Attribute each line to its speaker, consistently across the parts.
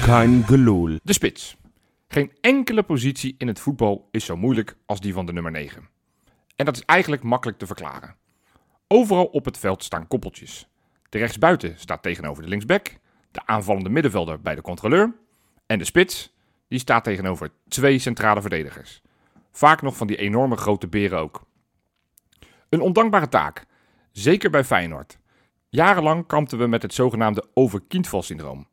Speaker 1: kein Gelul.
Speaker 2: De spits. Geen enkele positie in het voetbal is zo moeilijk als die van de nummer 9. En dat is eigenlijk makkelijk te verklaren. Overal op het veld staan koppeltjes. De rechtsbuiten staat tegenover de linksback, de aanvallende middenvelder bij de controleur en de spits, die staat tegenover twee centrale verdedigers. Vaak nog van die enorme grote beren ook. Een ondankbare taak, zeker bij Feyenoord. Jarenlang kampten we met het zogenaamde overkindval-syndroom.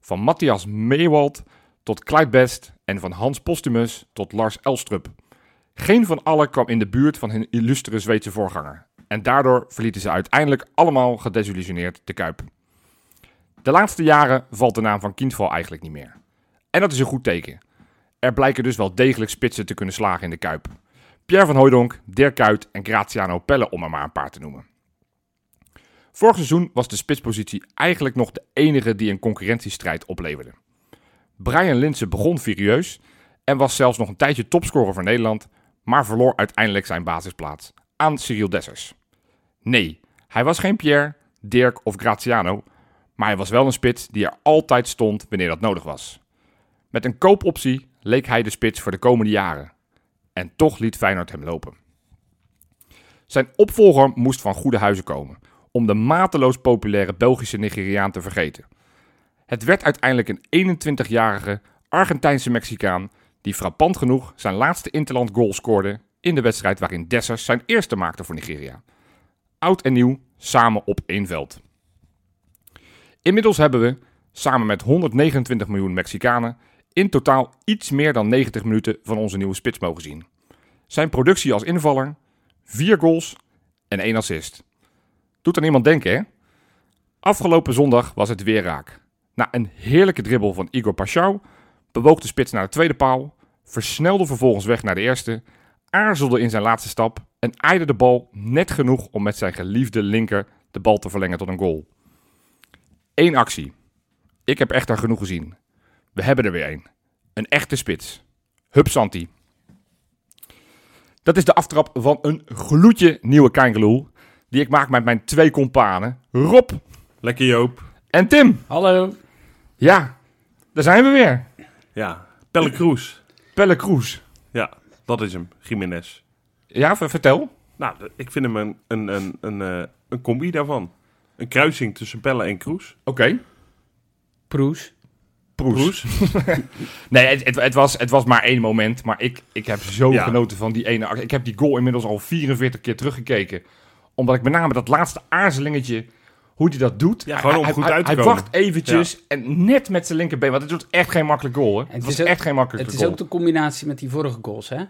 Speaker 2: Van Matthias Meewald tot Clyde Best en van Hans Postumus tot Lars Elstrup. Geen van allen kwam in de buurt van hun illustere Zweedse voorganger. En daardoor verlieten ze uiteindelijk allemaal gedesillusioneerd de Kuip. De laatste jaren valt de naam van Kindval eigenlijk niet meer. En dat is een goed teken. Er blijken dus wel degelijk spitsen te kunnen slagen in de Kuip. Pierre van Hooijdonk, Dirk Kuyt en Graziano Pelle om er maar een paar te noemen. Vorig seizoen was de spitspositie eigenlijk nog de enige die een concurrentiestrijd opleverde. Brian Linsen begon furieus en was zelfs nog een tijdje topscorer voor Nederland, maar verloor uiteindelijk zijn basisplaats aan Cyril Dessers. Nee, hij was geen Pierre, Dirk of Graziano, maar hij was wel een spits die er altijd stond wanneer dat nodig was. Met een koopoptie leek hij de spits voor de komende jaren. En toch liet Feyenoord hem lopen. Zijn opvolger moest van goede huizen komen, om de mateloos populaire Belgische Nigeriaan te vergeten. Het werd uiteindelijk een 21-jarige Argentijnse Mexicaan die frappant genoeg zijn laatste interland goal scoorde in de wedstrijd waarin Dessers zijn eerste maakte voor Nigeria. Oud en nieuw, samen op één veld. Inmiddels hebben we, samen met 129 miljoen Mexicanen, in totaal iets meer dan 90 minuten van onze nieuwe spits mogen zien. Zijn productie als invaller, vier goals en één assist. Doet aan iemand denken, hè? Afgelopen zondag was het weer raak. Na een heerlijke dribbel van Igor Paschal bewoog de spits naar de tweede paal, versnelde vervolgens weg naar de eerste, aarzelde in zijn laatste stap en aaide de bal net genoeg om met zijn geliefde linker de bal te verlengen tot een goal. Eén actie. Ik heb echt er genoeg gezien. We hebben er weer één. Een echte spits. Hup Santi. Dat is de aftrap van een gloedje nieuwe Keingeloel. Die ik maak met mijn twee companen. Rob
Speaker 3: Lekker Joop.
Speaker 2: en Tim.
Speaker 4: Hallo.
Speaker 2: Ja, daar zijn we weer.
Speaker 3: Ja. Pelle Cruz.
Speaker 2: Pelle Kroes.
Speaker 3: Ja, dat is hem. Jiménez.
Speaker 2: Ja, ver- vertel.
Speaker 3: Nou, d- ik vind hem een, een, een, een, eh, een combi daarvan. Een kruising tussen Pelle en Cruz.
Speaker 2: Oké.
Speaker 4: Proes.
Speaker 2: Proes.
Speaker 3: Cruz.
Speaker 2: Nee, het, het, het was, het was maar één moment. Maar ik, ik heb zo
Speaker 3: Ja.
Speaker 2: genoten van die ene actie. Ik heb die goal inmiddels al 44 keer teruggekeken. Omdat ik met name dat laatste aarzelingetje... Hoe hij dat doet.
Speaker 3: Ja, gewoon om
Speaker 2: hij,
Speaker 3: goed
Speaker 2: hij-
Speaker 3: uit te
Speaker 2: Hij
Speaker 3: komen.
Speaker 2: wacht eventjes en net met zijn linkerbeen. Want het was echt geen makkelijk goal, hè? Het,
Speaker 4: is
Speaker 2: was
Speaker 4: ook-
Speaker 2: echt geen makkelijk
Speaker 4: Het is
Speaker 2: goal.
Speaker 4: ook de combinatie met die vorige goals, hè?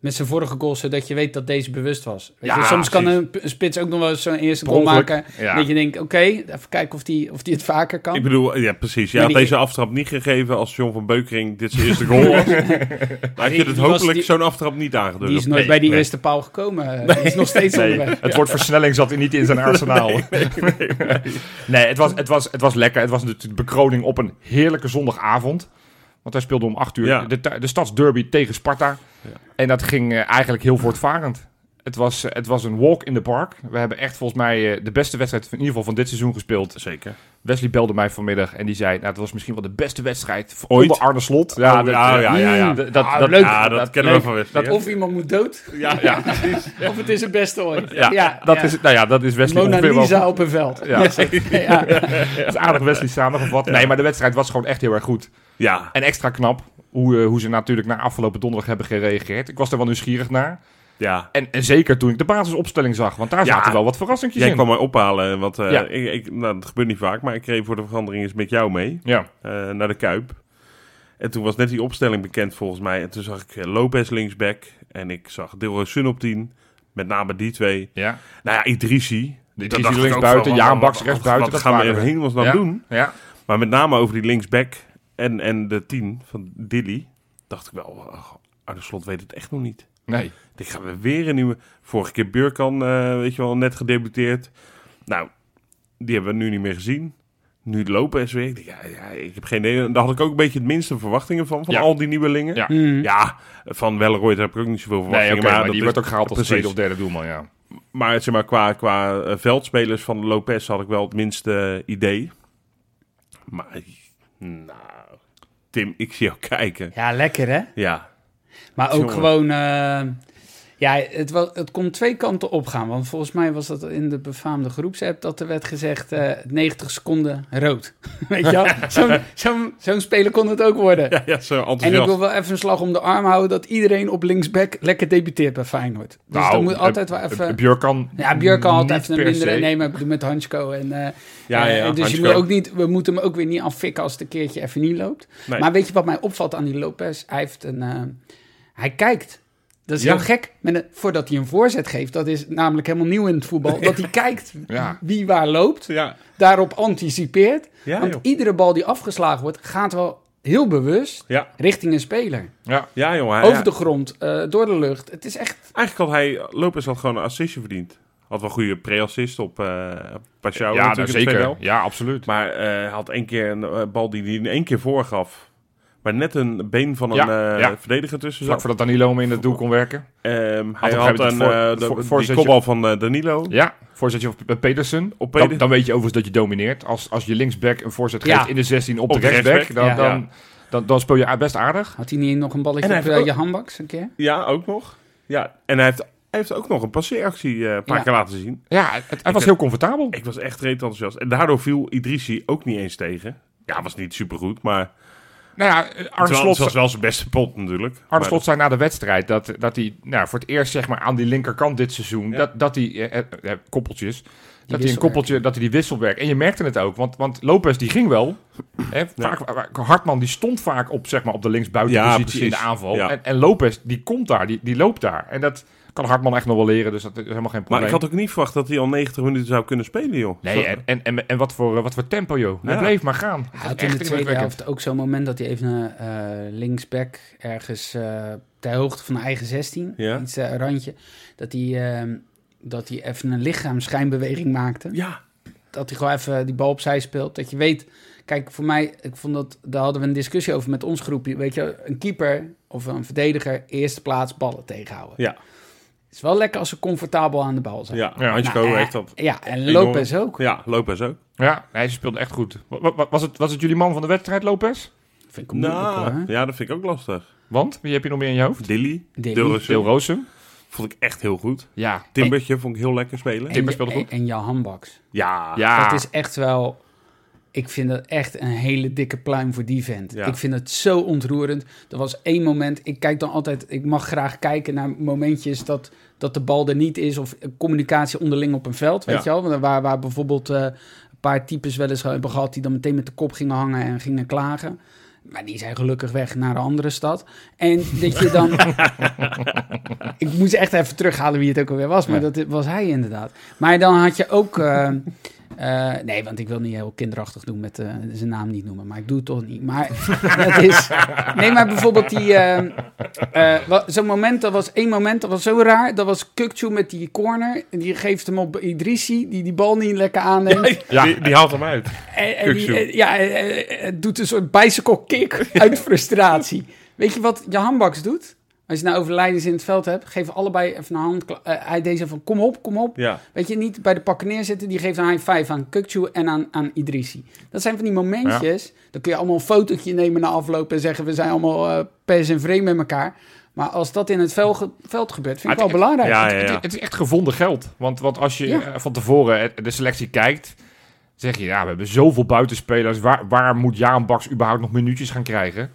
Speaker 4: Met zijn vorige goals, zodat je weet dat deze bewust was. Weet
Speaker 2: Ja,
Speaker 4: je, soms kan
Speaker 2: precies.
Speaker 4: een, p- een spits ook nog wel eens zo'n eerste
Speaker 2: Per
Speaker 4: goal
Speaker 2: ongeluk,
Speaker 4: maken.
Speaker 2: ja.
Speaker 4: Dat je denkt, oké, even kijken of die, of die het vaker kan.
Speaker 3: Ik bedoel, ja precies. Je
Speaker 4: Maar
Speaker 3: had
Speaker 4: die-
Speaker 3: deze aftrap niet gegeven als John van Beukering dit zijn eerste goal was. Dan had
Speaker 4: die-
Speaker 3: je het
Speaker 4: die was-
Speaker 3: hopelijk
Speaker 4: die-
Speaker 3: zo'n aftrap niet aangedurfd.
Speaker 4: die is nooit bij die eerste paal gekomen. Die is nog steeds
Speaker 2: Nee,
Speaker 4: onderweg.
Speaker 2: het woord versnelling zat er niet in zijn arsenaal. Nee, het, was, het, was, het was lekker. Het was natuurlijk de bekroning op een heerlijke zondagavond. Want hij speelde om 8 uur
Speaker 3: Ja.
Speaker 2: de, tu- de stadsderby tegen Sparta. En dat ging eh, eigenlijk heel voortvarend. Het was, eh, het was een walk in the park. We hebben echt volgens mij eh, de beste wedstrijd van, in ieder geval van dit seizoen gespeeld.
Speaker 3: Zeker.
Speaker 2: Wesley belde mij vanmiddag en die zei... Nou, het was misschien wel de beste wedstrijd voor
Speaker 3: Ooit?
Speaker 2: onder Arne Slot.
Speaker 3: Oh,
Speaker 2: dat- Hmm,
Speaker 3: ja, ja, ja, ja.
Speaker 2: dat- dat-
Speaker 4: Ah,
Speaker 2: dat-
Speaker 4: leuk.
Speaker 3: Ja, dat, kennen we
Speaker 4: leuk.
Speaker 3: van Wesley.
Speaker 2: dat-
Speaker 3: hè?
Speaker 4: Of iemand moet dood,
Speaker 3: ja, ja.
Speaker 4: of het is het beste ooit.
Speaker 3: Ja,
Speaker 2: Dat,
Speaker 4: ja.
Speaker 2: Is, nou ja, dat is Wesley
Speaker 4: Mona
Speaker 2: ongeveer wel-
Speaker 4: Lisa op een veld.
Speaker 2: Ja.
Speaker 4: Ja.
Speaker 2: Dat is aardig Wesley samengevat. Nee, maar de wedstrijd was gewoon echt heel erg goed.
Speaker 3: ja.
Speaker 2: En extra knap hoe, eh, hoe ze natuurlijk na afgelopen donderdag hebben gereageerd. Ik was er wel nieuwsgierig naar.
Speaker 3: ja.
Speaker 2: En, en zeker toen ik de basisopstelling zag, want daar
Speaker 3: Ja.
Speaker 2: zaten wel wat verrassingjes
Speaker 3: Jij
Speaker 2: in.
Speaker 3: kwam mij ophalen, want eh,
Speaker 2: Ja.
Speaker 3: ik, ik, nou, dat gebeurt niet vaak, maar ik kreeg voor de verandering eens met jou mee
Speaker 2: Ja,
Speaker 3: eh, naar de Kuip. En toen was net die opstelling bekend volgens mij. En toen zag ik eh, Lopez linksback en ik zag Dilrosun Sun op 10. Met name die twee.
Speaker 2: ja.
Speaker 3: Nou ja, Idrisi.
Speaker 2: Die
Speaker 3: Dat dacht ik
Speaker 2: links
Speaker 3: ook
Speaker 2: buiten,
Speaker 3: van,
Speaker 2: Jaan
Speaker 3: wat-
Speaker 2: Baks
Speaker 3: wat-
Speaker 2: rechts buiten.
Speaker 3: Wat gaan we in hemelsnaam
Speaker 2: Ja.
Speaker 3: doen?
Speaker 2: Ja,
Speaker 3: Maar met name over die linksback en, en de 10 van Dilly. Dacht ik wel, ach, Arne Slot weet het echt nog niet.
Speaker 2: nee.
Speaker 3: Dit gaan we weer een nieuwe. Vorige keer Burkan, eh, weet je wel, net gedebuteerd. Nou, die hebben we nu niet meer gezien. Nu Lopez weer. Ik denk, Ja, ja, ik heb geen idee. Daar had ik ook een beetje het minste verwachtingen van. Van
Speaker 2: Ja.
Speaker 3: al die nieuwelingen.
Speaker 2: Ja.
Speaker 4: Hmm.
Speaker 3: Ja, van Welleroy heb ik ook niet zoveel
Speaker 2: Nee,
Speaker 3: verwachtingen.
Speaker 2: oké, maar,
Speaker 3: dat
Speaker 2: die
Speaker 3: is-
Speaker 2: werd ook gehaald als
Speaker 3: precies.
Speaker 2: tweede of derde doelman,
Speaker 4: Dus
Speaker 2: ja.
Speaker 3: Maar, zeg maar qua, qua eh, veldspelers van eh, Lopez had ik wel het minste idee. Maar, nou, Tim, ik zie jou kijken.
Speaker 4: Ja, lekker hè?
Speaker 3: Ja,
Speaker 4: Maar ook
Speaker 3: Jongen.
Speaker 4: gewoon... eh, ja, het, wa- het kon twee kanten op gaan. Want volgens mij was dat in de befaamde groepsapp... dat er werd gezegd eh, 90 seconden rood. Weet je wel? Zo'n zo'n- zo'n speler kon het ook worden.
Speaker 3: ja, ja zo
Speaker 4: en ik
Speaker 3: enthousiast.
Speaker 4: wil wel even een slag om de arm houden... dat iedereen op linksback lekker debuteert bij Feyenoord. Dus
Speaker 2: Nou,
Speaker 4: dat moet
Speaker 2: eh,
Speaker 4: altijd wel
Speaker 2: Eh,
Speaker 4: even...
Speaker 2: Björk kan
Speaker 4: Ja, Björk kan
Speaker 2: niet
Speaker 4: altijd even een
Speaker 2: per
Speaker 4: mindere
Speaker 2: se.
Speaker 4: nemen met Hansko. En, eh,
Speaker 3: Ja, ja,
Speaker 4: eh, dus
Speaker 3: Hansko.
Speaker 4: je moet ook niet, we moeten hem ook weer niet affikken als het een keertje even niet loopt.
Speaker 3: Nee.
Speaker 4: Maar weet je wat mij opvalt aan die Lopez? Hij, heeft een, eh, hij kijkt. Dat is
Speaker 3: Ja.
Speaker 4: heel gek. Met een, voordat hij een voorzet geeft, dat is namelijk helemaal nieuw in het voetbal. Dat hij kijkt
Speaker 2: Ja.
Speaker 4: wie waar loopt,
Speaker 3: Ja,
Speaker 4: daarop anticipeert.
Speaker 3: ja,
Speaker 4: want
Speaker 3: joh.
Speaker 4: iedere bal die afgeslagen wordt, gaat wel heel bewust
Speaker 3: ja.
Speaker 4: richting een speler.
Speaker 2: Ja,
Speaker 3: Ah, Ja, jongen. hij-
Speaker 4: Over de grond, eh, door de lucht. Het is echt...
Speaker 3: Eigenlijk had hij, Lopez had gewoon een assistje verdiend. Had wel een goede pre-assist op eh Pashao.
Speaker 2: ja nou,
Speaker 3: natuurlijk in het tweede
Speaker 2: zeker.
Speaker 3: helft.
Speaker 2: Ja, absoluut.
Speaker 3: Maar eh, hij had één keer een eh, bal die hij in één keer voorgaf. Maar net een been van een
Speaker 2: Ja,
Speaker 3: eh,
Speaker 2: ja.
Speaker 3: verdediger tussen
Speaker 2: Vlak
Speaker 3: zat.
Speaker 2: voordat Danilo hem in het doel kon werken.
Speaker 3: Ehm, hij
Speaker 2: een
Speaker 3: had een
Speaker 2: gegeven moment het voor-
Speaker 3: eh,
Speaker 2: het voor-
Speaker 3: de- die
Speaker 2: voorzetje.
Speaker 3: kopbal van eh, Danilo.
Speaker 2: Ja, voorzetje op op Pedersen.
Speaker 3: Op
Speaker 2: dan,
Speaker 3: Peder-
Speaker 2: dan weet je overigens dat je domineert. Als, als je linksback een voorzet
Speaker 4: Ja.
Speaker 2: geeft in de 16 op,
Speaker 3: Op
Speaker 2: de
Speaker 3: de
Speaker 2: rechtsback,
Speaker 3: rechtsback,
Speaker 2: dan,
Speaker 4: ja.
Speaker 2: dan, dan, dan speel je a- best aardig.
Speaker 4: Had hij niet nog een balletje
Speaker 3: En hij
Speaker 4: op
Speaker 3: heeft
Speaker 4: eh,
Speaker 3: ook-
Speaker 4: je handbaks een keer?
Speaker 3: Ja, ook nog. Ja, en hij heeft, hij heeft ook nog een passeeractie eh, een paar
Speaker 4: Ja.
Speaker 3: keer laten zien.
Speaker 2: Ja, het, hij was
Speaker 3: heb-
Speaker 2: heel comfortabel.
Speaker 3: Ik was echt reet enthousiast. En daardoor viel Idrissi ook niet eens tegen. Ja, was niet supergoed, maar...
Speaker 2: Nou ja, eh, Arne
Speaker 3: Terwijl-
Speaker 2: Slot,
Speaker 3: Het was wel zijn beste pot natuurlijk.
Speaker 2: Arne
Speaker 3: Maar-
Speaker 2: Slot zei na de wedstrijd dat, dat hij nou, voor het eerst zeg maar, aan die linkerkant dit seizoen...
Speaker 3: Ja.
Speaker 2: Dat, dat hij, eh, eh, eh, koppeltjes, dat hij een
Speaker 4: wisselwerking.
Speaker 2: koppeltje, dat hij die wisselwerk... En je merkte het ook, want, want Lopez die ging wel. Hè, vaak, wa- wa- Hartman die stond vaak op, zeg maar, op de
Speaker 3: Ja,
Speaker 2: linksbuitenpositie
Speaker 3: precies.
Speaker 2: in de aanval.
Speaker 3: Ja.
Speaker 2: En, en Lopez die komt daar, die, die loopt daar. En dat kan Hartman echt nog wel leren, dus dat is helemaal geen
Speaker 3: Maar
Speaker 2: probleem.
Speaker 3: ik had ook niet verwacht dat hij al 90 minuten zou kunnen spelen, joh.
Speaker 2: Nee, en, en, en, en wat, voor, eh, wat voor tempo, joh. Hij
Speaker 3: Ja.
Speaker 2: bleef maar gaan.
Speaker 4: Hij had in de tweede
Speaker 2: indrukwekkend.
Speaker 4: helft ook zo'n moment dat hij even eh, eh, linksback ergens eh, ter hoogte van de eigen 16,
Speaker 3: Ja.
Speaker 4: iets eh, randje, dat hij, eh, dat hij even een lichaamsschijnbeweging maakte.
Speaker 3: Ja,
Speaker 4: Dat hij gewoon even die bal opzij speelt. Dat je weet, kijk, voor mij, ik vond dat, daar hadden we een discussie over met ons groepje. Weet je, een keeper of een verdediger, eerste plaats ballen tegenhouden.
Speaker 3: ja,
Speaker 4: Het is wel lekker als ze comfortabel aan de bal zijn.
Speaker 3: ja.
Speaker 2: Ja.
Speaker 3: Hansko
Speaker 4: Nou, eh,
Speaker 3: heeft dat.
Speaker 4: Ja, en
Speaker 3: enorm-
Speaker 4: Lopez ook.
Speaker 3: Ja, Lopez ook.
Speaker 2: Ja, nee, ze speelde echt goed. Wa- wa- wa- Was het, was het jullie man van de wedstrijd, Lopez?
Speaker 4: Vind ik moeilijk hoor.
Speaker 3: Nou,
Speaker 4: hè?
Speaker 3: ja, dat vind ik ook lastig.
Speaker 2: Want, wie heb je nog meer in je hoofd?
Speaker 3: Dilly,
Speaker 4: Dilly.
Speaker 3: Dilrussen,
Speaker 2: Deel Roosum.
Speaker 3: vond ik echt heel goed.
Speaker 2: Ja,
Speaker 3: Timbertje vond ik heel lekker spelen.
Speaker 2: Timber
Speaker 4: En-
Speaker 2: speelde goed.
Speaker 4: En, en Johan Baks.
Speaker 3: Ja,
Speaker 2: ja.
Speaker 4: Dat is echt wel. Ik vind dat echt een hele dikke pluim voor die vent.
Speaker 3: Ja.
Speaker 4: Ik vind het zo ontroerend. Er was één moment. Ik kijk dan altijd. Ik mag graag kijken naar momentjes dat, dat de bal er niet is. Of communicatie onderling op een veld. Weet
Speaker 3: Ja.
Speaker 4: je wel? Want Waar, waar bijvoorbeeld eh, een paar types wel eens hebben gehad. die dan meteen met de kop gingen hangen en gingen klagen. Maar die zijn gelukkig weg naar een andere stad. En dat je dan. ik moest echt even terughalen wie het ook alweer was. Maar dat was hij inderdaad. Maar dan had je ook. eh, eh, nee, want ik wil niet heel kinderachtig doen met eh, zijn naam niet noemen, maar ik doe het toch niet. Maar dat is. Nee, maar bijvoorbeeld die. eh, eh, wa- Zo'n moment, dat was één moment, dat was zo raar. Dat was Kukcu met die corner. En die geeft hem op Idrissi, die die bal niet lekker aanneemt.
Speaker 2: Ja.
Speaker 3: Die, die haalt hem uit.
Speaker 4: En, en die,
Speaker 3: Kukçu.
Speaker 4: eh, ja, eh, eh, eh, doet een soort bicycle kick uit frustratie. Weet je wat Johan Baks doet? Als je nou overlijdens in het veld hebt, geef allebei even een hand. eh, hij deed zo van, kom op, kom op.
Speaker 3: Ja,
Speaker 4: Weet je, niet bij de pakken neerzitten. Die geeft een high five aan Kukçu en aan, aan Idrissi. Dat zijn van die momentjes. Dan kun je allemaal een fotootje nemen na afloop en zeggen... we zijn allemaal eh, pers en vreemd met elkaar. Maar als dat in het vel ge- veld gebeurt, vind ik
Speaker 2: Maar
Speaker 4: wel belangrijk.
Speaker 3: ja, ja,
Speaker 2: Het,
Speaker 3: ja.
Speaker 2: het is echt gevonden geld. Want, want als je
Speaker 4: Ja.
Speaker 2: eh, van tevoren eh, de selectie kijkt, zeg je, ja, we hebben zoveel buitenspelers. Waar, waar moet Jaan Baks überhaupt nog minuutjes gaan krijgen?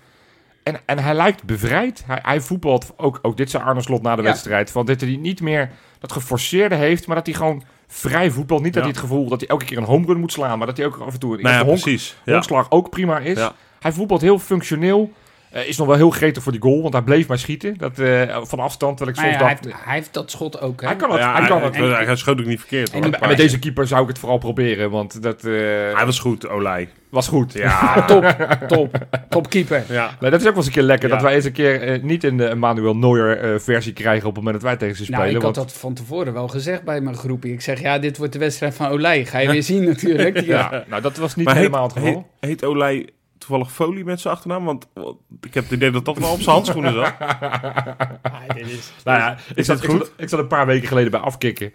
Speaker 2: En, en hij lijkt bevrijd. Hij, hij voetbalt ook, ook dit zijn Arne Slot na de
Speaker 4: Ja.
Speaker 2: wedstrijd. Van dit hij niet meer dat geforceerde heeft, maar dat hij gewoon vrij voetbal. Niet dat
Speaker 3: Ja.
Speaker 2: hij het gevoel dat hij elke keer een homerun moet slaan, maar dat hij ook af en toe een
Speaker 3: Nou ja,
Speaker 2: eerste honk-
Speaker 3: precies.
Speaker 2: ja.
Speaker 3: Ja.
Speaker 2: honkslag ook prima is.
Speaker 3: Ja.
Speaker 2: Hij voetbalt heel functioneel. Eh, is nog wel heel gretig voor die goal, want hij bleef maar schieten. Dat, eh, van afstand, terwijl ik
Speaker 4: Maar
Speaker 2: soms
Speaker 4: ja, hij,
Speaker 2: dacht...
Speaker 4: heeft, hij heeft dat schot ook, hè?
Speaker 2: Hij kan het,
Speaker 3: Ja,
Speaker 2: hij kan
Speaker 3: hij,
Speaker 2: het.
Speaker 3: hij- hij schoot ook niet verkeerd.
Speaker 4: en-
Speaker 3: hoor.
Speaker 2: En, en met deze keeper zou ik het vooral proberen, want dat eh,
Speaker 3: Hij was goed, Olij.
Speaker 2: was goed.
Speaker 3: Ja,
Speaker 4: Top, top, topkeeper.
Speaker 3: ja.
Speaker 2: Nee, dat is ook wel eens een keer lekker,
Speaker 3: Ja.
Speaker 2: dat wij eens een keer eh, niet een eh, Manuel Neuer eh, versie krijgen op het moment dat wij tegen ze spelen.
Speaker 4: Nou, ik had
Speaker 2: want-
Speaker 4: dat van tevoren wel gezegd bij mijn groepie. Ik zeg, ja, dit wordt de wedstrijd van Olij. Ga je weer zien natuurlijk. Die-
Speaker 2: ja, nou, dat was niet
Speaker 3: Maar heet-
Speaker 2: helemaal het geval.
Speaker 3: Heet, heet Olij toevallig Folie met zijn achternaam? Want want ik heb het idee dat dat wel op zijn handschoenen zat.
Speaker 2: Nou ja, ik zat,
Speaker 3: het
Speaker 2: ik
Speaker 3: goed?
Speaker 2: zat- ik zat een paar weken geleden bij Afkikken.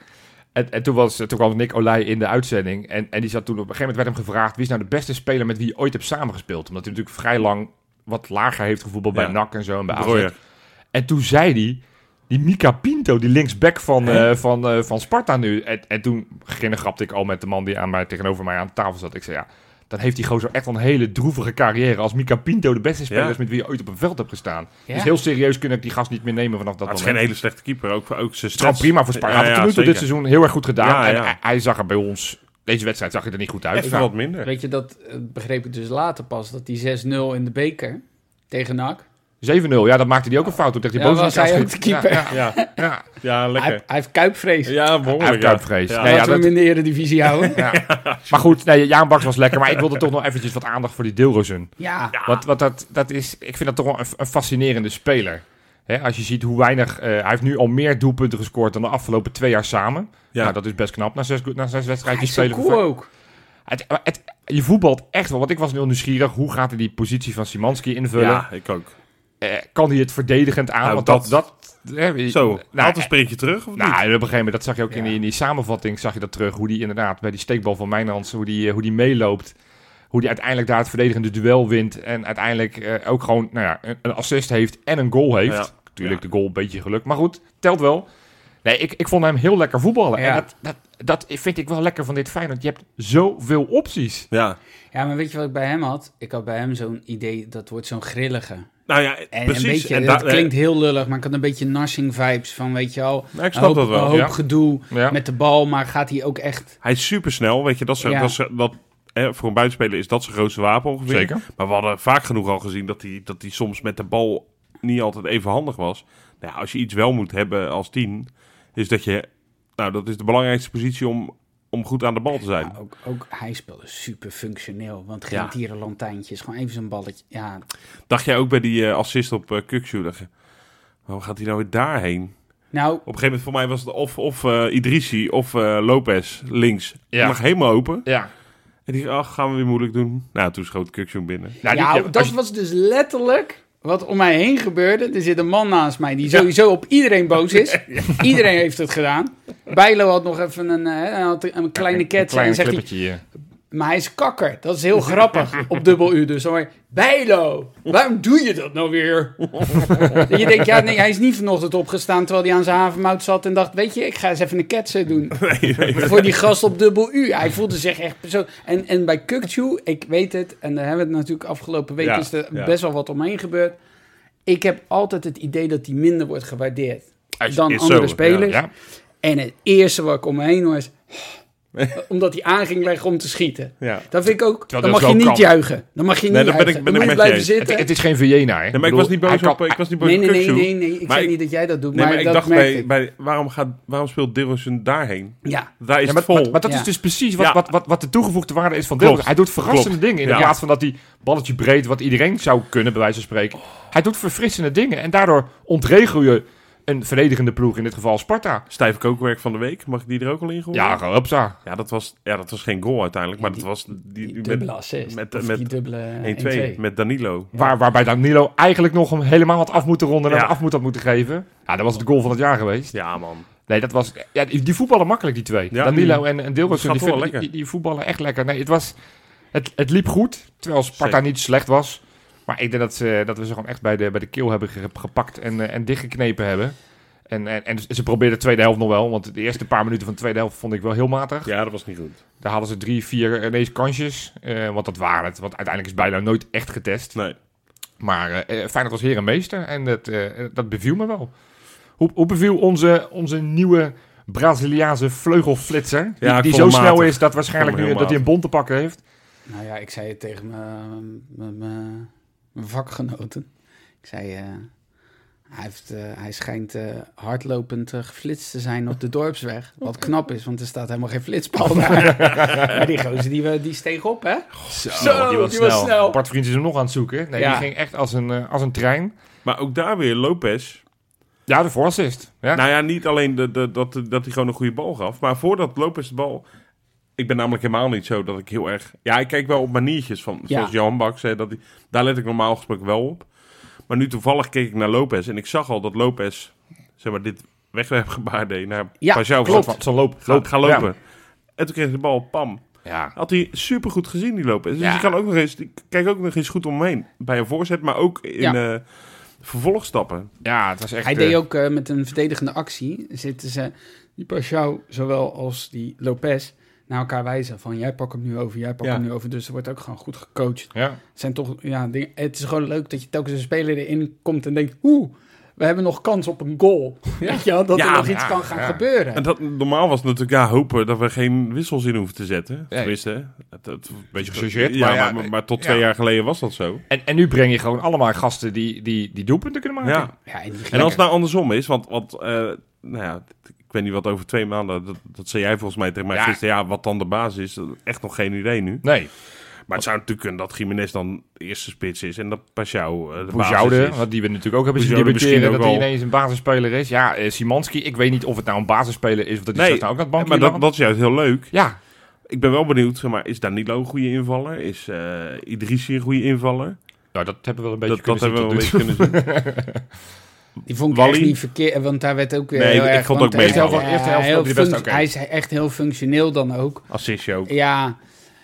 Speaker 2: En, en toen, was, toen kwam Nick Olij in de uitzending. En, en die zat toen op een gegeven moment werd hem gevraagd... wie is nou de beste speler met wie je ooit hebt samengespeeld? Omdat hij natuurlijk vrij lang wat lager heeft gevoetbald bij
Speaker 3: Ja.
Speaker 2: NAC en zo en bij AZ.
Speaker 3: Breuer.
Speaker 2: En toen zei hij, die Mika Pinto, die linksback van, eh, van, eh, van Sparta nu. En, en toen grapte ik al met de man die aan mij, tegenover mij aan de tafel zat. Ik zei, ja, dan heeft die gozer echt wel een hele droevige carrière. Als Mika Pinto de beste speler
Speaker 3: Ja.
Speaker 2: is met wie je ooit op een veld hebt gestaan.
Speaker 4: Ja.
Speaker 2: Dus heel serieus kun ik die gast niet meer nemen vanaf dat
Speaker 3: Maar het is geen
Speaker 2: moment.
Speaker 3: hele slechte keeper. Ook, ook zijn
Speaker 2: Het is gewoon
Speaker 3: stats-
Speaker 2: prima voor Sparta. Hij
Speaker 3: Ja,
Speaker 2: heeft
Speaker 3: ja,
Speaker 2: tot nu toe
Speaker 3: zeker.
Speaker 2: dit seizoen heel erg goed gedaan.
Speaker 3: Ja, ja.
Speaker 2: En hij, hij zag er bij ons, deze wedstrijd zag hij er niet goed uit.
Speaker 3: Even
Speaker 2: Nou,
Speaker 3: wat minder.
Speaker 4: Weet je, dat eh, begreep ik dus later pas, dat die 6-0 in de beker tegen NAC.
Speaker 2: 7-0, ja, dat maakte hij ook een fout. Toen tegen die
Speaker 4: Ja,
Speaker 2: boze
Speaker 4: was hij
Speaker 2: kaas
Speaker 4: ook
Speaker 2: schiet.
Speaker 4: de keeper.
Speaker 2: Ja, ja,
Speaker 3: Ja,
Speaker 2: ja.
Speaker 3: ja
Speaker 4: Hij,
Speaker 3: lekker.
Speaker 4: hij heeft kuipvrees.
Speaker 3: Ja,
Speaker 2: Hij heeft
Speaker 3: behoorlijk. ja.
Speaker 2: kuitvrees.
Speaker 3: Ja.
Speaker 2: Nee, ja,
Speaker 4: Laten
Speaker 2: dat-
Speaker 4: we hem in de Eredivisie houden.
Speaker 2: Maar goed, nee, Jaan Baks was lekker. Maar ik wilde toch nog eventjes wat aandacht voor die Deelrozen.
Speaker 4: ja.
Speaker 2: Want, want dat, dat is, ik vind dat toch wel een, een fascinerende speler. Hè, als je ziet hoe weinig... eh, hij heeft nu al meer doelpunten gescoord dan de afgelopen twee jaar samen.
Speaker 3: Ja.
Speaker 2: Nou, dat is best knap na zes, na zes
Speaker 4: Hij
Speaker 2: wedstrijdjes
Speaker 4: is zo
Speaker 2: spelen.
Speaker 4: cool ook.
Speaker 2: Het, het- je voetbalt echt wel. Want ik was heel nieuwsgierig. Hoe gaat hij die positie van Simanski invullen?
Speaker 3: Ja, ik ook.
Speaker 2: Eh, kan hij het verdedigend aan?
Speaker 3: Nou,
Speaker 2: want dat...
Speaker 3: dat-
Speaker 2: dat, hè,
Speaker 3: Zo,
Speaker 2: nou,
Speaker 3: haalt een sprintje terug of
Speaker 2: Nou,
Speaker 3: niet?
Speaker 2: op een gegeven moment, dat zag je ook in,
Speaker 4: Ja.
Speaker 2: die, in die samenvatting, zag je dat terug. Hoe die inderdaad bij die steekbal van Mijnlands, hoe die, eh, hoe die meeloopt. Hoe die uiteindelijk daar het verdedigende duel wint. En uiteindelijk eh, ook gewoon nou ja, een, een assist heeft en een goal heeft.
Speaker 3: Ja.
Speaker 2: Natuurlijk
Speaker 3: Ja.
Speaker 2: de goal een beetje geluk, maar goed, telt wel. Nee, ik, ik vond hem heel lekker voetballen.
Speaker 4: Ja.
Speaker 2: En dat, dat, dat vind ik wel lekker van dit Feyenoord. Je hebt zoveel opties.
Speaker 3: Ja.
Speaker 4: Ja, maar weet je wat ik bij hem had? Ik had bij hem zo'n idee, dat wordt zo'n grillige.
Speaker 3: Nou ja,
Speaker 4: En
Speaker 3: precies.
Speaker 4: een beetje,
Speaker 3: en eh,
Speaker 4: dat
Speaker 3: daar-
Speaker 4: klinkt heel lullig, maar ik had een beetje narsing vibes van, weet je al.
Speaker 3: Nou, ik
Speaker 4: een
Speaker 3: snap
Speaker 4: hoop,
Speaker 3: dat wel.
Speaker 4: Een hoop
Speaker 2: ja.
Speaker 4: gedoe
Speaker 2: Ja.
Speaker 4: met de bal, maar gaat hij ook echt...
Speaker 3: Hij is supersnel, weet je. Dat is,
Speaker 4: Ja.
Speaker 3: dat is, dat, hè, voor een buitenspeler is dat zijn grootste wapen ongeveer.
Speaker 2: Zeker.
Speaker 3: Maar we hadden vaak genoeg al gezien dat hij, dat hij soms met de bal niet altijd even handig was. Nou, ja, als je iets wel moet hebben als tien, is dat je... Nou, dat is de belangrijkste positie om, om goed aan de bal te zijn.
Speaker 4: Ja, ook, ook hij speelde super functioneel, want geen
Speaker 3: Ja.
Speaker 4: tierenlantijntjes, gewoon even zo'n balletje. Ja,
Speaker 3: Dacht jij ook bij die eh, assist op eh Kukzu, dacht je, Waarom gaat hij nou weer daarheen?
Speaker 4: nou,
Speaker 3: Op een gegeven moment voor mij was het of, of eh Idrissi of eh, Lopez links.
Speaker 2: Ja.
Speaker 3: Lag helemaal open.
Speaker 2: Ja,
Speaker 3: En die ach, gaan we weer moeilijk doen. Nou, toen schoot Kukzu binnen.
Speaker 2: nou, die-
Speaker 4: ja,
Speaker 2: ja,
Speaker 4: dat
Speaker 2: als je-
Speaker 4: was dus letterlijk wat om mij heen gebeurde. Er zit een man naast mij die sowieso op iedereen boos is. Iedereen heeft het gedaan. Bijlo had nog even een, eh, hij had een kleine
Speaker 2: een
Speaker 4: ket. en
Speaker 2: klein
Speaker 4: zegt hij,
Speaker 2: clippetje hier.
Speaker 4: maar hij is kakker. Dat is heel grappig op dubbel U. Dus dan hoor je, Bijlo, waarom doe je dat nou weer? dat je denkt, ja, nee, hij is niet vanochtend opgestaan terwijl hij aan zijn havenmout zat en dacht, weet je, ik ga eens even een ketsen doen. Voor die gast op dubbel U. Hij voelde zich echt persoon. En, en bij Kukchu, ik weet het, en daar hebben we het natuurlijk afgelopen week
Speaker 3: Ja,
Speaker 4: is er
Speaker 3: ja.
Speaker 4: best wel wat omheen gebeurd. Ik heb altijd het idee dat hij minder wordt gewaardeerd
Speaker 3: Hij is-
Speaker 4: dan
Speaker 3: is
Speaker 4: andere
Speaker 3: zo,
Speaker 4: spelers.
Speaker 2: Ja,
Speaker 4: En het eerste wat ik om me heen hoor is... omdat hij aan ging leggen om te schieten.
Speaker 3: Ja.
Speaker 4: Dat vind ik ook...
Speaker 2: Terwijl
Speaker 4: Dan
Speaker 2: dat
Speaker 4: mag je niet
Speaker 2: wel kan.
Speaker 4: juichen. Dan mag je
Speaker 3: Nee,
Speaker 4: niet
Speaker 3: dat ben
Speaker 4: juichen.
Speaker 3: ik- ben
Speaker 4: Dan
Speaker 3: ik
Speaker 4: moet
Speaker 3: met
Speaker 4: je
Speaker 3: je
Speaker 4: blijven
Speaker 3: eens.
Speaker 4: zitten.
Speaker 2: het, het is geen Vienna, hè?
Speaker 3: Nee, maar ik
Speaker 2: bedoel,
Speaker 3: was niet boos
Speaker 2: hij kan-
Speaker 3: op, eh, ik was niet boos
Speaker 4: nee,
Speaker 3: op
Speaker 4: nee, nee,
Speaker 3: Kukzu.
Speaker 4: nee, nee. Ik
Speaker 3: Maar
Speaker 4: zeg
Speaker 3: ik-
Speaker 4: niet dat jij dat doet.
Speaker 3: Nee, maar,
Speaker 4: maar,
Speaker 3: ik
Speaker 4: dat
Speaker 3: dacht
Speaker 4: merkte
Speaker 3: bij,
Speaker 4: ik.
Speaker 3: bij waarom, gaat, waarom speelt Dillerson daarheen?
Speaker 4: Ja.
Speaker 3: Daar is
Speaker 2: Ja,
Speaker 3: het
Speaker 2: maar,
Speaker 3: vol.
Speaker 2: maar- maar dat
Speaker 4: Ja.
Speaker 2: is dus precies wat,
Speaker 3: Ja.
Speaker 2: wat, wat, wat de toegevoegde waarde is van
Speaker 3: Klopt.
Speaker 2: Dilbert. Hij doet verrassende
Speaker 3: Klopt.
Speaker 2: dingen in
Speaker 3: Ja.
Speaker 2: plaats van dat hij balletje breed, wat iedereen zou kunnen, bij wijze van spreken. Hij doet verfrissende dingen en daardoor ontregel je een verdedigende ploeg, in dit geval Sparta.
Speaker 3: Stijf kookwerk van de week, mag ik die er ook al in gooien?
Speaker 2: Ja, gewoon hupsa.
Speaker 3: Ja, dat was, ja, dat was geen goal uiteindelijk, maar
Speaker 4: Ja, die-
Speaker 3: dat was die,
Speaker 4: Die
Speaker 3: met-
Speaker 4: dubbele eh, assist.
Speaker 3: met-
Speaker 4: Of
Speaker 3: met
Speaker 4: die dubbele
Speaker 3: 1-2 met Danilo.
Speaker 2: Waar, waarbij Danilo eigenlijk nog hem helemaal had af moeten ronden en
Speaker 3: Ja.
Speaker 2: hem af moet had moeten geven. Ja, dat was de goal van het jaar geweest.
Speaker 3: Ja, man.
Speaker 2: Nee, dat was... Ja, die, die voetballen makkelijk, die twee.
Speaker 3: Ja.
Speaker 2: Danilo en, en
Speaker 3: Dat
Speaker 2: Dilbertsen,
Speaker 3: gaat
Speaker 2: die,
Speaker 3: wel
Speaker 2: vinden-
Speaker 3: lekker.
Speaker 2: die, die voetballen echt lekker. Nee, het, was, het, het liep goed, terwijl Sparta
Speaker 3: Zeker.
Speaker 2: niet slecht was. Maar ik denk dat, ze, dat we ze gewoon echt bij de, bij de keel hebben ge- gepakt en, eh, en dichtgeknepen hebben. En, en, en ze probeerden de tweede helft nog wel, want de eerste paar minuten van de tweede helft vond ik wel heel matig.
Speaker 3: Ja, dat was niet goed.
Speaker 2: Daar hadden ze drie, vier ineens kansjes, eh, want dat waren het. Want uiteindelijk is bijna nooit echt getest.
Speaker 3: Nee.
Speaker 2: Maar eh, eh, Feyenoord was heer en meester en dat, eh, eh, dat beviel me wel. Hoe, hoe beviel onze, onze nieuwe Braziliaanse vleugelflitser? Die,
Speaker 3: Ja, ik
Speaker 2: die
Speaker 3: vond
Speaker 2: zo
Speaker 3: hem
Speaker 2: snel
Speaker 3: matig.
Speaker 2: is dat waarschijnlijk
Speaker 3: Ik vond
Speaker 2: nu
Speaker 3: hem
Speaker 2: dat
Speaker 3: heel
Speaker 2: hij een bond te pakken heeft.
Speaker 4: Nou ja, ik zei het tegen mijn- mijn- mijn mijn vakgenoten. Ik zei... eh, hij, heeft, eh, hij schijnt eh, hardlopend eh, geflitst te zijn op de dorpsweg. Wat knap is, want er staat helemaal geen flitspaal daar. maar die gozer, die, we- die steeg op, hè?
Speaker 3: Zo,
Speaker 2: Bart Vriends is hem nog aan het zoeken. Nee,
Speaker 4: Ja.
Speaker 2: die ging echt als een, eh, als een trein.
Speaker 3: Maar ook daar weer Lopez.
Speaker 2: Ja, de voorassist. Ja.
Speaker 3: Nou ja, niet alleen de, de, dat, dat hij gewoon een goede bal gaf. Maar voordat Lopez de bal... Ik ben namelijk helemaal niet zo dat ik heel erg... Ja, ik kijk wel op maniertjes van... Zoals Johan Bak zei, dat die, daar let ik normaal gesproken wel op. Maar nu toevallig keek ik naar Lopez. En ik zag al dat Lopez, zeg maar, dit wegwerpgebaar deed naar
Speaker 4: Ja,
Speaker 3: Pajou.
Speaker 4: klopt.
Speaker 2: Van- Zo loop,
Speaker 3: Ga,
Speaker 2: loop.
Speaker 3: ga
Speaker 2: Ja.
Speaker 3: lopen. En toen kreeg hij de bal, pam.
Speaker 2: Ja. Ja.
Speaker 3: Had hij supergoed gezien, die lopen. Dus
Speaker 2: Ja.
Speaker 3: je kan ook nog eens, ik kijk ook nog eens goed omheen. Bij een voorzet, maar ook in
Speaker 4: Ja.
Speaker 3: eh, vervolgstappen.
Speaker 2: ja, het was echt...
Speaker 4: Hij
Speaker 2: eh,
Speaker 4: deed ook eh, met een verdedigende actie. Zitten ze, die Pashao zowel als die Lopez, naar elkaar wijzen. Van jij pak hem nu over, jij pak
Speaker 3: Ja.
Speaker 4: hem nu over. Dus er wordt ook gewoon goed gecoacht.
Speaker 2: Ja,
Speaker 4: Het zijn toch, ja, dingen- het is gewoon leuk dat je telkens een speler erin komt en denkt... Oeh, we hebben nog kans op een goal. Weet je wel, dat
Speaker 3: Ja,
Speaker 4: er nog iets
Speaker 2: ja,
Speaker 4: kan gaan
Speaker 2: ja.
Speaker 4: gebeuren.
Speaker 3: En dat, normaal was het natuurlijk ja, hopen dat we geen wissels in hoeven te zetten.
Speaker 2: Nee.
Speaker 3: Tenminste, hè. dat, dat,
Speaker 2: beetje gechargeerd,
Speaker 3: ja,
Speaker 2: maar
Speaker 3: maar,
Speaker 2: ja,
Speaker 3: maar, maar tot
Speaker 2: ja.
Speaker 3: twee jaar geleden was dat zo.
Speaker 2: en, en nu breng je gewoon allemaal gasten die, die, die doelpunten kunnen maken.
Speaker 3: Ja.
Speaker 4: Ja, en die
Speaker 3: En als het nou andersom is, want, want eh, nou ja, ik weet niet wat over twee maanden, dat, dat zei jij volgens mij tegen mij
Speaker 2: Ja.
Speaker 3: gisteren, ja, wat dan de baas is, dat- echt nog geen idee nu.
Speaker 2: Nee,
Speaker 3: Maar het zou natuurlijk kunnen dat Jiménez dan de eerste spits is en dat Pashao eh, de basis
Speaker 2: Boujoude,
Speaker 3: is.
Speaker 2: wat die we natuurlijk ook hebben zien
Speaker 3: Boujoude misschien
Speaker 2: debatteren,
Speaker 3: ook
Speaker 2: dat hij
Speaker 3: wel.
Speaker 2: ineens een basisspeler is. Ja, eh, Simanski, ik weet niet of het nou een basisspeler is of dat hij
Speaker 3: Nee,
Speaker 2: straks nou ook naar het bankje
Speaker 3: maar dat,
Speaker 2: landt.
Speaker 3: dat is juist heel leuk.
Speaker 2: Ja,
Speaker 3: Ik ben wel benieuwd, zeg maar, is Danilo een goede invaller? Is eh Idrissi een goede invaller?
Speaker 2: nou, dat hebben we wel een beetje
Speaker 3: Dat, dat hebben we wel
Speaker 2: kunnen
Speaker 3: een
Speaker 2: zien
Speaker 3: beetje kunnen zien.
Speaker 4: Die vond ik
Speaker 3: Wally?
Speaker 4: echt niet verkeerd, want daar werd ook weer
Speaker 3: Nee,
Speaker 4: heel
Speaker 3: ik
Speaker 4: erg...
Speaker 3: vond
Speaker 4: want
Speaker 3: ook
Speaker 4: hij is
Speaker 3: meevallen.
Speaker 4: heel-
Speaker 2: Eerste helft
Speaker 4: heel
Speaker 2: vond hij best
Speaker 4: funct-
Speaker 2: oké.
Speaker 4: Hij is echt heel functioneel dan ook.
Speaker 3: Assistje ook.
Speaker 4: Ja,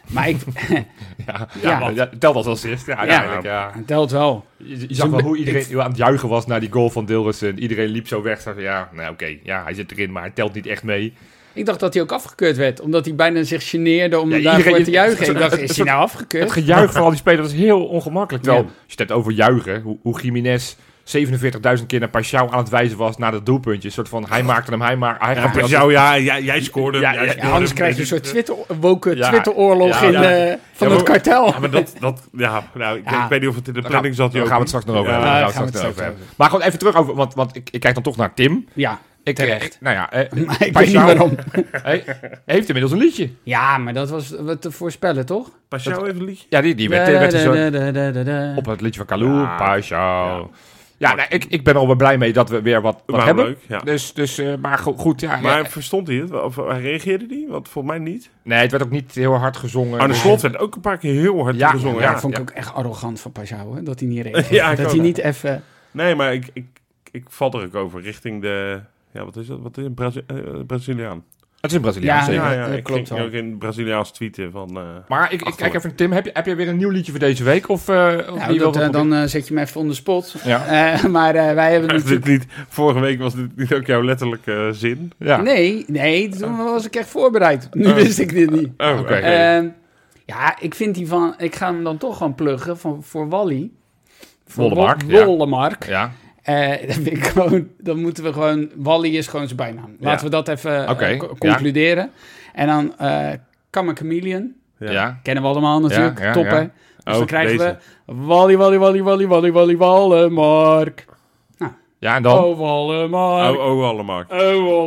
Speaker 4: maar ik...
Speaker 2: tot nu toe.
Speaker 4: Ja.
Speaker 2: Ja, maar ja, tel dat als eerst. Ja, uiteindelijk, ja.
Speaker 4: het telt wel.
Speaker 2: Je, je
Speaker 4: Dus
Speaker 2: zag
Speaker 4: ik
Speaker 2: wel
Speaker 4: ben-
Speaker 2: hoe iedereen
Speaker 4: ik-
Speaker 2: aan het juichen was naar die goal van Dilrus. En iedereen liep zo weg. Zag, ja, nou oké, ja, hij zit erin, maar hij telt niet echt mee.
Speaker 4: Ik dacht dat hij ook afgekeurd werd, omdat hij bijna zich geneerde om
Speaker 2: Ja,
Speaker 4: daarvoor
Speaker 2: iedereen-
Speaker 4: te juichen. Ik dacht,
Speaker 2: het-
Speaker 4: is
Speaker 2: het-
Speaker 4: hij nou
Speaker 2: Het
Speaker 4: afgekeurd?
Speaker 2: gejuich van al die spelers was heel ongemakkelijk. Terwijl,
Speaker 4: Ja.
Speaker 2: als je het hebt over juichen, hoe, hoe Jiménez 47.000 keer naar Pashao aan het wijzen was naar dat doelpuntje. Een soort van, hij maakte hem, hij maakte hij
Speaker 3: Ja,
Speaker 2: gaf-
Speaker 3: Pashao, ja, ja, jij scoorde.
Speaker 2: Ja,
Speaker 3: Ja,
Speaker 2: ja,
Speaker 3: jij
Speaker 2: ja,
Speaker 4: Ja,
Speaker 3: scoorde.
Speaker 4: anders krijg je een soort Twitter, woke
Speaker 2: Ja,
Speaker 4: Twitter-oorlog
Speaker 2: ja,
Speaker 4: in,
Speaker 2: ja.
Speaker 4: eh, van
Speaker 3: Ja, maar-
Speaker 4: het kartel.
Speaker 3: Ja, maar dat, dat, ja, nou, ik,
Speaker 4: Ja.
Speaker 3: ik weet niet of het in de
Speaker 2: Daar
Speaker 3: planning
Speaker 2: gaan-
Speaker 3: zat.
Speaker 2: daar gaan we het straks nog over hebben.
Speaker 4: Ja,
Speaker 2: Daar gaan
Speaker 4: daar
Speaker 2: we het
Speaker 4: gaan
Speaker 2: straks
Speaker 4: we
Speaker 2: nog over
Speaker 4: het
Speaker 2: hebben. Maar gewoon even terug over, want, want ik, ik kijk dan toch naar Tim.
Speaker 4: Ja,
Speaker 2: Ik,
Speaker 4: Terecht.
Speaker 2: eh, nou ja, eh,
Speaker 4: maar ik weet niet
Speaker 2: Pashao,
Speaker 4: waarom.
Speaker 2: hij heeft inmiddels een liedje.
Speaker 4: Ja, maar dat was wat te voorspellen, toch?
Speaker 3: Pashao even een liedje.
Speaker 2: Ja, die, die werd, werd zo-
Speaker 4: Da-da-da-da-da-da.
Speaker 2: Op het liedje van Kalou,
Speaker 3: Ja.
Speaker 2: Paixão. Ja, nou, ik, ik ben er al wel blij mee dat we weer wat, wat
Speaker 3: Maar
Speaker 2: hebben.
Speaker 3: leuk, ja.
Speaker 2: Dus, dus eh, maar go- goed, ja.
Speaker 3: Maar
Speaker 2: ja.
Speaker 3: verstond hij het? Of hij reageerde hij? Want volgens mij niet.
Speaker 2: Nee, het werd ook niet heel hard gezongen.
Speaker 3: Arne
Speaker 2: Dus-
Speaker 3: Slot werd ook een paar keer heel hard
Speaker 2: Ja,
Speaker 3: gezongen.
Speaker 4: Ja,
Speaker 3: Ja,
Speaker 4: dat vond ik
Speaker 2: ja.
Speaker 4: ook echt arrogant van Pajou, hè, dat hij niet reageerde.
Speaker 3: Ja, ik
Speaker 4: dat
Speaker 3: ook.
Speaker 4: hij niet even...
Speaker 3: Nee, maar ik, ik, ik val er ook over richting de... Ja, wat is dat? Wat is een Brazi- eh, Braziliaan?
Speaker 2: Het is een Braziliaan,
Speaker 4: Ja,
Speaker 2: zeker.
Speaker 3: ja, ja,
Speaker 4: dat
Speaker 3: ik
Speaker 4: klopt
Speaker 3: ging
Speaker 4: wel.
Speaker 3: ook in Braziliaans tweeten van... eh,
Speaker 2: Maar ik, ik kijk
Speaker 3: Achterlijk.
Speaker 2: even, Tim, heb je, heb je weer een nieuw liedje voor deze week? Of, eh, of wie wil
Speaker 4: Nou, dat,
Speaker 2: wat
Speaker 4: eh,
Speaker 2: proberen?
Speaker 4: dan eh, zet je me even on the spot.
Speaker 2: Ja.
Speaker 4: Eh, maar eh, wij hebben
Speaker 3: is
Speaker 4: natuurlijk...
Speaker 3: dit niet, vorige week was dit niet ook jouw letterlijke eh, zin.
Speaker 2: Ja.
Speaker 4: Nee, nee, toen was ik echt voorbereid. Nu wist ik dit niet.
Speaker 3: Oh, oké.
Speaker 2: Oké.
Speaker 4: Ehm, ja, ik vind die van... Ik ga hem dan toch gewoon pluggen van, voor Wally. Voor
Speaker 2: Wollemark,
Speaker 4: Wol-
Speaker 2: ja.
Speaker 4: Wollemark.
Speaker 2: Ja,
Speaker 4: Eh, dat vind ik gewoon, dan moeten we gewoon... Wally is gewoon zijn bijnaam. Laten
Speaker 3: Ja.
Speaker 4: we dat even eh,
Speaker 2: Oké,
Speaker 4: co-
Speaker 2: ja.
Speaker 4: concluderen. En dan eh Kammer Chameleon.
Speaker 2: ja.
Speaker 4: Kennen we allemaal natuurlijk.
Speaker 2: Ja, ja,
Speaker 4: Top,
Speaker 2: ja.
Speaker 4: hè? Dus dan
Speaker 3: Oh,
Speaker 4: krijgen
Speaker 3: deze.
Speaker 4: we... Wally, Wally, Wally, Wally, Wally, Wally, Wallemark.
Speaker 2: Ja, en dan?
Speaker 4: Oh, Wallemark.
Speaker 3: Oh, oh, allemaal.
Speaker 4: Oh,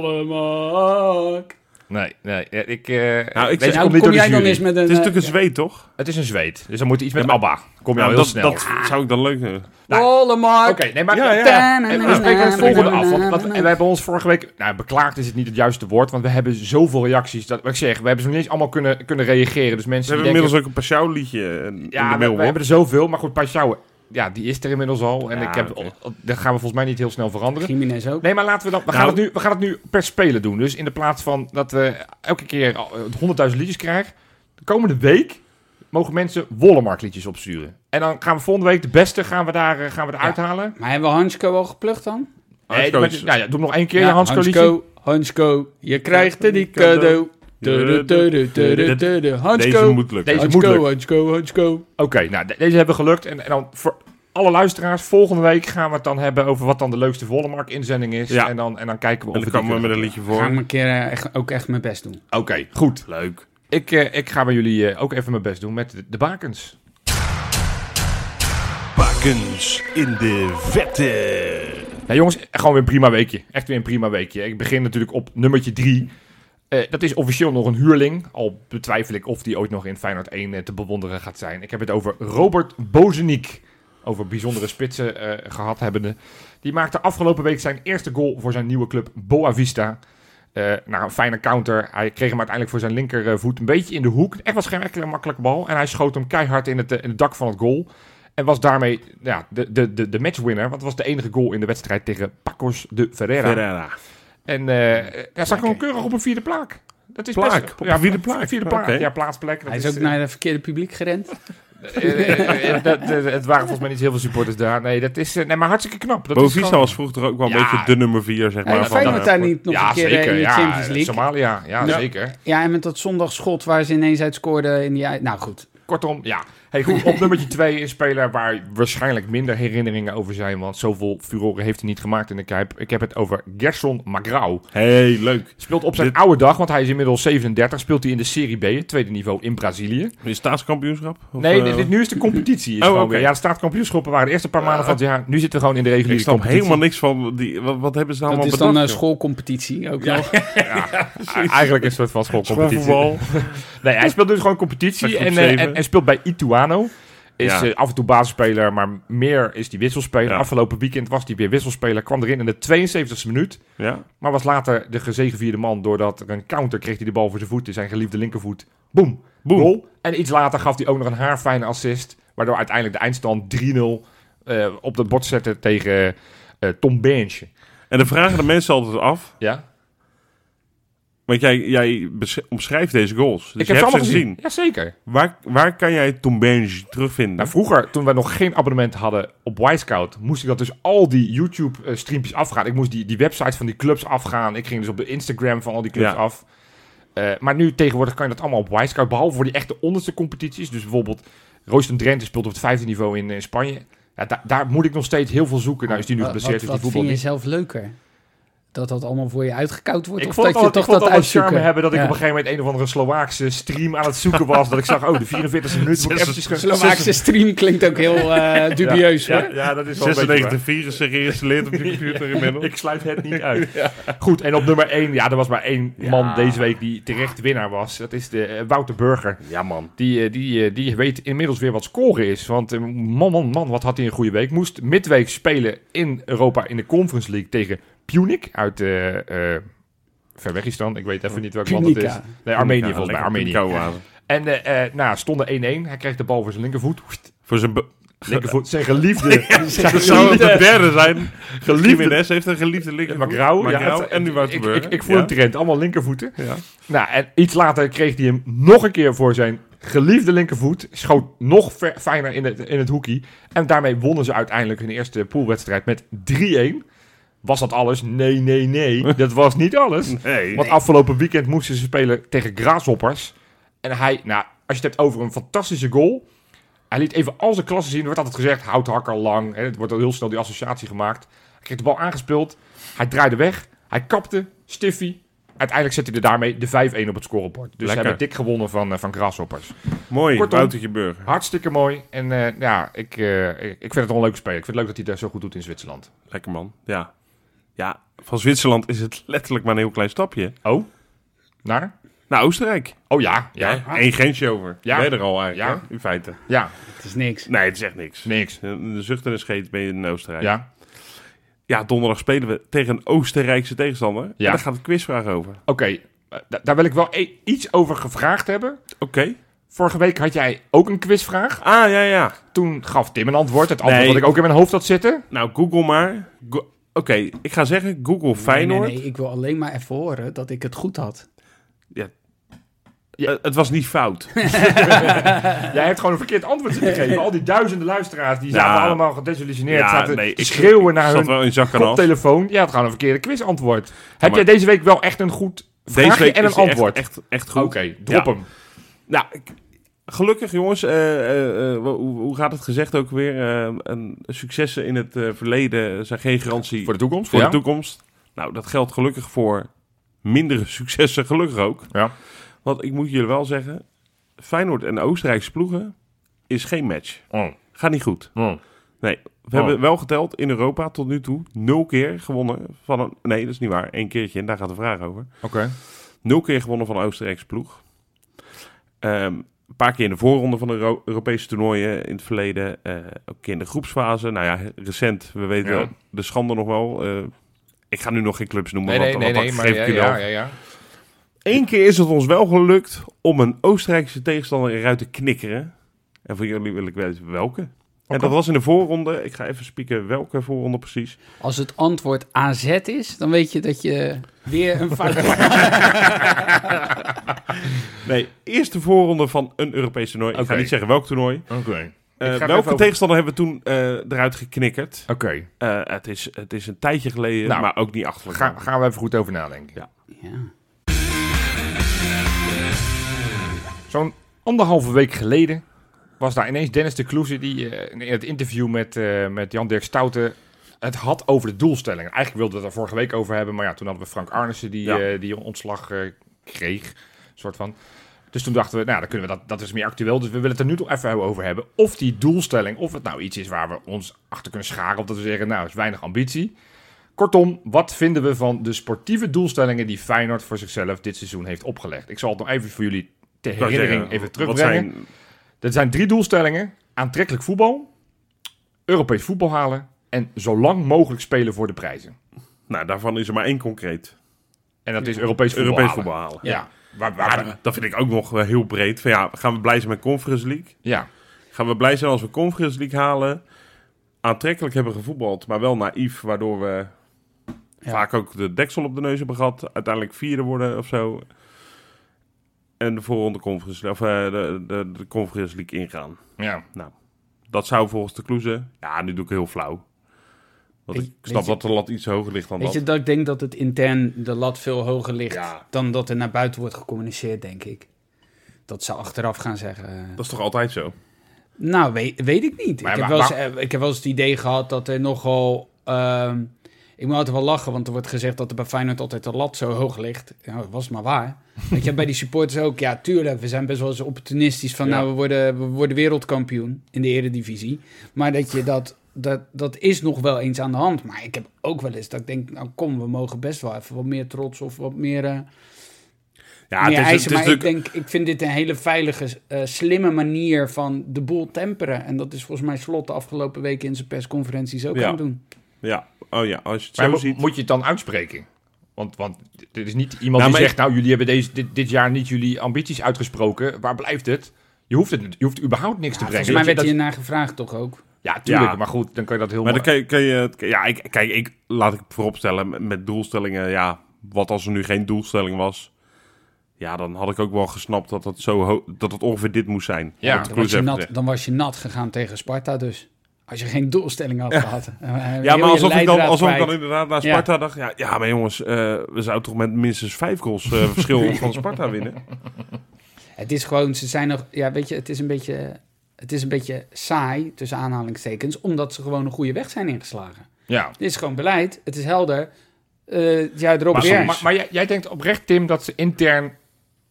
Speaker 4: Wallemark.
Speaker 2: Nee, nee. ja, Ik, eh
Speaker 3: Nou, ik zeg-
Speaker 2: deze
Speaker 4: Nou,
Speaker 2: komt
Speaker 4: kom,
Speaker 2: niet door de
Speaker 4: jij dan
Speaker 2: jury.
Speaker 4: eens met een...
Speaker 3: Het is
Speaker 4: eh,
Speaker 3: natuurlijk een zweet, toch?
Speaker 2: Het is een zweet, dus dan moet iets met
Speaker 3: Ja, maar-
Speaker 2: ABBA. Kom je
Speaker 3: Nou,
Speaker 2: al heel
Speaker 3: dat,
Speaker 2: snel.
Speaker 3: dat zou ik dan leuk vinden.
Speaker 2: Nou,
Speaker 4: Wallemark.
Speaker 2: Oké, nee, maar
Speaker 3: Ja, ja.
Speaker 2: En we spreken het volgende af. Want, want- en we hebben ons vorige week... Nou, beklaagd is het niet het juiste woord. Want we hebben zoveel reacties. Dat, wat ik zeg, we hebben ze nog niet eens allemaal kunnen, kunnen reageren. Dus
Speaker 3: We
Speaker 2: mensen
Speaker 3: hebben
Speaker 2: die denken...
Speaker 3: inmiddels ook een Pashao liedje in in de
Speaker 2: ja, we-
Speaker 3: mail,
Speaker 2: we,
Speaker 3: hoor.
Speaker 2: hebben er zoveel. Maar goed, Pashao, ja, die is er inmiddels al. En
Speaker 3: Ja,
Speaker 2: ik heb, oh,
Speaker 3: oké.
Speaker 2: dat gaan we volgens mij niet heel snel veranderen.
Speaker 4: Jiménez ook.
Speaker 2: Nee, maar laten we dan... We, gaan
Speaker 3: Nou.
Speaker 2: het nu, we gaan het nu per speler doen. Dus in de plaats van dat we elke keer al, eh, 100.000 liedjes krijgen... De komende week mogen mensen Wollemark liedjes opsturen. En dan gaan we volgende week de beste gaan we daar, eh, gaan we daar
Speaker 4: Ja.
Speaker 2: uithalen.
Speaker 4: Maar hebben we Hansko al geplukt dan?
Speaker 2: Nee,
Speaker 3: Hansko
Speaker 2: maar-
Speaker 3: is-
Speaker 2: nou ja, doe hem nog één keer, je Hans liedje.
Speaker 4: Hansko, Hansko, je krijgt er die cadeau. Tudu, tudu, tudu, tudu.
Speaker 3: Deze
Speaker 4: Hansko,
Speaker 3: moet lukken.
Speaker 2: Deze moet
Speaker 4: Hansko,
Speaker 2: lukken.
Speaker 4: Hansko, Hansko.
Speaker 2: Oké, nou, de- deze hebben we gelukt. En, en dan voor alle luisteraars, volgende week gaan we het dan hebben over wat dan de leukste Vollemark-inzending is.
Speaker 3: Ja.
Speaker 2: En, dan, en dan kijken we of
Speaker 3: En dan
Speaker 2: we die
Speaker 3: komen we met
Speaker 2: kunnen-
Speaker 3: een liedje
Speaker 4: Ga ik
Speaker 3: voor.
Speaker 4: maar een keer eh, echt- ook echt mijn best doen.
Speaker 2: Oké, goed.
Speaker 3: Leuk.
Speaker 2: Ik, eh, ik ga bij jullie eh, ook even mijn best doen met de, de bakens.
Speaker 3: Bakens in de vette.
Speaker 2: Nou jongens, gewoon weer een prima weekje. Echt weer een prima weekje. Ik begin natuurlijk op nummertje drie. Eh, dat is officieel nog een huurling. Al betwijfel ik of die ooit nog in Feyenoord 1 eh, te bewonderen gaat zijn. Ik heb het over Robert Bozeniek. Over bijzondere spitsen eh, gehad hebbende. Die maakte afgelopen week zijn eerste goal voor zijn nieuwe club Boavista. Eh nou, een fijne counter. Hij kreeg hem uiteindelijk voor zijn linkervoet een beetje in de hoek. Echt was geen enkele makkelijke bal. En hij schoot hem keihard in het, eh, in het dak van het goal. En was daarmee ja, de, de, de, de matchwinner. Want het was de enige goal in de wedstrijd tegen Pacos de Ferreira.
Speaker 3: Ferreira.
Speaker 2: En eh, hij staat gewoon keurig op een vierde plaak. Dat is
Speaker 3: eh, Plaak.
Speaker 2: best...
Speaker 3: Op de vierde
Speaker 2: pla-
Speaker 3: plaak.
Speaker 2: Vierde plaak.
Speaker 3: Oké.
Speaker 2: Ja, plaatsplek. Dat
Speaker 4: Hij is
Speaker 2: is,
Speaker 4: ook
Speaker 2: eh,
Speaker 4: naar het verkeerde publiek gerend.
Speaker 2: eh, eh, eh, dat- eh, Het waren volgens mij niet heel veel supporters daar. Nee, dat is... eh, Nee, maar hartstikke knap. Dat is
Speaker 3: Bovisa
Speaker 2: gewoon-
Speaker 3: was vroeger ook wel een
Speaker 2: Ja.
Speaker 3: beetje de nummer 4, zeg maar.
Speaker 4: Hey,
Speaker 3: van,
Speaker 4: Feyenoord
Speaker 3: eh,
Speaker 4: daar niet nog
Speaker 2: ja,
Speaker 4: een keer eh,
Speaker 2: zeker.
Speaker 4: in de
Speaker 2: ja,
Speaker 4: Champions League.
Speaker 2: Somalia. Ja,
Speaker 4: Ja.
Speaker 2: zeker.
Speaker 4: Ja, en met dat zondagschot waar ze ineens uit scoorden in die... ei- Nou goed,
Speaker 2: Kortom, ja. Hey, goed, op nummertje 2 een speler waar waarschijnlijk minder herinneringen over zijn. Want zoveel furoren heeft hij niet gemaakt in de Kuip. Ik heb het over Gerson Magrau.
Speaker 3: hey, leuk.
Speaker 2: Speelt op zijn
Speaker 3: Dit-
Speaker 2: oude dag, want hij is inmiddels 37. Speelt hij in de Serie B, het tweede niveau, in Brazilië.
Speaker 3: Is het staatskampioenschap? Of,
Speaker 2: nee,
Speaker 3: eh,
Speaker 2: dit, dit- nu is de competitie. Is
Speaker 3: Oh,
Speaker 2: gewoon
Speaker 3: oké.
Speaker 2: weer- Ja, de staatkampioenschappen waren de eerste paar maanden van het jaar. Nu zitten we gewoon in de
Speaker 3: ik
Speaker 2: reguliere
Speaker 3: snap
Speaker 2: competitie.
Speaker 3: helemaal niks van. Die, wat, wat hebben ze nou
Speaker 4: dat is
Speaker 3: allemaal
Speaker 4: dan een
Speaker 2: eh,
Speaker 3: bedacht?
Speaker 4: schoolcompetitie ook nog.
Speaker 2: Ah, Eigenlijk een soort van schoolcompetitie.
Speaker 3: Schoolvoetbal.
Speaker 2: Nee, hij speelt dus gewoon competitie
Speaker 3: Bij
Speaker 2: en,
Speaker 3: groep
Speaker 2: eh,
Speaker 3: zeven.
Speaker 2: en, en speelt bij Ituano. Is
Speaker 3: Ja.
Speaker 2: eh, af en toe basisspeler, maar meer is die wisselspeler.
Speaker 3: Ja.
Speaker 2: Afgelopen weekend was hij weer wisselspeler. Kwam erin in de 72e minuut.
Speaker 3: ja.
Speaker 2: Maar was later de gezegevierde man doordat er een counter kreeg hij de bal voor zijn voet. In zijn geliefde linkervoet. Boom.
Speaker 3: Boem.
Speaker 2: Goal. En iets later gaf hij ook nog een haarfijne assist. Waardoor uiteindelijk de eindstand 3-0 eh, op het bord zette tegen eh, Tom Bench.
Speaker 3: En dan vragen de mensen altijd af.
Speaker 2: Ja? Dus
Speaker 3: Want jij, jij bes- omschrijft deze goals. Dus je
Speaker 2: Ik heb ze
Speaker 3: hebt
Speaker 2: allemaal
Speaker 3: ze
Speaker 2: gezien.
Speaker 3: gezien.
Speaker 2: Jazeker.
Speaker 3: Waar, waar kan jij Tombenji terugvinden?
Speaker 2: Nou, vroeger, toen we nog geen abonnement hadden op Wisecout, moest ik dat dus al die YouTube-streampjes afgaan. Ik moest die, die website van die clubs afgaan. Ik ging dus op de Instagram van al die clubs
Speaker 3: Ja.
Speaker 2: af. Eh, maar nu tegenwoordig kan je dat allemaal op Wisecout, behalve voor die echte onderste competities. Dus bijvoorbeeld Royston Drenthe speelt op het vijfde niveau in, eh, Spanje. Ja, da- daar moet ik nog steeds heel veel zoeken. Nou is die nu
Speaker 4: Wat-
Speaker 2: geblesseerd,
Speaker 4: Wat,
Speaker 2: dus die
Speaker 4: wat
Speaker 2: voetbal
Speaker 4: vind je
Speaker 2: niet.
Speaker 4: zelf leuker? Dat dat allemaal voor je uitgekoud wordt?
Speaker 2: Ik
Speaker 4: of
Speaker 2: vond het
Speaker 4: dat
Speaker 2: al,
Speaker 4: je
Speaker 2: ik
Speaker 4: toch
Speaker 2: vond
Speaker 4: dat
Speaker 2: het al een charme
Speaker 4: uitzoeken?
Speaker 2: hebben dat ik
Speaker 4: Ja.
Speaker 2: op een gegeven moment een of andere Slovaakse stream aan het zoeken was. dat ik zag, oh, de 44e minuut moet ik eventjes... gaan-
Speaker 4: Slovaakse stream klinkt ook heel eh, dubieus
Speaker 2: Ja,
Speaker 4: hoor.
Speaker 2: ja, ja, dat is wel een beetje waar.
Speaker 3: 96 virussen geïnstalleerd op je computer inmiddels.
Speaker 2: Ik sluit het niet uit. Goed, en op nummer 1, ja, er was maar één man deze week die terecht winnaar was. Dat is de eh, Wouter Burger.
Speaker 3: Ja, man.
Speaker 2: Die, eh, die, eh, die weet inmiddels weer wat scoren is. Want eh, man, man, man, wat had hij een goede week. Moest midweek spelen in Europa in de Conference League tegen Punic uit... eh, eh, ver weg is dan, ik weet even niet welk land het is.
Speaker 4: Punica.
Speaker 2: Nee, Armenië volgens mij, Armenië. En eh, eh, nou, stonden 1-1. Hij kreeg de bal voor zijn linkervoet.
Speaker 3: Voor zijn... be-
Speaker 2: Linkervoet, zijn geliefde.
Speaker 3: Dat zou het de derde zijn.
Speaker 2: Geliefde-
Speaker 3: Jiménez heeft een geliefde linker.
Speaker 2: Macrao. Ja,
Speaker 3: Macrao
Speaker 2: het-
Speaker 3: en nu Wouter
Speaker 2: ik,
Speaker 3: Burger.
Speaker 2: ik, ik voel
Speaker 3: Ja.
Speaker 2: een trend, allemaal linkervoeten.
Speaker 3: Ja.
Speaker 2: Nou, en iets later kreeg hij hem nog een keer voor zijn geliefde linkervoet. Schoot nog ver, fijner in het, in het hoekie. En daarmee wonnen ze uiteindelijk hun eerste poolwedstrijd met 3-1. Was dat alles? Nee, nee, nee. Dat was niet alles.
Speaker 3: Nee.
Speaker 2: Want afgelopen weekend moesten ze spelen tegen Graashoppers. En hij, nou, als je het hebt over een fantastische goal. Hij liet even al zijn klassen zien. Er wordt altijd gezegd, houthakker lang. Hè, het wordt al heel snel die associatie gemaakt. Hij kreeg de bal aangespeeld. Hij draaide weg. Hij kapte. Stiffy. Uiteindelijk zette hij er daarmee de 5-1 op het scorebord. Dus ze
Speaker 3: Lekker.
Speaker 2: hebben dik gewonnen van, eh, van Graashoppers.
Speaker 3: Mooi,
Speaker 2: Kortom.
Speaker 3: Woutertje Burger.
Speaker 2: Hartstikke mooi. En eh, ja, ik, eh, ik ik vind het wel een leuke speler. Ik vind het leuk dat hij daar zo goed doet in Zwitserland.
Speaker 3: Lekker man, ja. Ja, van Zwitserland is het letterlijk maar een heel klein stapje.
Speaker 2: Oh? Naar?
Speaker 3: Naar Oostenrijk.
Speaker 2: Oh ja. Ja. Ja.
Speaker 3: Eén grensje over.
Speaker 2: Ja.
Speaker 3: Ja. Ben je er al eigenlijk,
Speaker 2: Ja.
Speaker 3: hè? in feite.
Speaker 4: Het is niks.
Speaker 3: Nee, het is echt niks.
Speaker 2: Niks.
Speaker 3: De zucht en de scheet ben je in Oostenrijk. Ja.
Speaker 2: Ja.
Speaker 3: donderdag spelen we tegen een Oostenrijkse tegenstander. Ja.
Speaker 2: Ja.
Speaker 3: daar gaat een quizvraag over. Oké.
Speaker 2: Oké, eh, da- daar wil ik wel e- iets over gevraagd hebben. Vorige week had jij ook een quizvraag.
Speaker 3: Ah, ja, ja.
Speaker 2: Toen gaf Tim een antwoord. Het antwoord
Speaker 3: Nee.
Speaker 2: dat ik ook in mijn hoofd had zitten.
Speaker 3: Nou, Google maar. Go- Oké, ik ga zeggen Google Feyenoord.
Speaker 4: Nee, nee, nee, ik wil alleen maar even horen dat ik het goed had.
Speaker 3: Ja, Eh, het was niet fout.
Speaker 2: Jij hebt gewoon een verkeerd antwoord zitten geven. Al die duizenden luisteraars die
Speaker 3: Ja.
Speaker 2: zaten allemaal gedesillusioneerd.
Speaker 3: ja,
Speaker 2: zaten
Speaker 3: nee,
Speaker 2: te schreeuwen naar
Speaker 3: zat
Speaker 2: hun
Speaker 3: wel in zakken af.
Speaker 2: koptelefoon. Je had gewoon een verkeerde quizantwoord. Heb jij
Speaker 3: maar-
Speaker 2: deze week wel echt een goed vraagje
Speaker 3: Deze week
Speaker 2: en een
Speaker 3: is die echt-
Speaker 2: antwoord?
Speaker 3: Echt, echt, goed.
Speaker 2: Oké, drop
Speaker 3: Ja.
Speaker 2: hem.
Speaker 3: Nou, ik- gelukkig jongens, eh, eh, eh, hoe, hoe gaat het gezegd ook weer? Eh, een, successen in het eh, verleden zijn geen garantie
Speaker 2: Voor
Speaker 3: voor,
Speaker 2: de toekomst?
Speaker 3: de
Speaker 2: ja.
Speaker 3: toekomst. Nou, dat geldt gelukkig voor mindere successen, gelukkig ook.
Speaker 2: Ja.
Speaker 3: Want ik moet jullie wel zeggen, Feyenoord en Oostenrijkse ploegen is geen match.
Speaker 2: Oh,
Speaker 3: Gaat niet goed.
Speaker 2: oh.
Speaker 3: We
Speaker 2: Oh.
Speaker 3: hebben wel geteld in Europa tot nu toe nul keer gewonnen van een... Nee, dat is niet waar. Eén keertje en daar gaat de vraag over.
Speaker 2: Oké.
Speaker 3: Nul keer gewonnen van de Oostenrijkse ploeg. Ehm, een paar keer in de voorronde van de Euro- Europese toernooien in het verleden. eh, ook een keer in de groepsfase. Nou ja, recent. We weten
Speaker 2: Ja.
Speaker 3: de schande nog wel. eh, ik ga nu nog geen clubs noemen,
Speaker 2: Nee, nee,
Speaker 3: want
Speaker 2: nee,
Speaker 3: dat
Speaker 2: nee, maar
Speaker 3: geef
Speaker 2: ja,
Speaker 3: ik u wel.
Speaker 2: ja, ja, ja.
Speaker 3: Eén keer is het ons wel gelukt om een Oostenrijkse tegenstander eruit te knikkeren. En voor jullie wil ik weten welke. En dat was in de voorronde. Ik ga even spieken welke voorronde precies.
Speaker 4: Als het antwoord AZ is, dan weet je dat je weer een fout maakt.
Speaker 3: Nee, eerste voorronde van een Europees toernooi. Ik
Speaker 2: Oké.
Speaker 3: ga niet zeggen welk toernooi.
Speaker 2: Oké.
Speaker 3: Eh,
Speaker 2: even
Speaker 3: welke
Speaker 2: over-
Speaker 3: tegenstander hebben we toen eh, eruit geknikkerd?
Speaker 2: Oké,
Speaker 3: Eh, het, is, het is een tijdje geleden,
Speaker 2: Nou,
Speaker 3: maar ook niet achterlijk.
Speaker 2: ga- gaan we even goed over nadenken.
Speaker 3: Ja.
Speaker 4: Ja.
Speaker 2: Zo'n anderhalve week geleden was daar ineens Dennis de Kloeze die eh, in het interview met, eh, met Jan-Dirk Stouten het had over de doelstellingen. Eigenlijk wilden we het er vorige week over hebben, maar ja, toen hadden we Frank Arnissen die,
Speaker 3: Ja.
Speaker 2: eh, die ontslag eh, kreeg, soort van. Dus toen dachten we, nou, dan kunnen we dat, dat is meer actueel, dus we willen het er nu toch even over hebben. Of die doelstelling, of het nou iets is waar we ons achter kunnen scharen, of dat we zeggen, nou, is weinig ambitie. Kortom, wat vinden we van de sportieve doelstellingen die Feyenoord voor zichzelf dit seizoen heeft opgelegd? Ik zal het nog even voor jullie ter
Speaker 3: Ik wou
Speaker 2: herinnering
Speaker 3: zeggen,
Speaker 2: even
Speaker 3: wat
Speaker 2: terugbrengen.
Speaker 3: zijn-
Speaker 2: Er zijn drie doelstellingen: aantrekkelijk voetbal, Europees voetbal halen en zo lang mogelijk spelen voor de prijzen.
Speaker 3: nou, daarvan is er maar één concreet.
Speaker 2: En dat is Europees voetbal.
Speaker 3: Europees
Speaker 2: halen.
Speaker 3: voetbal halen.
Speaker 2: Ja. Waar,
Speaker 3: Ja,
Speaker 2: waar,
Speaker 3: dat- dat vind ik ook nog wel heel breed. Van, ja, gaan we blij zijn met Conference League?
Speaker 2: ja.
Speaker 3: Gaan we blij zijn als we Conference League halen? Aantrekkelijk hebben gevoetbald, maar wel naïef, waardoor we
Speaker 4: Ja.
Speaker 3: vaak ook de deksel op de neus hebben gehad. Uiteindelijk vierde worden of zo. En de voorronde Conference, of, eh, de, de, de Conference League ingaan.
Speaker 2: ja.
Speaker 3: Dat zou volgens de Kloeze... Ja, nu doe ik heel flauw. Want ik,
Speaker 4: Weet- weet
Speaker 3: snap
Speaker 4: je-
Speaker 3: dat de lat iets hoger ligt dan
Speaker 4: Weet
Speaker 3: dat.
Speaker 4: je, dat ik denk dat het intern de lat veel hoger ligt
Speaker 3: Ja.
Speaker 4: dan dat er naar buiten wordt gecommuniceerd, denk ik. Dat ze achteraf gaan zeggen. eh,
Speaker 3: Dat is toch altijd zo?
Speaker 4: Nou, weet, weet ik niet.
Speaker 2: Maar
Speaker 4: ik,
Speaker 2: wa-
Speaker 4: heb wel eens, eh, ik heb wel eens het idee gehad dat er nogal... ehm, ik moet altijd wel lachen, want er wordt gezegd dat er bij Feyenoord altijd de lat zo hoog ligt. Nou, dat was maar waar. Weet je, bij die supporters ook. Ja, tuurlijk, we zijn best wel eens opportunistisch van...
Speaker 3: Ja.
Speaker 4: nou, we worden, we worden wereldkampioen in de eredivisie. Maar dat je dat... Dat, dat is nog wel eens aan de hand. Maar ik heb ook wel eens dat ik denk... nou kom, we mogen best wel even wat meer trots of wat meer... eh,
Speaker 3: Ja,
Speaker 4: meer
Speaker 3: het is,
Speaker 4: eisen.
Speaker 3: het is
Speaker 4: maar ik,
Speaker 3: natuurlijk...
Speaker 4: denk, ik vind dit een hele veilige, eh, slimme manier van de boel temperen. En dat is volgens mij Slot de afgelopen weken in zijn persconferenties ook
Speaker 3: Ja.
Speaker 4: aan het doen.
Speaker 3: Ja, oh ja, als je het
Speaker 2: Maar
Speaker 3: zo
Speaker 2: mo-
Speaker 3: ziet...
Speaker 2: moet je het dan uitspreken? Want, want dit is niet iemand
Speaker 3: Nou,
Speaker 2: die
Speaker 3: maar
Speaker 2: zegt, nou, jullie hebben deze, dit, dit jaar niet jullie ambities uitgesproken. Waar blijft het? Je hoeft, het, je hoeft überhaupt niks te
Speaker 4: Ja,
Speaker 2: brengen.
Speaker 4: volgens mij werd
Speaker 2: Dat-
Speaker 4: hier naar gevraagd toch ook.
Speaker 2: Ja, tuurlijk.
Speaker 3: Ja.
Speaker 2: Maar goed, dan kan je dat heel
Speaker 3: Maar dan
Speaker 2: makkelijk-
Speaker 3: kan je, kan je het- ja, ik, kijk, ik, laat ik vooropstellen met- met doelstellingen, ja, wat als er nu geen doelstelling was? Ja, dan had ik ook wel gesnapt dat het, zo ho- dat het ongeveer dit moest zijn.
Speaker 2: Ja,
Speaker 3: Wat de
Speaker 4: Dan
Speaker 3: Kloes
Speaker 4: was, je
Speaker 3: heeft
Speaker 4: nat,
Speaker 3: gezegd.
Speaker 4: dan was je nat gegaan tegen Sparta dus. Als je geen doelstelling had gehad. eh,
Speaker 3: Ja, maar alsof ik, dan, alsof ik dan inderdaad naar Sparta dacht, ja, ja maar jongens, eh, we zouden toch met minstens vijf goals eh, verschil van Sparta winnen?
Speaker 4: Het is gewoon, ze zijn nog... Ja, weet je, het is een beetje... Het is een beetje saai, tussen aanhalingstekens, omdat ze gewoon een goede weg zijn ingeslagen.
Speaker 2: Ja.
Speaker 4: Dit is gewoon beleid, het is helder. Eh het jaar erop
Speaker 2: Maar,
Speaker 4: weer.
Speaker 2: maar, maar jij, jij denkt oprecht, Tim, dat ze intern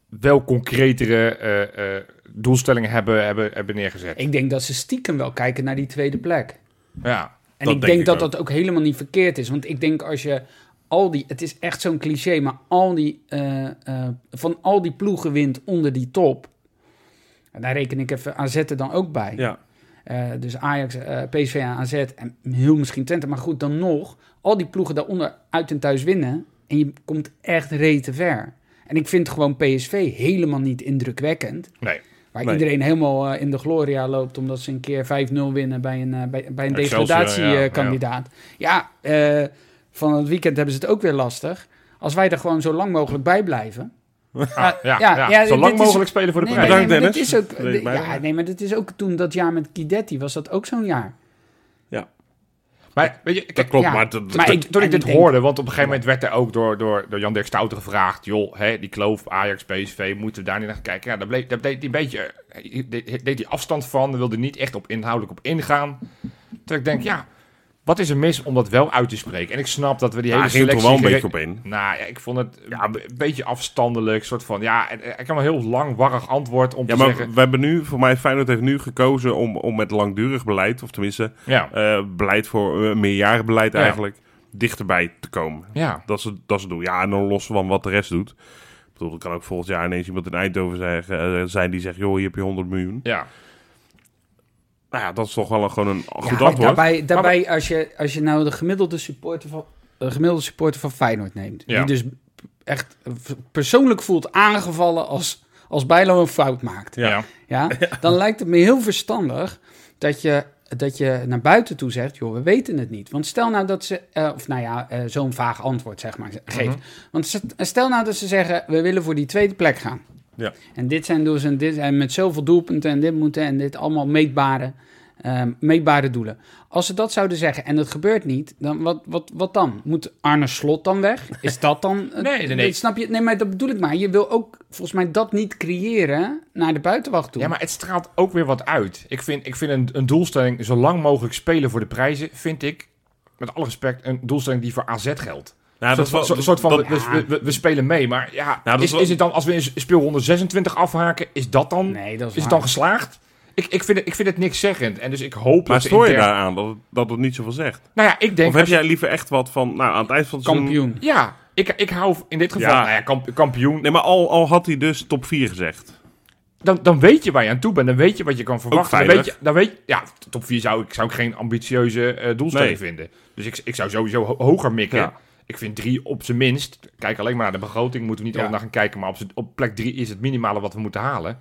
Speaker 2: wel concretere eh, eh, doelstellingen hebben, hebben, hebben neergezet.
Speaker 4: Ik denk dat ze stiekem wel kijken naar die tweede plek.
Speaker 2: Ja,
Speaker 4: En
Speaker 3: Dat denk
Speaker 4: ik denk,
Speaker 3: ik
Speaker 4: dat
Speaker 3: ook.
Speaker 4: dat ook helemaal niet verkeerd is. Want ik denk als je al die... Het is echt zo'n cliché, maar al die, eh, eh, van al die ploegen wint onder die top... En daar reken ik even AZ er dan ook bij.
Speaker 3: Ja,
Speaker 4: Eh, dus Ajax, eh, PSV en AZ en heel misschien Twente. Maar goed, dan nog, al die ploegen daaronder uit en thuis winnen... en je komt echt rete ver. En ik vind gewoon PSV helemaal niet indrukwekkend...
Speaker 2: nee.
Speaker 4: Waar
Speaker 3: Nee.
Speaker 4: iedereen helemaal eh, in de gloria loopt omdat ze een keer 5-0 winnen bij een, eh, bij, bij een
Speaker 2: Excelsior, ja, ja.
Speaker 4: degradatiekandidaat. Ja, eh, van het weekend hebben ze het ook weer lastig. Als wij er gewoon zo lang mogelijk bij blijven.
Speaker 2: Ah, ja,
Speaker 4: ja,
Speaker 2: ja,
Speaker 4: ja,
Speaker 2: zo lang
Speaker 4: dit is-
Speaker 2: mogelijk spelen voor de
Speaker 4: Nee,
Speaker 2: prijs.
Speaker 4: maar- nee, maar
Speaker 3: Bedankt,
Speaker 4: dat is
Speaker 3: Dennis.
Speaker 4: ook,
Speaker 3: Wil je het bijdragen?
Speaker 4: ja, nee, maar dat is ook toen dat jaar met Guidetti was dat ook zo'n jaar.
Speaker 2: Maar weet je,
Speaker 3: dat
Speaker 2: kijk,
Speaker 3: klopt,
Speaker 4: ja.
Speaker 3: maar, dat,
Speaker 4: Maar
Speaker 3: dat-
Speaker 4: ik-
Speaker 2: toen
Speaker 4: en
Speaker 2: ik dit
Speaker 4: ik denk-
Speaker 2: hoorde, want op een gegeven moment werd er ook door, door, door Jan-Dirk Stouten gevraagd... joh, hè, die kloof Ajax, PSV, moeten we daar niet naar gaan kijken? Ja, daar, bleef, daar deed hij een beetje eh, deed, deed hij afstand van, daar wilde hij niet echt op inhoudelijk op ingaan. Terwijl ik denk, ja, wat is er mis om dat wel uit te spreken? En Nou, ik snap dat we die
Speaker 3: ja, hij
Speaker 2: hele
Speaker 3: ging er
Speaker 2: selectie...
Speaker 3: toch wel een
Speaker 2: gere-
Speaker 3: beetje op in.
Speaker 2: Nou ja, ik vond het
Speaker 3: Ja,
Speaker 2: een be- beetje afstandelijk. soort van, ja, en- en ik kan een heel lang, warrig antwoord om
Speaker 3: Ja,
Speaker 2: te
Speaker 3: maar
Speaker 2: zeggen...
Speaker 3: we hebben nu, voor mij, Feyenoord heeft nu gekozen om, om met langdurig beleid, of tenminste
Speaker 2: Ja,
Speaker 3: eh, beleid voor eh, meerjarenbeleid
Speaker 2: Ja.
Speaker 3: eigenlijk, dichterbij te komen.
Speaker 2: ja.
Speaker 3: Dat is, het, dat is het doel. Ja, en dan los van wat de rest doet. Ik bedoel, er kan ook volgend jaar ineens iemand in Eindhoven zeggen, eh, zijn die zegt, joh, hier heb je 100 miljoen.
Speaker 2: ja.
Speaker 3: Nou ja, dat is toch wel een, gewoon een
Speaker 4: Ja,
Speaker 3: Oh, goed
Speaker 4: maar
Speaker 3: antwoord.
Speaker 4: Daarbij, daarbij als, je, als je nou de gemiddelde supporter van, de gemiddelde supporter van Feyenoord neemt...
Speaker 2: Ja.
Speaker 4: die dus echt persoonlijk voelt aangevallen als, als Bijlo een fout maakt...
Speaker 2: Ja.
Speaker 4: Ja, dan lijkt het me heel verstandig dat je dat je naar buiten toe zegt, joh, we weten het niet. Want stel nou dat ze, eh, of nou ja, eh, zo'n vaag antwoord zeg maar geeft.
Speaker 2: Mhm.
Speaker 4: Want ze- stel nou dat ze zeggen, we willen voor die tweede plek gaan.
Speaker 3: Ja.
Speaker 4: En dit zijn dus en dit zijn met zoveel doelpunten en dit moeten en dit allemaal meetbare, ehm, meetbare doelen. Als ze dat zouden zeggen en dat gebeurt niet, dan wat, wat, wat dan? Moet Arne Slot dan weg? Is dat dan? het-
Speaker 2: Nee, nee, nee.
Speaker 4: Snap je? Nee, maar dat bedoel ik maar. Je wil ook volgens mij dat niet creëren naar de buitenwacht toe.
Speaker 2: Ja, maar het straalt ook weer wat uit. Ik vind, ik vind een, een doelstelling zo lang mogelijk spelen voor de prijzen, vind ik, met alle respect, een doelstelling die voor AZ geldt.
Speaker 3: Nou, dat
Speaker 2: een soort,
Speaker 3: is wel-
Speaker 2: van- zo- soort van,
Speaker 3: dat-
Speaker 2: we, we- we- we spelen mee, maar ja,
Speaker 3: Nou, dat
Speaker 2: is,
Speaker 3: is wel-
Speaker 2: is het dan, als we in speelronde 26 afhaken, is dat dan,
Speaker 4: nee, dat is,
Speaker 2: is het
Speaker 4: waar.
Speaker 2: dan geslaagd? Ik, ik, vind het, ik vind het niks zeggend en dus ik hoop
Speaker 3: Maar
Speaker 2: dat
Speaker 3: stoor je
Speaker 2: intern-
Speaker 3: daaraan dat het, dat het niet zoveel zegt?
Speaker 2: Nou ja, ik denk...
Speaker 3: Of heb
Speaker 2: als je-
Speaker 3: jij liever echt wat van, nou, aan het eind van het seizoen-
Speaker 4: kampioen.
Speaker 2: Ja, ik, ik hou in dit geval,
Speaker 3: Ja.
Speaker 2: nou ja, kamp- kampioen,
Speaker 3: Nee, maar al, al had hij dus top 4 gezegd.
Speaker 2: dan, dan weet je waar je aan toe bent. Dan weet je wat je kan verwachten. Dan weet
Speaker 3: veilig.
Speaker 2: je, dan weet, ja, top 4 zou ik, zou ik geen ambitieuze eh, doelstelling
Speaker 3: Nee.
Speaker 2: vinden. Dus ik, ik zou sowieso ho- hoger mikken.
Speaker 3: Ja.
Speaker 2: Ik vind drie op zijn minst. Kijk alleen maar naar de begroting. Moeten we niet
Speaker 4: Ja.
Speaker 2: altijd naar gaan kijken. Maar op, z'n- op plek drie is het minimale wat we moeten halen.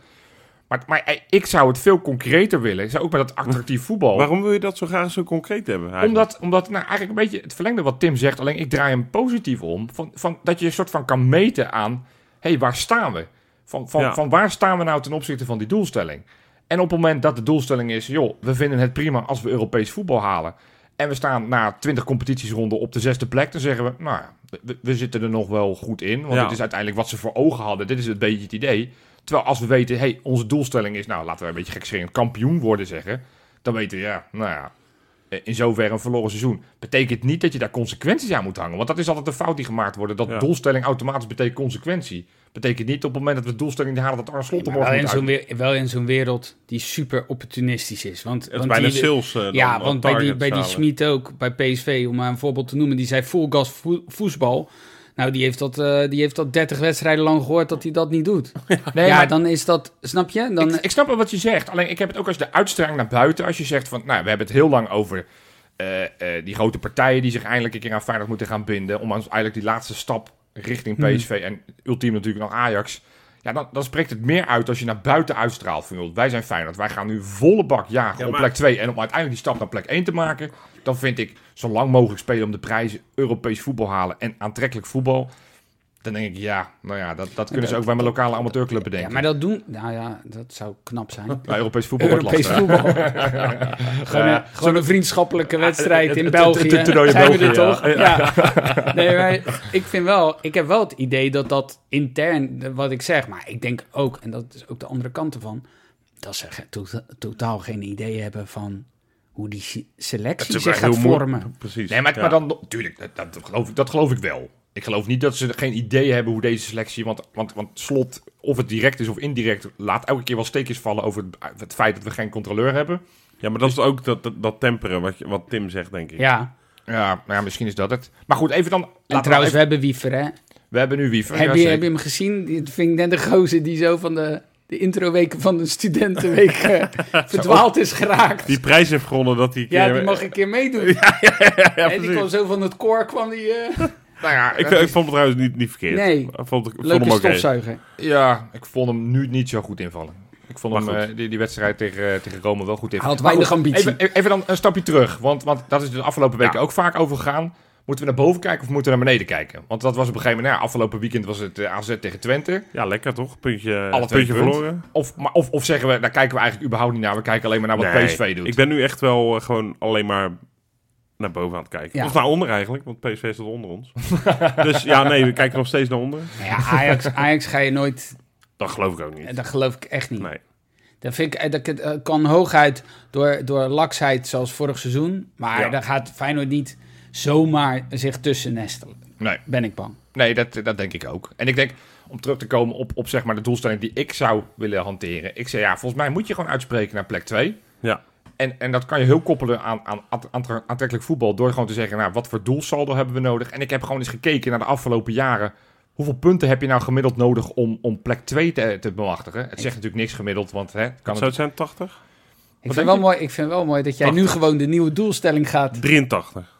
Speaker 2: Maar, maar eh, ik zou het veel concreter willen. Ik zou ook bij dat attractief
Speaker 4: Oh.
Speaker 2: voetbal.
Speaker 3: Waarom wil je dat zo graag zo concreet hebben? eigenlijk?
Speaker 2: Omdat, omdat nou, eigenlijk een beetje het verlengde wat Tim zegt, alleen ik draai hem positief om. Van, van, dat je een soort van kan meten aan, hé, hey, waar staan we? Van, van,
Speaker 3: Ja.
Speaker 2: van waar staan we nou ten opzichte van die doelstelling? En op het moment dat de doelstelling is, joh, we vinden het prima als we Europees voetbal halen. En we staan na 20 competitiesronden op de zesde plek. Dan zeggen we, nou ja, we, we zitten er nog wel goed in. Want
Speaker 3: Ja.
Speaker 2: dit is uiteindelijk wat ze voor ogen hadden. Dit is een beetje het idee. Terwijl als we weten, hey, onze doelstelling is, nou laten we een beetje gekscherend kampioen worden zeggen. Dan weten we, ja, nou ja, eh, in zoverre een verloren seizoen. Betekent niet dat je daar consequenties aan moet hangen. Want dat is altijd een fout die gemaakt wordt. Dat
Speaker 3: Ja.
Speaker 2: doelstelling automatisch betekent consequentie. Betekent niet op het moment dat we de doelstelling niet halen dat Arne Slot er
Speaker 4: Maar wel,
Speaker 2: morgen
Speaker 4: in
Speaker 2: moet
Speaker 4: zo'n
Speaker 2: uit.
Speaker 4: weer- wel in zo'n wereld die super opportunistisch is. Want,
Speaker 3: Het is
Speaker 4: want
Speaker 3: bijna
Speaker 4: die-
Speaker 3: sales. eh, dan,
Speaker 4: Ja,
Speaker 3: eh,
Speaker 4: want bij die,
Speaker 3: targets
Speaker 4: bij die
Speaker 3: halen.
Speaker 4: Schmid ook, bij PSV, om maar een voorbeeld te noemen, die zei full gas vo- voetbal. Nou, die heeft, dat, eh, die heeft dat 30 wedstrijden lang gehoord dat hij dat niet doet.
Speaker 2: Nee,
Speaker 4: ja,
Speaker 2: maar
Speaker 4: dan is dat, snap je? Dan,
Speaker 2: ik, ik snap wel wat je zegt. Alleen ik heb het ook als de uitstraling naar buiten. Als je zegt van, nou, we hebben het heel lang over eh, eh, die grote partijen die zich eindelijk een keer aan Feyenoord moeten gaan binden. Om ons eigenlijk die laatste stap richting
Speaker 4: Hmm.
Speaker 2: PSV en ultiem natuurlijk nog Ajax. Ja, dan, dan spreekt het meer uit als je naar buiten uitstraalt. Van, joh, wij zijn Feyenoord, wij gaan nu volle bak jagen
Speaker 3: Ja,
Speaker 2: op
Speaker 3: maar-
Speaker 2: plek 2. En om uiteindelijk die stap naar plek 1 te maken. Dan vind ik zo lang mogelijk spelen om de prijzen Europees voetbal halen en aantrekkelijk voetbal. Dan denk ik, ja, nou ja, dat, dat kunnen ze
Speaker 4: dat-
Speaker 2: ook bij mijn lokale amateurclub
Speaker 4: ja,
Speaker 2: bedenken.
Speaker 4: maar dat doen, nou ja, dat zou knap zijn.
Speaker 2: Bij Europees voetbal wordt
Speaker 4: Europees
Speaker 2: lastig.
Speaker 4: voetbal. gewoon, een, gewoon een vriendschappelijke wedstrijd in
Speaker 2: het- het- het- het-
Speaker 4: België.
Speaker 2: het toernooi in
Speaker 4: Zijn we er
Speaker 2: België, ja.
Speaker 4: toch? Ja. Nee, maar ik vind wel, ik heb wel het idee dat dat intern, de- wat ik zeg, maar ik denk ook, en dat is ook de andere kant ervan, dat ze ge- to- totaal geen idee hebben van hoe die si- selectie
Speaker 3: Het is
Speaker 4: zich
Speaker 3: wel
Speaker 4: gaat
Speaker 3: heel moe-
Speaker 4: vormen.
Speaker 3: Precies.
Speaker 2: Nee, maar,
Speaker 3: ja.
Speaker 2: maar dan, nog- tuurlijk, dat, dat, geloof ik, dat geloof ik wel. Ik geloof niet dat ze geen idee hebben hoe deze selectie. Want, want, want slot, of het direct is of indirect, laat elke keer wel steekjes vallen over het, het feit dat we geen controleur hebben.
Speaker 3: Ja, maar dat is ook dat, dat, dat temperen wat, je, wat Tim zegt, denk ik.
Speaker 4: Ja,
Speaker 2: Ja, nou ja, misschien is dat het. Maar goed, even dan. laten we
Speaker 4: en trouwens, we
Speaker 2: even-
Speaker 4: hebben Wiever, hè?
Speaker 2: we hebben nu Wiever.
Speaker 4: heb,
Speaker 2: ja,
Speaker 4: je,
Speaker 2: zeker.
Speaker 4: heb je hem gezien? Die vind ik net de gozer die zo van de, de introweken van de studentenweek eh, verdwaald is geraakt.
Speaker 3: Die prijs heeft gewonnen dat hij...
Speaker 4: Ja, die mag een keer meedoen.
Speaker 3: ja,
Speaker 4: en die
Speaker 3: precies.
Speaker 4: kwam zo van het koor, kwam die... eh,
Speaker 2: Nou ja,
Speaker 3: Ik, ik vond het trouwens niet, niet verkeerd.
Speaker 4: Nee.
Speaker 3: Ik vond, ik vond
Speaker 4: Leuke
Speaker 3: hem oké.
Speaker 4: stofzuiger.
Speaker 2: ja, ik vond hem nu niet zo goed invallen. Ik vond
Speaker 3: Maar
Speaker 2: hem
Speaker 3: goed.
Speaker 2: eh, die, die wedstrijd tegen, eh, tegen Rome wel goed invallen.
Speaker 4: Hij had weinig ambitie.
Speaker 2: Even, even dan een stapje terug, want, want dat is dus de afgelopen weken
Speaker 3: Ja.
Speaker 2: ook vaak over gegaan. Moeten we naar boven kijken of moeten we naar beneden kijken? Want dat was op een gegeven moment, nou, ja, afgelopen weekend was het eh, AZ tegen Twente.
Speaker 3: Ja, lekker toch? Puntje,
Speaker 2: Alle twee
Speaker 3: puntje
Speaker 2: punt.
Speaker 3: verloren.
Speaker 2: Of, maar, of, of zeggen we, daar kijken we eigenlijk überhaupt niet naar. We kijken alleen maar naar wat
Speaker 3: Nee,
Speaker 2: PSV doet.
Speaker 3: Ik ben nu echt wel eh, gewoon alleen maar naar boven aan het kijken.
Speaker 4: Ja.
Speaker 3: Of naar onder eigenlijk, want PSV staat onder ons. dus ja, nee, we kijken nog steeds naar onder.
Speaker 4: Nou Ja, Ajax, Ajax ga je nooit... eh,
Speaker 3: Dat geloof ik ook niet.
Speaker 4: Dat geloof ik echt niet.
Speaker 3: Nee.
Speaker 4: Dat, vind ik, eh, dat ik- eh, kan hooguit door, door laksheid, zoals vorig seizoen. Maar
Speaker 3: Ja.
Speaker 4: daar gaat Feyenoord niet zomaar zich tussen nestelen.
Speaker 2: Nee.
Speaker 4: Ben ik bang.
Speaker 2: Nee, dat, dat denk ik ook. En ik denk, om terug te komen op, op zeg maar de doelstelling die ik zou willen hanteren. Ik zei, ja, volgens mij moet je gewoon uitspreken naar plek 2.
Speaker 3: Ja.
Speaker 2: En, en dat kan je heel koppelen aan, aan at- aantre- aantrekkelijk voetbal. Door gewoon te zeggen, nou, wat voor doelsaldo hebben we nodig? En ik heb gewoon eens gekeken naar de afgelopen jaren. Hoeveel punten heb je nou gemiddeld nodig om, om plek 2 te, te bemachtigen? Het zegt natuurlijk niks gemiddeld, want hè, kan
Speaker 3: Zou
Speaker 2: het...
Speaker 3: het zijn 80?
Speaker 4: Ik
Speaker 2: denk
Speaker 4: vind, wel
Speaker 2: je?
Speaker 4: mooi, ik vind wel mooi dat jij nu gewoon de nieuwe doelstelling gaat.
Speaker 3: 83.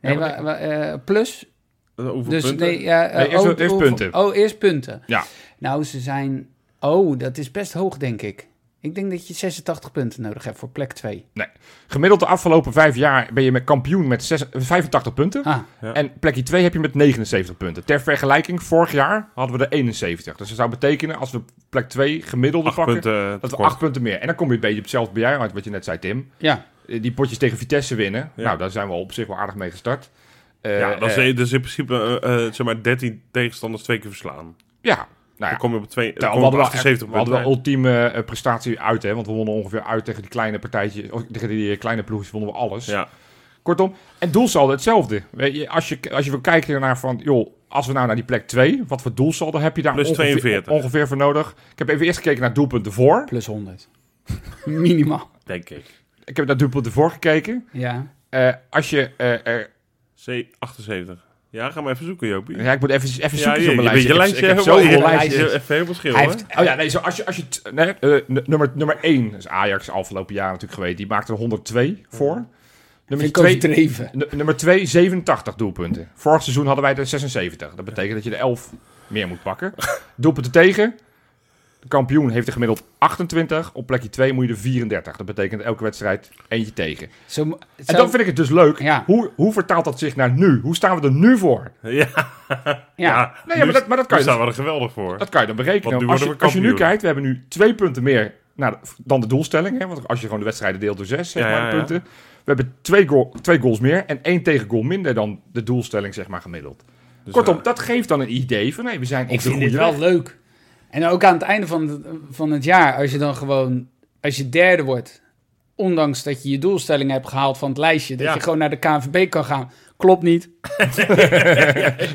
Speaker 4: Nee,
Speaker 2: Ja, maar-
Speaker 4: wa- wa- eh, plus.
Speaker 3: Eh, Hoeveel
Speaker 4: Dus
Speaker 3: punten?
Speaker 4: nee, ja, eh,
Speaker 2: Nee, eerst-
Speaker 4: oh,
Speaker 2: eerst
Speaker 4: oh,
Speaker 2: punten.
Speaker 4: Oh, eerst punten.
Speaker 2: Ja.
Speaker 4: Nou, ze zijn. Oh, dat is best hoog, denk ik. Ik denk dat je 86 punten nodig hebt voor plek 2.
Speaker 2: Gemiddeld de afgelopen vijf jaar ben je met kampioen met zes- 85 punten.
Speaker 4: Ah,
Speaker 3: Ja.
Speaker 2: En plekje 2 heb je met 79 punten. Ter vergelijking, vorig jaar hadden we er 71. Dus dat zou betekenen, als we plek 2 gemiddelde
Speaker 3: Acht
Speaker 2: pakken,
Speaker 3: punten eh,
Speaker 2: dat we
Speaker 3: tekort.
Speaker 2: 8 punten meer. En dan kom je een beetje op hetzelfde bij jou uit, wat je net zei, Tim.
Speaker 4: ja.
Speaker 2: Eh, Die potjes tegen Vitesse winnen.
Speaker 3: Ja.
Speaker 2: Nou, daar zijn we op zich wel aardig mee gestart. Eh,
Speaker 3: Ja, dat is,
Speaker 2: eh,
Speaker 3: dat is dus in principe eh, eh, zeg maar 13 tegenstanders twee keer verslaan.
Speaker 2: ja. Nou
Speaker 3: Dan
Speaker 2: ja.
Speaker 3: kom je op, twee, dan
Speaker 2: Terwijl
Speaker 3: kom
Speaker 2: we
Speaker 3: je op
Speaker 2: hadden, wel,
Speaker 3: 78
Speaker 2: we hadden wel
Speaker 3: punten.
Speaker 2: ultieme eh, prestatie uit, hè. Want we wonnen ongeveer uit tegen die kleine partijtjes. of Tegen die eh, kleine ploegjes wonnen we alles.
Speaker 3: Ja,
Speaker 2: Kortom, en doelsaldo hetzelfde. Weet je, als, je, als je wil kijken naar van, joh, als we nou naar die plek 2, wat voor doelsaldo heb je daar
Speaker 3: Plus
Speaker 2: ongeveer,
Speaker 3: 42.
Speaker 2: ongeveer voor nodig? Ik heb even eerst gekeken naar doelpunten voor.
Speaker 4: plus 100. Minimaal.
Speaker 3: denk ik.
Speaker 2: Ik heb naar doelpunten voor gekeken.
Speaker 4: Ja.
Speaker 2: Eh, als je, eh, eh,
Speaker 3: C 78. Ja, ga maar even zoeken, Jopie.
Speaker 2: ja, ik moet even, even zoeken
Speaker 3: je-
Speaker 2: op mijn
Speaker 3: je bent je
Speaker 2: lijstje. Ik heb-
Speaker 3: lijstje
Speaker 2: ik heb
Speaker 3: helemaal-
Speaker 2: zoveel
Speaker 3: je-
Speaker 2: lijstjes.
Speaker 3: je- Even heel veel schil,
Speaker 4: Hij
Speaker 3: hè?
Speaker 4: heeft,
Speaker 2: Oh ja, nee, zo als je, als je t- nee, eh, n- nummer, nummer 1 is Ajax afgelopen jaar natuurlijk geweest. Die maakte er 102 voor. Nummer
Speaker 4: vind ik
Speaker 2: 2,
Speaker 4: overdreven.
Speaker 2: nummer 2, 87 doelpunten. Vorig seizoen hadden wij er 76. Dat betekent dat je er 11 meer moet pakken. Doelpunten tegen. De kampioen heeft er gemiddeld 28. Op plekje 2 moet je er 34. Dat betekent elke wedstrijd eentje tegen.
Speaker 4: Zo, zo,
Speaker 2: En dan vind ik het dus leuk.
Speaker 4: Ja.
Speaker 2: Hoe, hoe vertaalt dat zich naar nu? Hoe staan we er nu voor?
Speaker 3: Ja, Dus
Speaker 4: ja.
Speaker 2: Nee, maar dat, maar dat kan
Speaker 3: Daar
Speaker 2: je dus-
Speaker 3: staan we er geweldig voor.
Speaker 2: dat kan je dan berekenen.
Speaker 3: Want nu
Speaker 2: als, je,
Speaker 3: worden we
Speaker 2: als je nu
Speaker 3: kampioen.
Speaker 2: kijkt, we hebben nu twee punten meer nou, dan de doelstelling. Hè? Want als je gewoon de wedstrijden deelt door zes, zeg
Speaker 3: Ja,
Speaker 2: maar,
Speaker 3: ja, ja.
Speaker 2: de punten. We hebben twee, goal, twee goals meer en één tegengoal minder dan de doelstelling, zeg maar, gemiddeld.
Speaker 3: Dus,
Speaker 2: Kortom,
Speaker 3: eh,
Speaker 2: dat geeft dan een idee van, nee, we zijn op
Speaker 4: Ik
Speaker 2: de
Speaker 4: vind
Speaker 2: goede
Speaker 4: dit wel
Speaker 2: weg.
Speaker 4: leuk. En ook aan het einde van het, van het jaar, als je dan gewoon, als je derde wordt, ondanks dat je je doelstelling hebt gehaald van het lijstje, dat
Speaker 3: Ja.
Speaker 4: je gewoon naar de KNVB kan gaan. Klopt niet.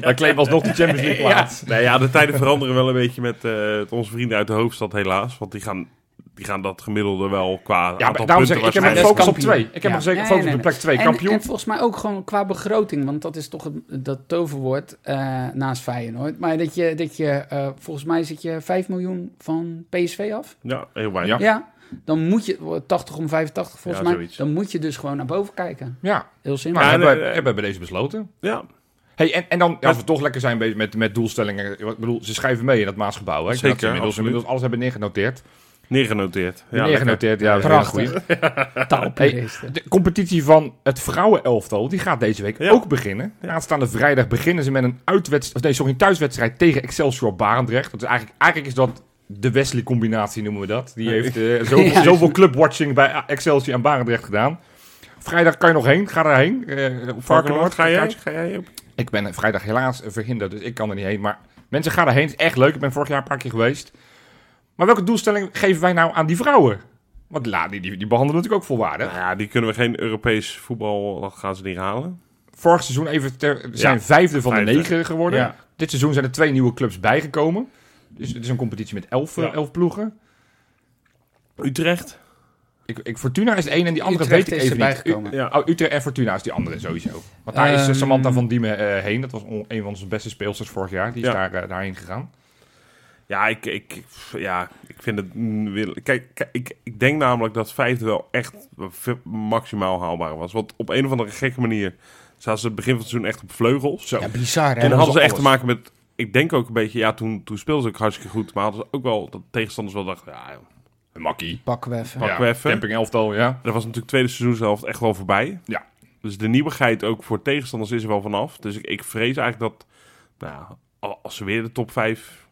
Speaker 2: Wij claimen alsnog de Champions League plaats.
Speaker 3: nou ja, de tijden veranderen wel een beetje met eh, onze vrienden uit de hoofdstad, helaas. Want die gaan, die gaan dat gemiddelde wel qua
Speaker 2: Ja,
Speaker 3: aantal
Speaker 2: daarom
Speaker 3: punten
Speaker 2: zeg ik, ik heb me
Speaker 3: waarschijnlijk-
Speaker 4: Dat is
Speaker 2: gefocust op
Speaker 4: kampioen.
Speaker 2: twee. Ik heb
Speaker 4: Ja.
Speaker 2: me zeker
Speaker 4: Nee,
Speaker 2: gefocust
Speaker 4: nee,
Speaker 2: op plek twee.
Speaker 4: En,
Speaker 2: Kampioen.
Speaker 4: en volgens mij ook gewoon qua begroting, want dat is toch het, dat toverwoord eh, naast Feyenoord. Maar dat je, dat je eh, volgens mij zit je 5 miljoen van PSV af.
Speaker 3: Ja, heel weinig.
Speaker 2: Ja.
Speaker 4: Ja, dan moet je, 80 om 85 volgens
Speaker 3: Ja,
Speaker 4: mij,
Speaker 3: zoiets.
Speaker 4: dan moet je dus gewoon naar boven kijken.
Speaker 2: Ja,
Speaker 4: Heel simpel.
Speaker 2: nou,
Speaker 3: Ja,
Speaker 2: hebben, we,
Speaker 3: nee, nee.
Speaker 2: hebben we bij deze besloten.
Speaker 3: Ja,
Speaker 2: Hey, en, en dan, ja, als we toch lekker zijn bezig met, met doelstellingen. Ik bedoel, ze schrijven mee in dat Maasgebouw. Hè? Ik denk dat
Speaker 3: Zeker,
Speaker 2: ze inmiddels,
Speaker 3: absoluut.
Speaker 2: inmiddels alles hebben neergenoteerd.
Speaker 3: neergenoteerd. Ja, lekker.
Speaker 2: neergenoteerd, ja. dat is een
Speaker 4: Prachtig.
Speaker 2: goeie.
Speaker 4: Taalpuristen.
Speaker 2: De competitie van het vrouwenelftal die gaat deze week
Speaker 3: Ja.
Speaker 2: ook beginnen. Aanstaande vrijdag beginnen ze met een, uitwedst- of nee, sorry, een thuiswedstrijd tegen Excelsior Barendrecht. Dat is eigenlijk, eigenlijk is dat de Wesley-combinatie, noemen we dat. Die heeft eh, zoveel,
Speaker 4: Ja.
Speaker 2: zoveel clubwatching bij Excelsior en Barendrecht gedaan. Vrijdag kan je nog heen. Ga daarheen. Eh op Varkenoord.
Speaker 3: Varkenoord, ga jij?
Speaker 2: Kaartje.
Speaker 3: Ga jij op?
Speaker 2: Ik ben vrijdag helaas verhinderd, dus ik kan er niet heen. Maar mensen, gaan daarheen. Het is echt leuk. Ik ben vorig jaar een paar keer geweest. Maar welke doelstelling geven wij nou aan die vrouwen? Want la, die, die, die behandelen natuurlijk ook volwaardig.
Speaker 3: Nou ja, die kunnen we geen Europees voetbal, dat gaan ze niet halen.
Speaker 2: Vorig seizoen even ter- we zijn
Speaker 3: Ja,
Speaker 2: vijfde van de
Speaker 3: vijfde.
Speaker 2: negen geworden.
Speaker 3: Ja.
Speaker 2: Dit seizoen zijn er twee nieuwe clubs bijgekomen. Dus het is een competitie met elf, eh,
Speaker 3: Ja.
Speaker 2: elf ploegen.
Speaker 3: Utrecht?
Speaker 2: Ik, ik, Fortuna is de ene en die andere
Speaker 4: Utrecht
Speaker 2: weet ik
Speaker 4: is
Speaker 2: even
Speaker 4: erbij
Speaker 2: niet. U-
Speaker 4: gekomen.
Speaker 3: Ja.
Speaker 2: oh, Utrecht en Fortuna is die andere sowieso. Want daar is eh,
Speaker 4: Ehm.
Speaker 2: Samantha van Diemen eh, heen. Dat was on- een van onze beste speelsters vorig jaar. Die is
Speaker 3: Ja.
Speaker 2: daar, eh, daarheen gegaan.
Speaker 3: Ja, ik, ik, pff, ja, ik vind het... mm, wil- Kijk, kijk, ik, ik denk namelijk dat vijfde wel echt ve- maximaal haalbaar was. Want op een of andere gekke manier zaten ze het begin van het seizoen echt op vleugels.
Speaker 2: Zo.
Speaker 4: Ja, bizar hè.
Speaker 3: En hadden ze echt
Speaker 2: alles.
Speaker 3: te maken met... Ik denk ook een beetje... Ja, toen, toen speelden ze ook hartstikke goed. Maar hadden ze ook wel... Dat tegenstanders wel dachten... Ja, joh.
Speaker 2: Eh, Makkie.
Speaker 4: Pakken we even.
Speaker 3: Pakken we even.
Speaker 2: Camping elftal, ja.
Speaker 3: dat was natuurlijk tweede seizoenshelft echt wel voorbij.
Speaker 2: Ja.
Speaker 3: Dus de nieuwigheid ook voor tegenstanders is er wel vanaf. Dus ik, ik vrees eigenlijk dat... Nou, ja, al- als ze weer de top 5...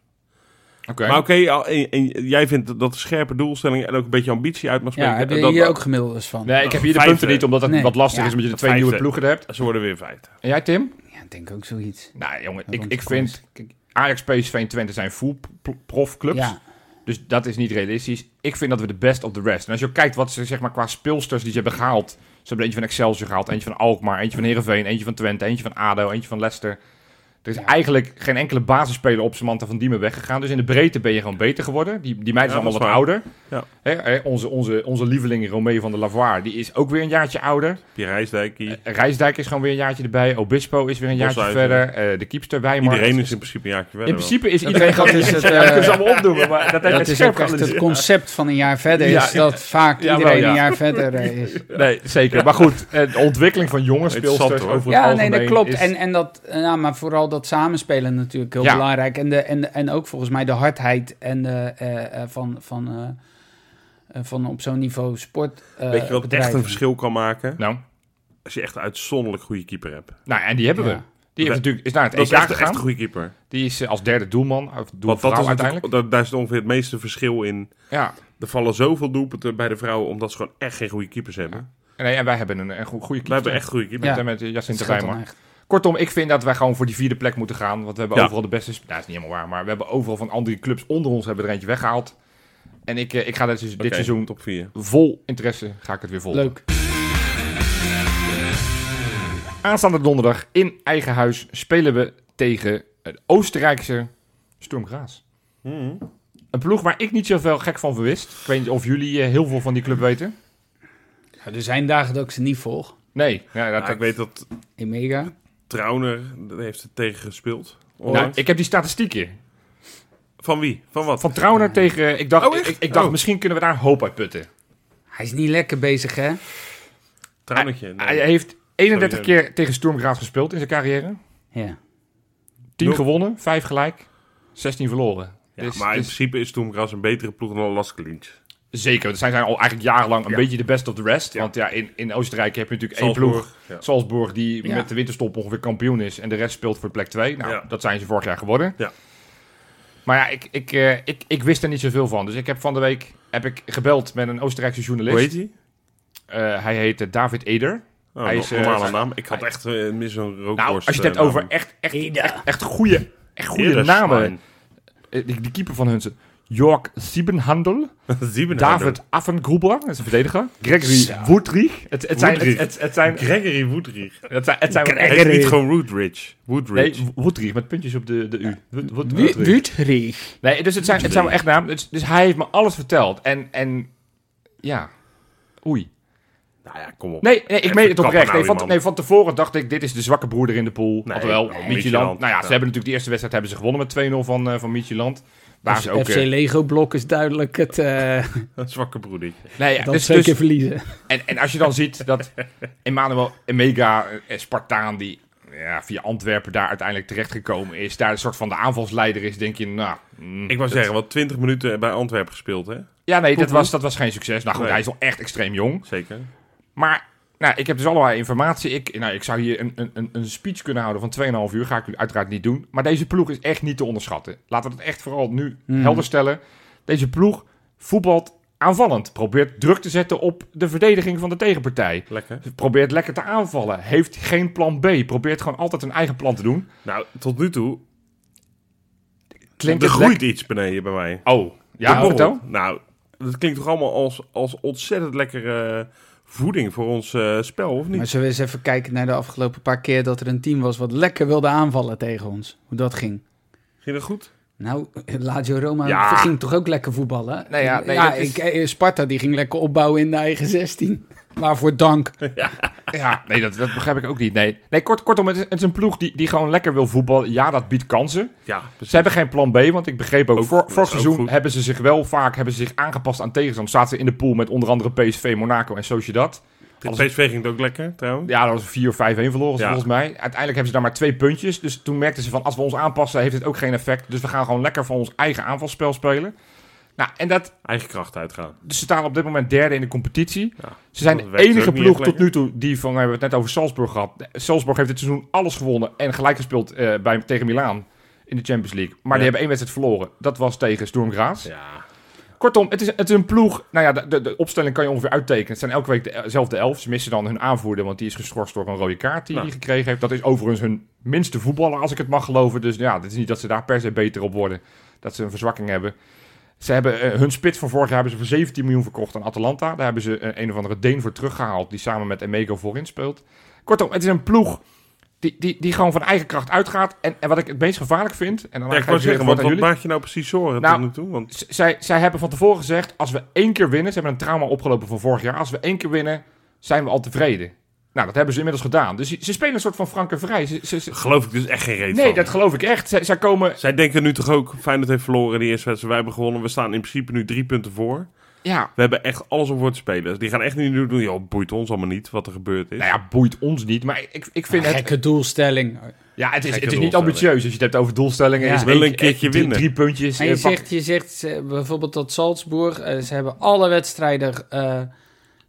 Speaker 2: Oké.
Speaker 3: Maar oké, al- en- en jij vindt dat de scherpe doelstelling en ook een beetje ambitie uit mag
Speaker 4: Ja,
Speaker 3: spreken.
Speaker 4: heb
Speaker 3: En
Speaker 4: je
Speaker 3: dat-
Speaker 4: hier ook gemiddeldes van?
Speaker 2: Nee, ik heb hier de
Speaker 3: Vijfde.
Speaker 2: punten niet, omdat het
Speaker 4: Nee.
Speaker 2: wat lastig
Speaker 4: Ja.
Speaker 2: is, omdat je de twee
Speaker 3: Vijfde.
Speaker 2: nieuwe ploegen er hebt.
Speaker 3: Ze worden weer vijfde.
Speaker 2: En jij, Tim?
Speaker 4: Ja, ik denk ook zoiets.
Speaker 2: Nou, jongen,
Speaker 4: Dat
Speaker 2: ik,
Speaker 4: ons
Speaker 2: ik
Speaker 4: kom
Speaker 2: vind... kijk, Ajax, PSV en Twente zijn full pl- profclubs.
Speaker 4: Ja.
Speaker 2: Dus dat is niet realistisch. Ik vind dat we de best of the rest. En als je ook kijkt wat ze zeg maar, qua speelsters die ze hebben gehaald. Ze hebben eentje van Excelsior gehaald, eentje van Alkmaar, eentje van Heerenveen, eentje van Twente, eentje van ADO, eentje van Leicester. Er is
Speaker 4: Ja.
Speaker 2: eigenlijk geen enkele basisspeler op Samantha van Diemen weggegaan. Dus in de breedte ben je gewoon beter geworden. Die, die meid is
Speaker 3: Ja,
Speaker 2: allemaal
Speaker 3: dat
Speaker 2: wat
Speaker 3: is
Speaker 2: ouder.
Speaker 3: Ja.
Speaker 2: Hè, hè, onze, onze, onze lieveling Romeo van der Lavoir, die is ook weer een jaartje ouder.
Speaker 3: Die Rijsdijk, die-
Speaker 2: Eh, Rijsdijk is gewoon weer een jaartje erbij. Obispo is weer een jaartje
Speaker 3: Boshuizen.
Speaker 2: verder. Eh, de keepster Wijmar.
Speaker 3: iedereen is in principe een jaartje
Speaker 2: In
Speaker 3: verder. wel.
Speaker 2: principe is
Speaker 4: Dat-
Speaker 2: iedereen gewoon...
Speaker 4: dat is het,
Speaker 2: Ja,
Speaker 4: eh,
Speaker 2: dat kunnen ze allemaal opnoemen, maar dat heeft
Speaker 4: dat
Speaker 2: het
Speaker 4: is
Speaker 2: scherp
Speaker 4: ook echt het
Speaker 2: geanalyseerd.
Speaker 4: concept van een jaar verder is
Speaker 2: Ja.
Speaker 4: dat vaak
Speaker 2: Ja,
Speaker 4: iedereen
Speaker 2: wel, ja.
Speaker 4: een jaar verder eh, is.
Speaker 2: Nee, zeker. Maar goed, eh, de ontwikkeling van jonge speelsters
Speaker 3: Interessant, hoor.
Speaker 2: over het
Speaker 4: Ja, nee,
Speaker 2: algemeen
Speaker 4: dat klopt.
Speaker 2: is-
Speaker 4: En, en dat, eh, ja, maar vooral dat samenspelen natuurlijk heel
Speaker 2: Ja.
Speaker 4: belangrijk. En, de, en, en ook volgens mij de hardheid en de, eh, eh, van, van eh, eh, van op zo'n niveau sport. eh,
Speaker 3: Weet je wat echt
Speaker 4: bedrijven.
Speaker 3: een verschil kan maken?
Speaker 2: Nou,
Speaker 3: Als je echt een uitzonderlijk goede keeper hebt.
Speaker 2: nou en die hebben
Speaker 4: Ja.
Speaker 2: we. Die heeft natuurlijk, is naar het
Speaker 3: Dat is
Speaker 2: EK
Speaker 3: echt, echt
Speaker 2: gegaan.
Speaker 3: een goede keeper.
Speaker 2: Die is eh, als derde doelman, of
Speaker 3: Want dat
Speaker 2: doelvrouw
Speaker 3: is
Speaker 2: uiteindelijk.
Speaker 3: natuurlijk- dat- daar is ongeveer het meeste verschil in.
Speaker 2: Ja.
Speaker 3: Er vallen zoveel doelpunten bij de vrouwen omdat ze gewoon echt geen goede keepers hebben.
Speaker 2: En, nee, en wij hebben een, een goe- goede
Speaker 3: We
Speaker 2: keeper.
Speaker 3: hebben echt goede keepers.
Speaker 4: Ja.
Speaker 2: Met, met eh,
Speaker 4: Dat
Speaker 2: Jacinta
Speaker 4: scheelt dan
Speaker 2: Rijmer.
Speaker 4: echt.
Speaker 2: Kortom, ik vind dat wij gewoon voor die vierde plek moeten gaan. Want we hebben
Speaker 3: Ja.
Speaker 2: overal de beste... sp- Nou, dat is niet helemaal waar. Maar we hebben overal van andere clubs onder ons hebben er eentje weggehaald. En ik, eh, ik ga dit, dit
Speaker 3: Oké,
Speaker 2: seizoen
Speaker 3: top 4.
Speaker 2: vol interesse ga ik het weer volgen.
Speaker 4: Leuk.
Speaker 2: Aanstaande donderdag in eigen huis spelen we tegen het Oostenrijkse Sturm Graz.
Speaker 3: Hmm.
Speaker 2: Een ploeg waar ik niet zoveel gek van verwist. Ik weet niet of jullie eh, heel veel van die club weten.
Speaker 4: Ja, Nou, er zijn dagen dat ik ze niet volg.
Speaker 2: Nee, ja, dat,
Speaker 3: Nou, ik weet dat
Speaker 4: In mega.
Speaker 3: Trauner dat heeft het tegen gespeeld.
Speaker 2: nou,
Speaker 3: onlangs.
Speaker 2: ik heb die statistieken.
Speaker 3: Van wie? Van wat?
Speaker 2: Van Trauner tegen... Ik dacht,
Speaker 3: Oh,
Speaker 2: ik,
Speaker 3: echt?
Speaker 2: ik dacht
Speaker 3: Oh.
Speaker 2: misschien kunnen we daar hoop uit putten.
Speaker 4: Hij is niet lekker bezig, hè?
Speaker 3: Traunertje. Nee.
Speaker 2: Hij heeft 31
Speaker 3: Sorry,
Speaker 2: keer tegen Sturm Graz gespeeld in zijn carrière.
Speaker 4: Ja.
Speaker 2: 10
Speaker 3: Nul.
Speaker 2: gewonnen, 5 gelijk, 16 verloren.
Speaker 3: Ja,
Speaker 2: Dus-
Speaker 3: maar in
Speaker 2: dus
Speaker 3: principe is Toemgras een betere ploeg dan Laskelins.
Speaker 2: zeker, ze zijn al eigenlijk jarenlang een
Speaker 3: Ja.
Speaker 2: beetje de best of the rest.
Speaker 3: Ja.
Speaker 2: Want ja, in, in Oostenrijk heb je natuurlijk één ploeg.
Speaker 3: Ja.
Speaker 2: Salzburg, die
Speaker 4: Ja.
Speaker 2: met de winterstop ongeveer kampioen is. En de rest speelt voor plek 2. Nou,
Speaker 3: Ja.
Speaker 2: dat zijn ze vorig jaar geworden.
Speaker 3: Ja.
Speaker 2: Maar ja, ik, ik, eh, ik, ik wist er niet zoveel van. Dus ik heb van de week heb ik gebeld met een Oostenrijkse journalist.
Speaker 3: Hoe heet hij?
Speaker 2: Eh, hij heet eh, David Eder.
Speaker 3: Oh,
Speaker 2: Hij
Speaker 3: hij
Speaker 2: is,
Speaker 3: is
Speaker 2: eh,
Speaker 3: normale naam. Ik had echt eh, mis een rookworst.
Speaker 2: Nou, als je het hebt
Speaker 3: eh,
Speaker 2: over
Speaker 3: naam.
Speaker 2: echt, echt,
Speaker 4: Eder.
Speaker 2: echt, echt goede, echt goede
Speaker 3: Eerder
Speaker 2: namen.
Speaker 3: Schwein.
Speaker 2: Eh, die, die keeper van hun ze- Jörg Siebenhandel,
Speaker 3: Siebenheimer.
Speaker 2: David Affengruber, dat is een verdediger, Gregory
Speaker 4: Zo.
Speaker 2: Woodrich. Het, het zijn, het,
Speaker 3: Woodrich.
Speaker 2: het, het zijn,
Speaker 3: Gregory Woodrich.
Speaker 2: het zijn, het zijn
Speaker 4: Gregory.
Speaker 3: Hij is niet gewoon Woodridge.
Speaker 2: Nee,
Speaker 3: Woodridge.
Speaker 2: Woodrich met puntjes op de, de U. Wood- Wood- Woodrich.
Speaker 4: Wutrig.
Speaker 2: Nee, dus het zijn, het zijn wel echt namen. Dus, dus hij heeft me alles verteld. En, en ja, oei.
Speaker 3: Nou ja, kom op.
Speaker 2: Nee, nee ik
Speaker 3: Even
Speaker 2: meen het
Speaker 3: kappen
Speaker 2: oprecht.
Speaker 3: nou,
Speaker 2: Nee van,
Speaker 3: man.
Speaker 2: nee, van tevoren dacht ik, dit is de zwakke broeder in de pool.
Speaker 3: Nee,
Speaker 2: Oftewel,
Speaker 3: nou,
Speaker 2: Midtjylland.
Speaker 3: Midtjylland.
Speaker 2: Nou ja, ze
Speaker 3: Ja.
Speaker 2: hebben natuurlijk de eerste wedstrijd hebben ze gewonnen met 2-0 van, eh van Midtjylland. Waar ze ook...
Speaker 4: FC
Speaker 2: eh,
Speaker 4: Lego Blok is duidelijk het eh
Speaker 3: Een zwakke broedertje.
Speaker 2: nee, ja,
Speaker 4: dat
Speaker 2: dus,
Speaker 4: twee
Speaker 2: dus,
Speaker 4: keer verliezen.
Speaker 2: En, en als je dan ziet dat Emmanuel Emega, eh, Spartaan, die ja, via Antwerpen daar uiteindelijk terechtgekomen is, daar een soort van de aanvalsleider is, denk je, nou... mm,
Speaker 3: Ik wou
Speaker 2: dat-
Speaker 3: zeggen, wat 20 minuten bij Antwerpen gespeeld, hè?
Speaker 2: Ja, nee, dat was, dat was geen succes. Nou goed,
Speaker 3: Nee.
Speaker 2: hij is wel echt extreem jong.
Speaker 3: Zeker.
Speaker 2: Maar nou, ik heb dus allerlei informatie. Ik, nou, ik zou hier een, een- een, een speech kunnen houden van 2,5 uur. Ga ik u uiteraard niet doen. Maar deze ploeg is echt niet te onderschatten. Laten we dat echt vooral nu
Speaker 4: Mhm.
Speaker 2: helder stellen. Deze ploeg voetbalt aanvallend. Probeert druk te zetten op de verdediging van de tegenpartij.
Speaker 3: Lekker.
Speaker 2: Probeert lekker te aanvallen. Heeft geen plan B. Probeert gewoon altijd een eigen plan te doen.
Speaker 3: Nou, tot nu toe,
Speaker 2: Klinkt
Speaker 3: er
Speaker 2: het lek-
Speaker 3: groeit iets beneden bij mij.
Speaker 2: Oh, ja,
Speaker 3: De borrel.
Speaker 2: vertel.
Speaker 3: Nou, dat klinkt toch allemaal als, als ontzettend lekkere eh, voeding voor ons eh, spel, of
Speaker 4: Maar
Speaker 3: niet?
Speaker 4: zullen we eens even kijken naar de afgelopen paar keer dat er een team was wat lekker wilde aanvallen tegen ons. Hoe dat ging.
Speaker 3: Ging dat goed?
Speaker 4: Nou, Lazio Roma
Speaker 2: Ja.
Speaker 4: ging toch ook lekker voetballen?
Speaker 2: Nou ja, nee, dat is-
Speaker 4: ik, eh, Sparta die ging lekker opbouwen in de eigen 16. Waarvoor dank.
Speaker 2: Ja, nee, dat, dat begrijp ik ook niet. Nee, nee kort, kortom, het is, het is een ploeg die, die gewoon lekker wil voetballen. Ja, dat biedt kansen.
Speaker 3: Ja,
Speaker 2: Ze hebben geen plan B, want ik begreep ook,
Speaker 3: Ook-
Speaker 2: voor,
Speaker 3: dat
Speaker 2: vorig
Speaker 3: is ook
Speaker 2: seizoen
Speaker 3: goed.
Speaker 2: hebben ze zich wel vaak hebben ze zich aangepast aan tegenstanders. Zaten ze in de pool met onder andere PSV, Monaco en Sociedad.
Speaker 3: Als... PSV ging het ook lekker, trouwens.
Speaker 2: Ja, dat was 4-5-1 verloren
Speaker 3: Ja.
Speaker 2: volgens mij. Uiteindelijk hebben ze daar maar twee puntjes. Dus toen merkten ze van, als we ons aanpassen, heeft het ook geen effect. Dus we gaan gewoon lekker van ons eigen aanvalsspel spelen. Nou, en dat,
Speaker 3: Eigen kracht uitgaan.
Speaker 2: dus ze staan op dit moment derde in de competitie.
Speaker 3: Ja.
Speaker 2: Ze zijn
Speaker 3: Dat
Speaker 2: de
Speaker 3: werkt
Speaker 2: enige
Speaker 3: ook niet
Speaker 2: ploeg
Speaker 3: echt
Speaker 2: tot
Speaker 3: lekker.
Speaker 2: nu toe die van, we hebben het net over Salzburg gehad. Salzburg heeft dit seizoen alles gewonnen en gelijk gespeeld eh, bij, tegen Milaan in de Champions League. Maar die
Speaker 3: Ja.
Speaker 2: hebben één wedstrijd verloren. Dat was tegen Sturm Graz.
Speaker 3: Ja.
Speaker 2: Kortom, het is, het is een ploeg. Nou ja, de, de, de opstelling kan je ongeveer uittekenen. Het zijn elke week de- dezelfde elf. Ze missen dan hun aanvoerder, want die is geschorst door een rode kaart die
Speaker 3: Nou.
Speaker 2: hij gekregen heeft. Dat is overigens hun minste voetballer, als ik het mag geloven. Dus ja, het is niet dat ze daar per se beter op worden. Dat ze een verzwakking hebben. Ze hebben eh, hun spits van vorig jaar hebben ze voor 17 miljoen verkocht aan Atalanta. Daar hebben ze eh, een of andere Deen voor teruggehaald, die samen met Emego voorin speelt. Kortom, het is een ploeg die, die, die gewoon van eigen kracht uitgaat. En, en wat ik het meest gevaarlijk vind... En dan
Speaker 3: Ja, ik
Speaker 2: geef
Speaker 3: wou
Speaker 2: ik weer het
Speaker 3: zeggen,
Speaker 2: woord
Speaker 3: wat,
Speaker 2: aan
Speaker 3: wat
Speaker 2: jullie.
Speaker 3: maak je nou precies zorgen
Speaker 2: Nou,
Speaker 3: tot nu toe? Want
Speaker 2: Z- zij, zij hebben van tevoren gezegd: als we één keer winnen, ze hebben een trauma opgelopen van vorig jaar. Als we één keer winnen, zijn we al tevreden. Nou, dat hebben ze inmiddels gedaan. Dus ze- ze spelen een soort van frankenvrij. Ze, ze, ze-
Speaker 3: geloof ik dus echt geen reet
Speaker 2: nee,
Speaker 3: van.
Speaker 2: dat geloof ik echt. Zij, zij komen.
Speaker 3: Zij denken nu toch ook, Feyenoord heeft verloren in de eerste wedstrijd. Wij hebben gewonnen. We staan in principe nu drie punten voor.
Speaker 2: Ja,
Speaker 3: We hebben echt alles om voor te spelen. Dus die gaan echt niet nu doen, joh, boeit ons allemaal niet wat er gebeurd is.
Speaker 2: nou ja, boeit ons niet. Maar ik, ik vind het.
Speaker 4: Gekke doelstelling.
Speaker 2: Ja,
Speaker 3: Gekke
Speaker 2: het is, het is niet
Speaker 3: doelstelling.
Speaker 2: ambitieus. Als je het hebt over doelstellingen,
Speaker 4: Ja.
Speaker 2: is
Speaker 3: Wel
Speaker 2: één-
Speaker 3: een keertje
Speaker 2: drie-
Speaker 3: winnen.
Speaker 2: Drie puntjes.
Speaker 4: En je
Speaker 2: eh, pak-
Speaker 4: zegt, je zegt eh, bijvoorbeeld dat Salzburg, eh, ze hebben alle wedstrijden eh,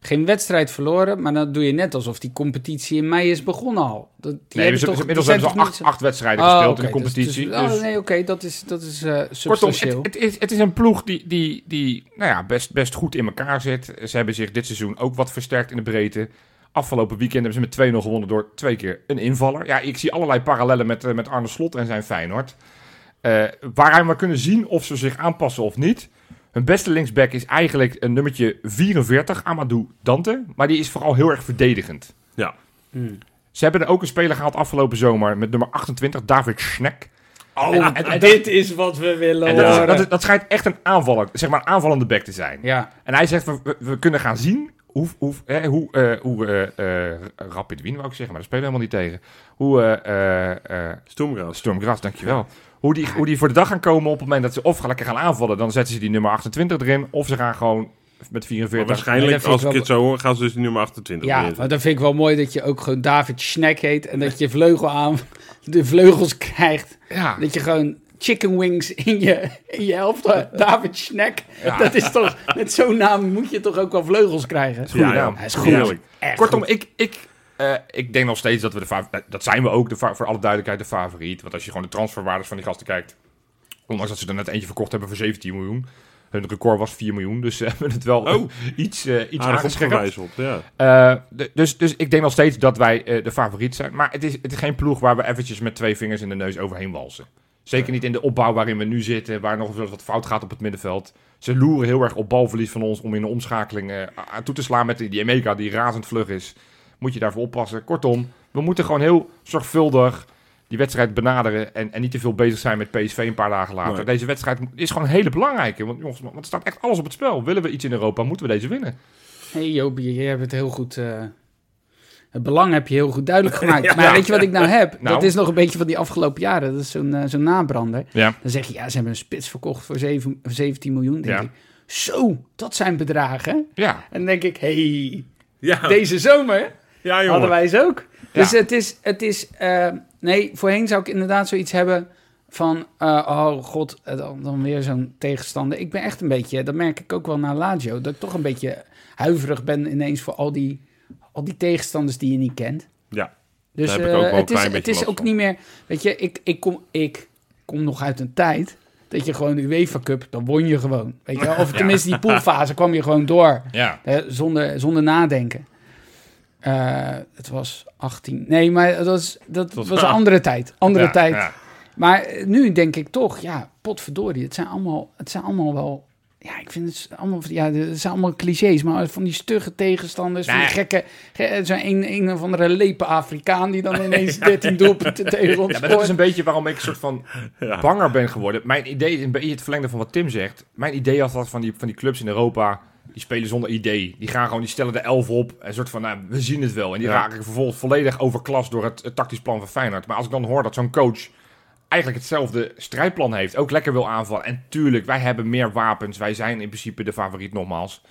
Speaker 4: geen wedstrijd verloren, maar dan doe je net alsof die competitie in mei is begonnen al. Dat,
Speaker 2: nee,
Speaker 4: die hebben
Speaker 2: dus
Speaker 4: toch-
Speaker 2: inmiddels
Speaker 4: die zijn
Speaker 2: hebben ze al
Speaker 4: toch niet
Speaker 2: acht,
Speaker 4: zo-
Speaker 2: acht wedstrijden
Speaker 4: Oh,
Speaker 2: gespeeld
Speaker 4: oké,
Speaker 2: in de
Speaker 4: dus-
Speaker 2: competitie.
Speaker 4: dus- oh,
Speaker 2: dus-
Speaker 4: nee, oké, dat is, dat is eh,
Speaker 2: Kortom,
Speaker 4: substantieel.
Speaker 2: het, het, is, het is een ploeg die, die, die nou ja, best, best goed in elkaar zit. Ze hebben zich dit seizoen ook wat versterkt in de breedte. Afgelopen weekend hebben ze met 2-0 gewonnen door twee keer een invaller. Ja, ik zie allerlei parallellen met, eh, met Arne Slot en zijn Feyenoord. Eh waarin we kunnen zien of ze zich aanpassen of niet. Hun beste linksback is eigenlijk een nummertje 44, Amadou Dante. Maar die is vooral heel erg verdedigend.
Speaker 3: Ja.
Speaker 4: Hmm.
Speaker 2: Ze hebben er ook een speler gehaald afgelopen zomer met nummer 28, David Schneck.
Speaker 3: Oh,
Speaker 2: En- en- en-
Speaker 4: dit is wat we willen
Speaker 2: en dat,
Speaker 4: horen.
Speaker 2: is, dat, is- dat schijnt echt een aanvaller, zeg maar een aanvallende back te zijn.
Speaker 4: Ja,
Speaker 2: En hij zegt, we, we- we kunnen gaan zien hoe, hoe, hè, hoe, eh, hoe eh, eh, Rapid Wien, wou ik zeggen, maar daar spelen we helemaal niet tegen. Hoe eh, eh, eh,
Speaker 3: Stoemgras.
Speaker 2: Storm Gras, dankjewel. Hoe die, hoe die voor de dag gaan komen op het moment dat ze of lekker gaan aanvallen, dan zetten ze die nummer 28 erin, of ze gaan gewoon met
Speaker 3: Maar
Speaker 2: 44.
Speaker 4: Nee,
Speaker 3: waarschijnlijk,
Speaker 4: dat vind
Speaker 3: als
Speaker 4: ik
Speaker 3: ik
Speaker 4: wel-
Speaker 3: het zo hoor, gaan ze dus die nummer 28
Speaker 4: ja
Speaker 3: neerzetten.
Speaker 4: maar dan vind ik wel mooi dat je ook gewoon David Snack heet en dat je vleugel aan, de vleugels krijgt.
Speaker 2: Ja,
Speaker 4: Dat je gewoon chicken wings in je, in je helft, eh, David Snack. Dat is toch, met zo'n naam moet je toch ook wel vleugels krijgen.
Speaker 2: goede
Speaker 3: Ja, ja.
Speaker 2: naam.
Speaker 4: Hij is
Speaker 2: Ja.
Speaker 4: goed.
Speaker 3: Heerlijk.
Speaker 4: Echt
Speaker 2: Kortom,
Speaker 4: goed.
Speaker 2: ik, ik, eh, ik denk nog steeds dat we de fa- eh, Dat zijn we ook, de fa- voor alle duidelijkheid, de favoriet. Want als je gewoon de transferwaardes van die gasten kijkt... Ondanks dat ze er net eentje verkocht hebben voor 17 miljoen. Hun record was 4 miljoen, dus ze hebben het wel
Speaker 3: Oh.
Speaker 2: iets,
Speaker 4: Nou,
Speaker 2: eh iets
Speaker 3: Aardig
Speaker 2: aangescherpt.
Speaker 3: opgewijzeld, ja.
Speaker 2: Eh, d- dus, dus ik denk nog steeds dat wij eh, de favoriet zijn. Maar het is, het is geen ploeg waar we eventjes met twee vingers in de neus overheen walsen. Zeker niet in de opbouw waarin we nu zitten, waar nog wel eens wat fout gaat op het middenveld. Ze loeren heel erg op balverlies van ons om in de omschakeling eh, aan toe te slaan met die- die Emeka die razend vlug is. Moet je daarvoor oppassen. Kortom, we moeten gewoon heel zorgvuldig die wedstrijd benaderen en, en niet te veel bezig zijn met PSV een paar dagen later.
Speaker 3: Nee.
Speaker 2: Deze wedstrijd is gewoon een hele belangrijke, want, jongens, want er staat echt alles op het spel. Willen we iets in Europa, moeten we deze winnen.
Speaker 4: Hey Jobie, je hebt het heel goed... eh, het belang heb je heel goed duidelijk gemaakt. Maar weet je wat ik nou heb?
Speaker 2: Nou.
Speaker 4: Dat is nog een beetje van die afgelopen jaren. Dat is zo'n eh, zo'n nabrander.
Speaker 2: Ja.
Speaker 4: Dan zeg je, ja, ze hebben een spits verkocht voor zeven- 17 miljoen. Denk
Speaker 2: Ja.
Speaker 4: ik. Zo, dat zijn bedragen.
Speaker 2: Ja,
Speaker 4: En dan denk ik, hey,
Speaker 3: Ja,
Speaker 2: Oh.
Speaker 4: deze zomer
Speaker 3: ja jongen.
Speaker 4: Hadden wij ze ook.
Speaker 2: Ja.
Speaker 4: Dus het is, het is eh, nee, voorheen zou ik inderdaad zoiets hebben van, eh, oh god, eh, dan, dan weer zo'n tegenstander. Ik ben echt een beetje, dat merk ik ook wel na Lazio, dat ik toch een beetje huiverig ben ineens voor al die, al die tegenstanders die je niet kent.
Speaker 3: Ja.
Speaker 4: Dus
Speaker 3: Daar heb ik ook
Speaker 4: eh,
Speaker 3: wel een
Speaker 4: het is,
Speaker 3: klein
Speaker 4: het
Speaker 3: beetje
Speaker 4: is
Speaker 3: last
Speaker 4: ook
Speaker 3: van.
Speaker 4: niet meer, weet je, ik, ik, kom, ik kom nog uit een tijd dat je gewoon de UEFA Cup, dan won je gewoon. Weet je, wel? of tenminste die poolfase kwam je gewoon door.
Speaker 2: ja.
Speaker 4: Hè, zonder, zonder nadenken. Eh, het was 18. Nee, maar dat was, dat
Speaker 3: was-
Speaker 4: was een andere tijd. Andere
Speaker 2: Ja,
Speaker 4: tijd.
Speaker 2: ja.
Speaker 4: Maar eh, nu denk ik toch, ja, potverdorie. Het zijn allemaal, het zijn allemaal wel. Ja, ik vind het allemaal, ja, het zijn allemaal clichés, maar van die stugge tegenstanders, van die
Speaker 2: Nee.
Speaker 4: gekke, ge- eh, zo'n een, een of andere lepe Afrikaan die dan ineens 13 doelpunten tegen ons
Speaker 2: Ja, maar dat is
Speaker 4: scoort.
Speaker 2: een beetje waarom ik een soort van
Speaker 3: Ja.
Speaker 2: banger ben geworden. Mijn idee is een beetje het verlengde van wat Tim zegt. Mijn idee was dat van die, van die clubs in Europa, die spelen zonder idee. Die gaan gewoon, die stellen de elf op. Een soort van, nou, we zien het wel. En die
Speaker 3: Ja.
Speaker 2: raken vervolgens volledig overklast door het, het tactisch plan van Feyenoord. Maar als ik dan hoor dat zo'n coach eigenlijk hetzelfde strijdplan heeft, ook lekker wil aanvallen. En tuurlijk, wij hebben meer wapens. Wij zijn in principe de favoriet nogmaals.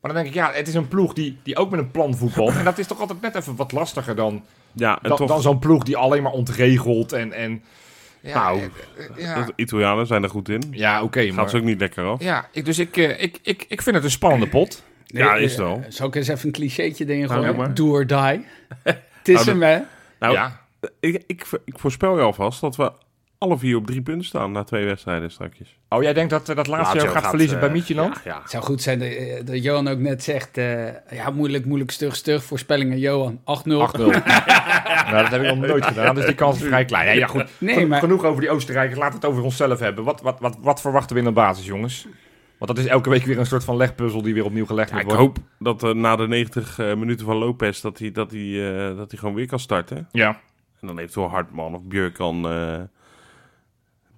Speaker 2: Maar dan denk ik, ja, het is een ploeg die, die ook met een plan voetbalt. En dat is toch altijd net even wat lastiger dan
Speaker 3: Ja, en
Speaker 2: dan,
Speaker 3: toch,
Speaker 2: dan zo'n ploeg die alleen maar ontregelt en... en ja,
Speaker 3: Nou,
Speaker 2: eh, eh, ja,
Speaker 3: de Italianen zijn er goed in.
Speaker 2: ja oké,
Speaker 3: Gaat
Speaker 2: maar...
Speaker 3: ze ook niet lekker af.
Speaker 2: Ja, ik, dus ik, eh, ik, ik, ik vind het een spannende pot.
Speaker 3: Ja, is het wel.
Speaker 4: zo eh, Zal ik eens even een clichétje dingen
Speaker 3: Nou,
Speaker 4: gooien?
Speaker 3: doe maar.
Speaker 4: Do or die. Het is
Speaker 3: Nou,
Speaker 4: hem, hè?
Speaker 3: Nou,
Speaker 2: ja.
Speaker 3: ik, ik, vo- ik voorspel je alvast dat we alle vier op drie punten staan na twee wedstrijden straks.
Speaker 2: Oh, jij denkt dat eh, dat laatste
Speaker 3: Lazio
Speaker 2: jaar gaat, verliezen
Speaker 3: eh,
Speaker 2: bij Mietjeland?
Speaker 3: Ja, ja.
Speaker 4: Het zou goed zijn dat, eh, dat Johan ook net zegt... eh, ja, moeilijk, moeilijk, stug, stug. Voorspellingen, Johan. 8-0.
Speaker 2: 8-0. nou, dat heb ik nog nooit gedaan, dus die kans is vrij klein. Nee, ja, goed.
Speaker 4: Nee,
Speaker 2: Geno-
Speaker 4: maar-
Speaker 2: Genoeg over die Oostenrijkers, laten we het over onszelf hebben. Wat, wat, wat, wat verwachten we in de basis, jongens? Want dat is elke week weer een soort van legpuzzel die weer opnieuw gelegd
Speaker 3: Ja,
Speaker 2: moet
Speaker 3: ik
Speaker 2: worden.
Speaker 3: hoop dat eh, na de 90 eh, minuten van Lopez dat hij, dat, hij, eh, dat hij gewoon weer kan starten.
Speaker 2: Ja,
Speaker 3: En dan eventueel Hartman of Björk kan eh,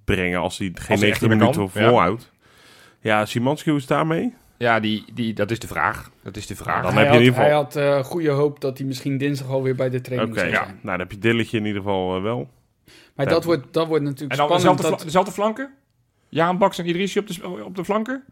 Speaker 3: brengen als hij geen
Speaker 2: echt
Speaker 3: 90
Speaker 2: niet meer
Speaker 3: minuten
Speaker 2: kan, ja.
Speaker 3: volhoudt. Ja, Simanski, hoe is het daarmee?
Speaker 2: ja die, die, dat is de vraag. Dat is de vraag.
Speaker 3: Dan
Speaker 4: hij,
Speaker 3: heb je
Speaker 4: had,
Speaker 3: in ieder
Speaker 4: hij
Speaker 3: geval-
Speaker 4: had eh, goede hoop dat hij misschien dinsdag alweer bij de
Speaker 3: Oké,
Speaker 4: training zou
Speaker 3: ja.
Speaker 4: zijn.
Speaker 3: nou dan heb je Dilletje in ieder geval eh,
Speaker 2: Oh,
Speaker 3: wel.
Speaker 4: Maar
Speaker 3: Ja.
Speaker 4: dat, wordt, dat wordt natuurlijk
Speaker 2: En dan
Speaker 4: spannend.
Speaker 2: dezelfde,
Speaker 4: Dat,
Speaker 2: fla- dezelfde flanken? Jaan Baks en Idrissi op de, sp- op de flanken?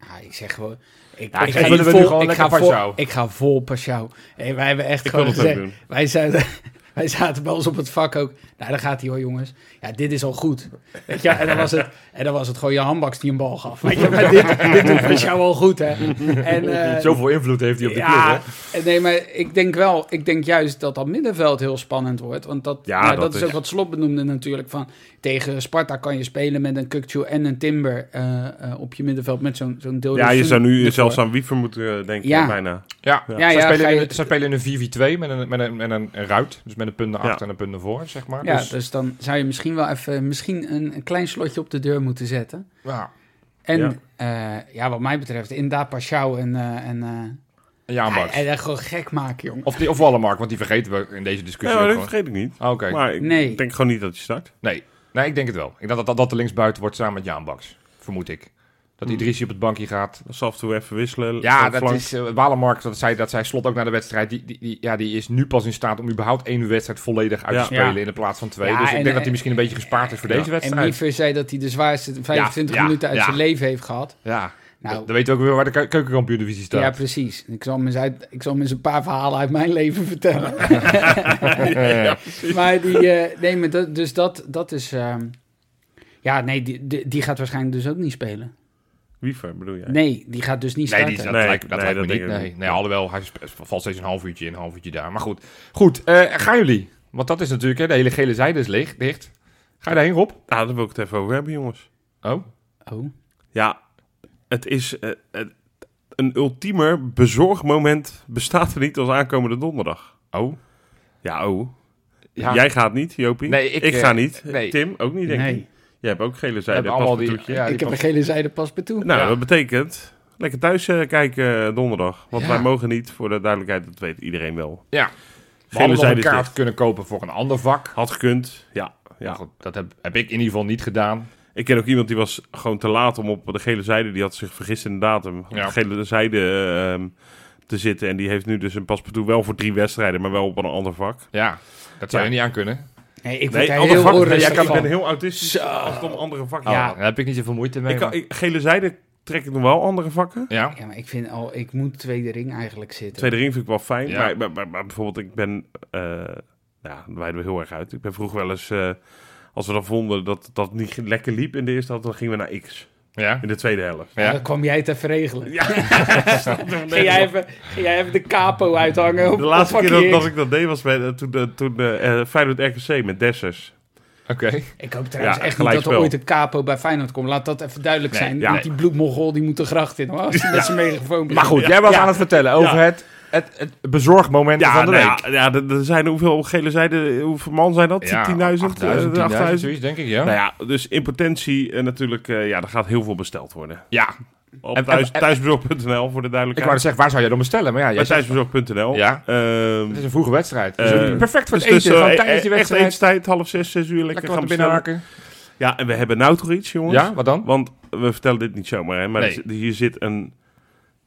Speaker 4: Ah, ik zeg gewoon... Ik,
Speaker 2: Ja,
Speaker 4: ik,
Speaker 2: dan
Speaker 4: ga
Speaker 2: willen
Speaker 4: niet
Speaker 2: we nu
Speaker 4: vol,
Speaker 2: gewoon
Speaker 4: ik,
Speaker 2: lekker
Speaker 4: ga vol,
Speaker 2: Paschou.
Speaker 4: ik ga vol Paschou. Hey, wij hebben echt
Speaker 3: Ik wil
Speaker 4: gewoon
Speaker 3: dat ook
Speaker 4: gezegd...
Speaker 3: doen.
Speaker 4: Wij zeiden, Wij zaten bij ons op het vak ook. Nou, daar gaat hij hoor, jongens. Ja, dit is al goed. Weet je, en, dan was het, en dan was het gewoon je handbaks die een bal gaf. Weet je, maar dit, dit doet voor jou al goed, hè. En, eh,
Speaker 1: Zoveel invloed heeft hij op de club, hè?
Speaker 4: eh, nee, maar ik denk wel, ik denk juist dat dat middenveld heel spannend wordt. Want dat,
Speaker 3: Ja,
Speaker 4: nou, dat,
Speaker 3: dat
Speaker 4: is
Speaker 3: is-
Speaker 4: ook wat Slot benoemde natuurlijk. Van, tegen Sparta kan je spelen met een Kukcu en een Timber eh, eh, op je middenveld met zo'n zo'n deel.
Speaker 3: Ja, je zou nu zelfs aan Wiever moeten eh, denken,
Speaker 4: Ja.
Speaker 3: bijna.
Speaker 2: Ja,
Speaker 3: Ja.
Speaker 2: Zij,
Speaker 4: Ja, ja,
Speaker 2: spelen
Speaker 4: ga je-
Speaker 2: in, zij spelen in een 4v2 met een, met een, met een ruit. Dus met een punt naar
Speaker 3: Ja.
Speaker 2: achter en een punt naar voor, zeg maar.
Speaker 4: Ja,
Speaker 2: dus,
Speaker 4: dus dan zou je misschien wel even misschien een, een klein slotje op de deur moeten zetten.
Speaker 2: ja.
Speaker 4: En ja, ja wat mij betreft, inderdaad Pashao en... eh en eh,
Speaker 2: Een jaanbaks.
Speaker 4: en dat gewoon gek maken, jongen.
Speaker 2: Of, die, of Wallenmark, want die vergeten we in deze
Speaker 3: Ja,
Speaker 2: discussie
Speaker 3: maar
Speaker 2: ook
Speaker 3: dat
Speaker 2: gewoon.
Speaker 3: vergeet ik niet.
Speaker 2: Ah, Oké,
Speaker 3: Maar ik
Speaker 4: Nee.
Speaker 3: denk gewoon niet dat je start.
Speaker 2: nee. Nee, ik denk het wel. Ik denk dat dat, dat de linksbuiten wordt samen met jaanbaks, vermoed ik. Dat
Speaker 4: Hmm.
Speaker 2: Idrissi op het bankje gaat.
Speaker 3: Dat zal af en toe even wisselen.
Speaker 2: Ja,
Speaker 3: Van
Speaker 2: dat
Speaker 3: flank.
Speaker 2: is eh, Wallenmark, dat zei, dat zei Slot ook na de wedstrijd. Die, die, die- ja, die is nu pas in staat om überhaupt één wedstrijd volledig uit
Speaker 3: Ja.
Speaker 2: te spelen
Speaker 4: Ja.
Speaker 2: in de plaats van twee.
Speaker 4: Ja,
Speaker 2: dus ik
Speaker 4: en,
Speaker 2: denk dat
Speaker 4: eh,
Speaker 2: hij misschien een beetje gespaard is voor deze
Speaker 4: En
Speaker 2: wedstrijd.
Speaker 4: Miefer zei dat hij de zwaarste 25
Speaker 2: Ja, ja,
Speaker 4: minuten uit
Speaker 2: ja.
Speaker 4: zijn leven heeft gehad.
Speaker 2: Ja,
Speaker 4: Nou.
Speaker 2: dan weten we ook weer waar de keu- keukenkampioen-divisie staat.
Speaker 4: Ja, precies. Ik zal, hem eens uit, ik zal hem eens een paar verhalen uit mijn leven vertellen. maar die, eh, nee, maar dat, dus dat, dat is. ehm, ja, nee, die, die, die gaat waarschijnlijk dus ook niet spelen.
Speaker 3: Wiever bedoel jij?
Speaker 4: Nee, die gaat dus niet
Speaker 2: Nee,
Speaker 4: starten.
Speaker 2: die, dat
Speaker 3: Nee,
Speaker 2: lijkt, dat
Speaker 3: nee,
Speaker 2: lijkt me
Speaker 3: dat
Speaker 2: niet.
Speaker 3: denk ik
Speaker 2: Nee.
Speaker 3: ook.
Speaker 2: nee, alhoewel, hij sp- valt steeds een half uurtje in, een half uurtje daar. Maar goed, goed eh, gaan jullie? Want dat is natuurlijk, hè, de hele gele zijde is leeg, dicht. Ga je daarheen, Rob?
Speaker 3: Nou, daar wil ik het even over hebben, jongens.
Speaker 2: Oh,
Speaker 4: Oh.
Speaker 3: Ja, het is... eh, eh, een ultiemer bezorgmoment bestaat er niet als aankomende donderdag.
Speaker 2: oh.
Speaker 3: Ja, oh.
Speaker 2: Ja,
Speaker 3: Jij gaat niet, Jopie.
Speaker 2: Nee, ik, eh,
Speaker 3: ga niet.
Speaker 2: nee.
Speaker 3: Tim ook niet, denk ik.
Speaker 4: Nee,
Speaker 3: Jij hebt ook gele
Speaker 2: we
Speaker 3: zijde.
Speaker 2: hebben allemaal die...
Speaker 3: paspoortje.
Speaker 2: ja, die
Speaker 4: ik heb
Speaker 2: pas-
Speaker 4: een gele zijde pas bij toe.
Speaker 3: Nou,
Speaker 2: Ja.
Speaker 3: dat betekent lekker thuis eh, kijken eh, donderdag. Want
Speaker 2: Ja.
Speaker 3: wij mogen niet, voor de duidelijkheid, dat weet iedereen wel.
Speaker 2: ja. We
Speaker 3: Gele
Speaker 2: hadden nog
Speaker 3: zijde
Speaker 2: een
Speaker 3: is
Speaker 2: kaart
Speaker 3: dicht.
Speaker 2: kunnen kopen voor een ander vak.
Speaker 3: Had gekund, ja.
Speaker 2: Maar
Speaker 3: ja.
Speaker 2: goed, dat heb, heb ik in ieder geval niet gedaan.
Speaker 3: Ik ken ook iemand die was gewoon te laat om op de gele zijde, die had zich vergist in de datum, op
Speaker 2: Ja.
Speaker 3: de gele zijde eh, ehm, te zitten. En die heeft nu dus een paspoort wel voor drie wedstrijden, maar wel op een ander vak.
Speaker 2: Ja, dat zou
Speaker 3: Ja.
Speaker 2: je niet aan kunnen.
Speaker 4: Nee, ik word
Speaker 3: Nee,
Speaker 4: daar
Speaker 3: ander
Speaker 4: heel
Speaker 3: vak. Nee, jij
Speaker 4: onrustig
Speaker 3: kan, ik
Speaker 4: van.
Speaker 3: ben heel autistisch als het om andere vakken
Speaker 4: Ja.
Speaker 3: gaat.
Speaker 2: Oh. Daar heb ik niet zoveel moeite mee.
Speaker 3: Ik kan,
Speaker 2: maar-
Speaker 3: ik, gele zijde trek ik nog wel andere vakken.
Speaker 2: Ja.
Speaker 4: Ja, maar ik vind al, ik moet tweede ring eigenlijk zitten.
Speaker 3: Tweede ring vind ik wel fijn.
Speaker 2: Ja.
Speaker 3: Maar, maar, maar- maar bijvoorbeeld, ik ben. eh ja, dan wijden we heel erg uit. Ik ben vroeger wel eens. eh, als we dan vonden dat dat niet lekker liep in de eerste helft, dan gingen we naar X.
Speaker 2: Ja.
Speaker 3: In de tweede helft.
Speaker 4: Ja,
Speaker 2: Ja.
Speaker 4: Dan kwam jij het even regelen.
Speaker 3: Ja,
Speaker 4: Ging jij even, ging jij even de capo uithangen?
Speaker 3: De
Speaker 4: op-
Speaker 3: laatste
Speaker 4: op
Speaker 3: keer dat,
Speaker 4: parkeer?
Speaker 3: dat ik dat deed was bij, eh, toen, eh, toen eh, eh, Feyenoord RKC met Dessers.
Speaker 2: Oké.
Speaker 4: Ik hoop trouwens
Speaker 3: Ja,
Speaker 4: echt niet dat
Speaker 3: gelijkspel.
Speaker 4: er ooit een capo bij Feyenoord komt. Laat dat even duidelijk
Speaker 2: Nee,
Speaker 4: zijn.
Speaker 2: ja.
Speaker 4: Want die bloedmogol die moet de gracht in. hoor, Als hij met zijn megafoon
Speaker 2: Maar goed, jij was aan het vertellen over het, het, het bezorgmoment van de
Speaker 3: nou
Speaker 2: week.
Speaker 3: ja, ja, er er zijn hoeveel gele zijde, hoeveel man zijn dat? 10.000? eh,
Speaker 2: 8000, 10.000, zoiets, denk ik, ja.
Speaker 3: Nou ja, dus in potentie eh, natuurlijk, eh, ja, er gaat heel veel besteld worden.
Speaker 2: ja,
Speaker 3: Op
Speaker 2: En-
Speaker 3: thuis,
Speaker 2: en- en-
Speaker 3: thuisbezorg.nl voor de
Speaker 2: ik wou
Speaker 3: duidelijkheid.
Speaker 2: net zeggen, waar zou jij dan bestellen? Maar ja, jij
Speaker 3: Bij
Speaker 2: zegt,
Speaker 3: thuisbezorg.nl.
Speaker 2: Ja.
Speaker 3: Ehm,
Speaker 2: het is een vroege wedstrijd. Dus
Speaker 3: Eh,
Speaker 2: perfect voor het
Speaker 3: Dus
Speaker 2: eten,
Speaker 3: tussen,
Speaker 2: gewoon
Speaker 3: eh,
Speaker 2: tijdens die
Speaker 3: echt
Speaker 2: wedstrijd.
Speaker 3: etenstijd, half zes, zes uur, lekker,
Speaker 2: Lekker
Speaker 3: gaan
Speaker 2: wat
Speaker 3: bestellen.
Speaker 2: binnenhaken.
Speaker 3: Ja, en we hebben nou toch iets, jongens.
Speaker 2: Ja, wat dan?
Speaker 3: Want we vertellen dit niet zomaar, hè. Maar
Speaker 2: Nee.
Speaker 3: er zit- hier zit een...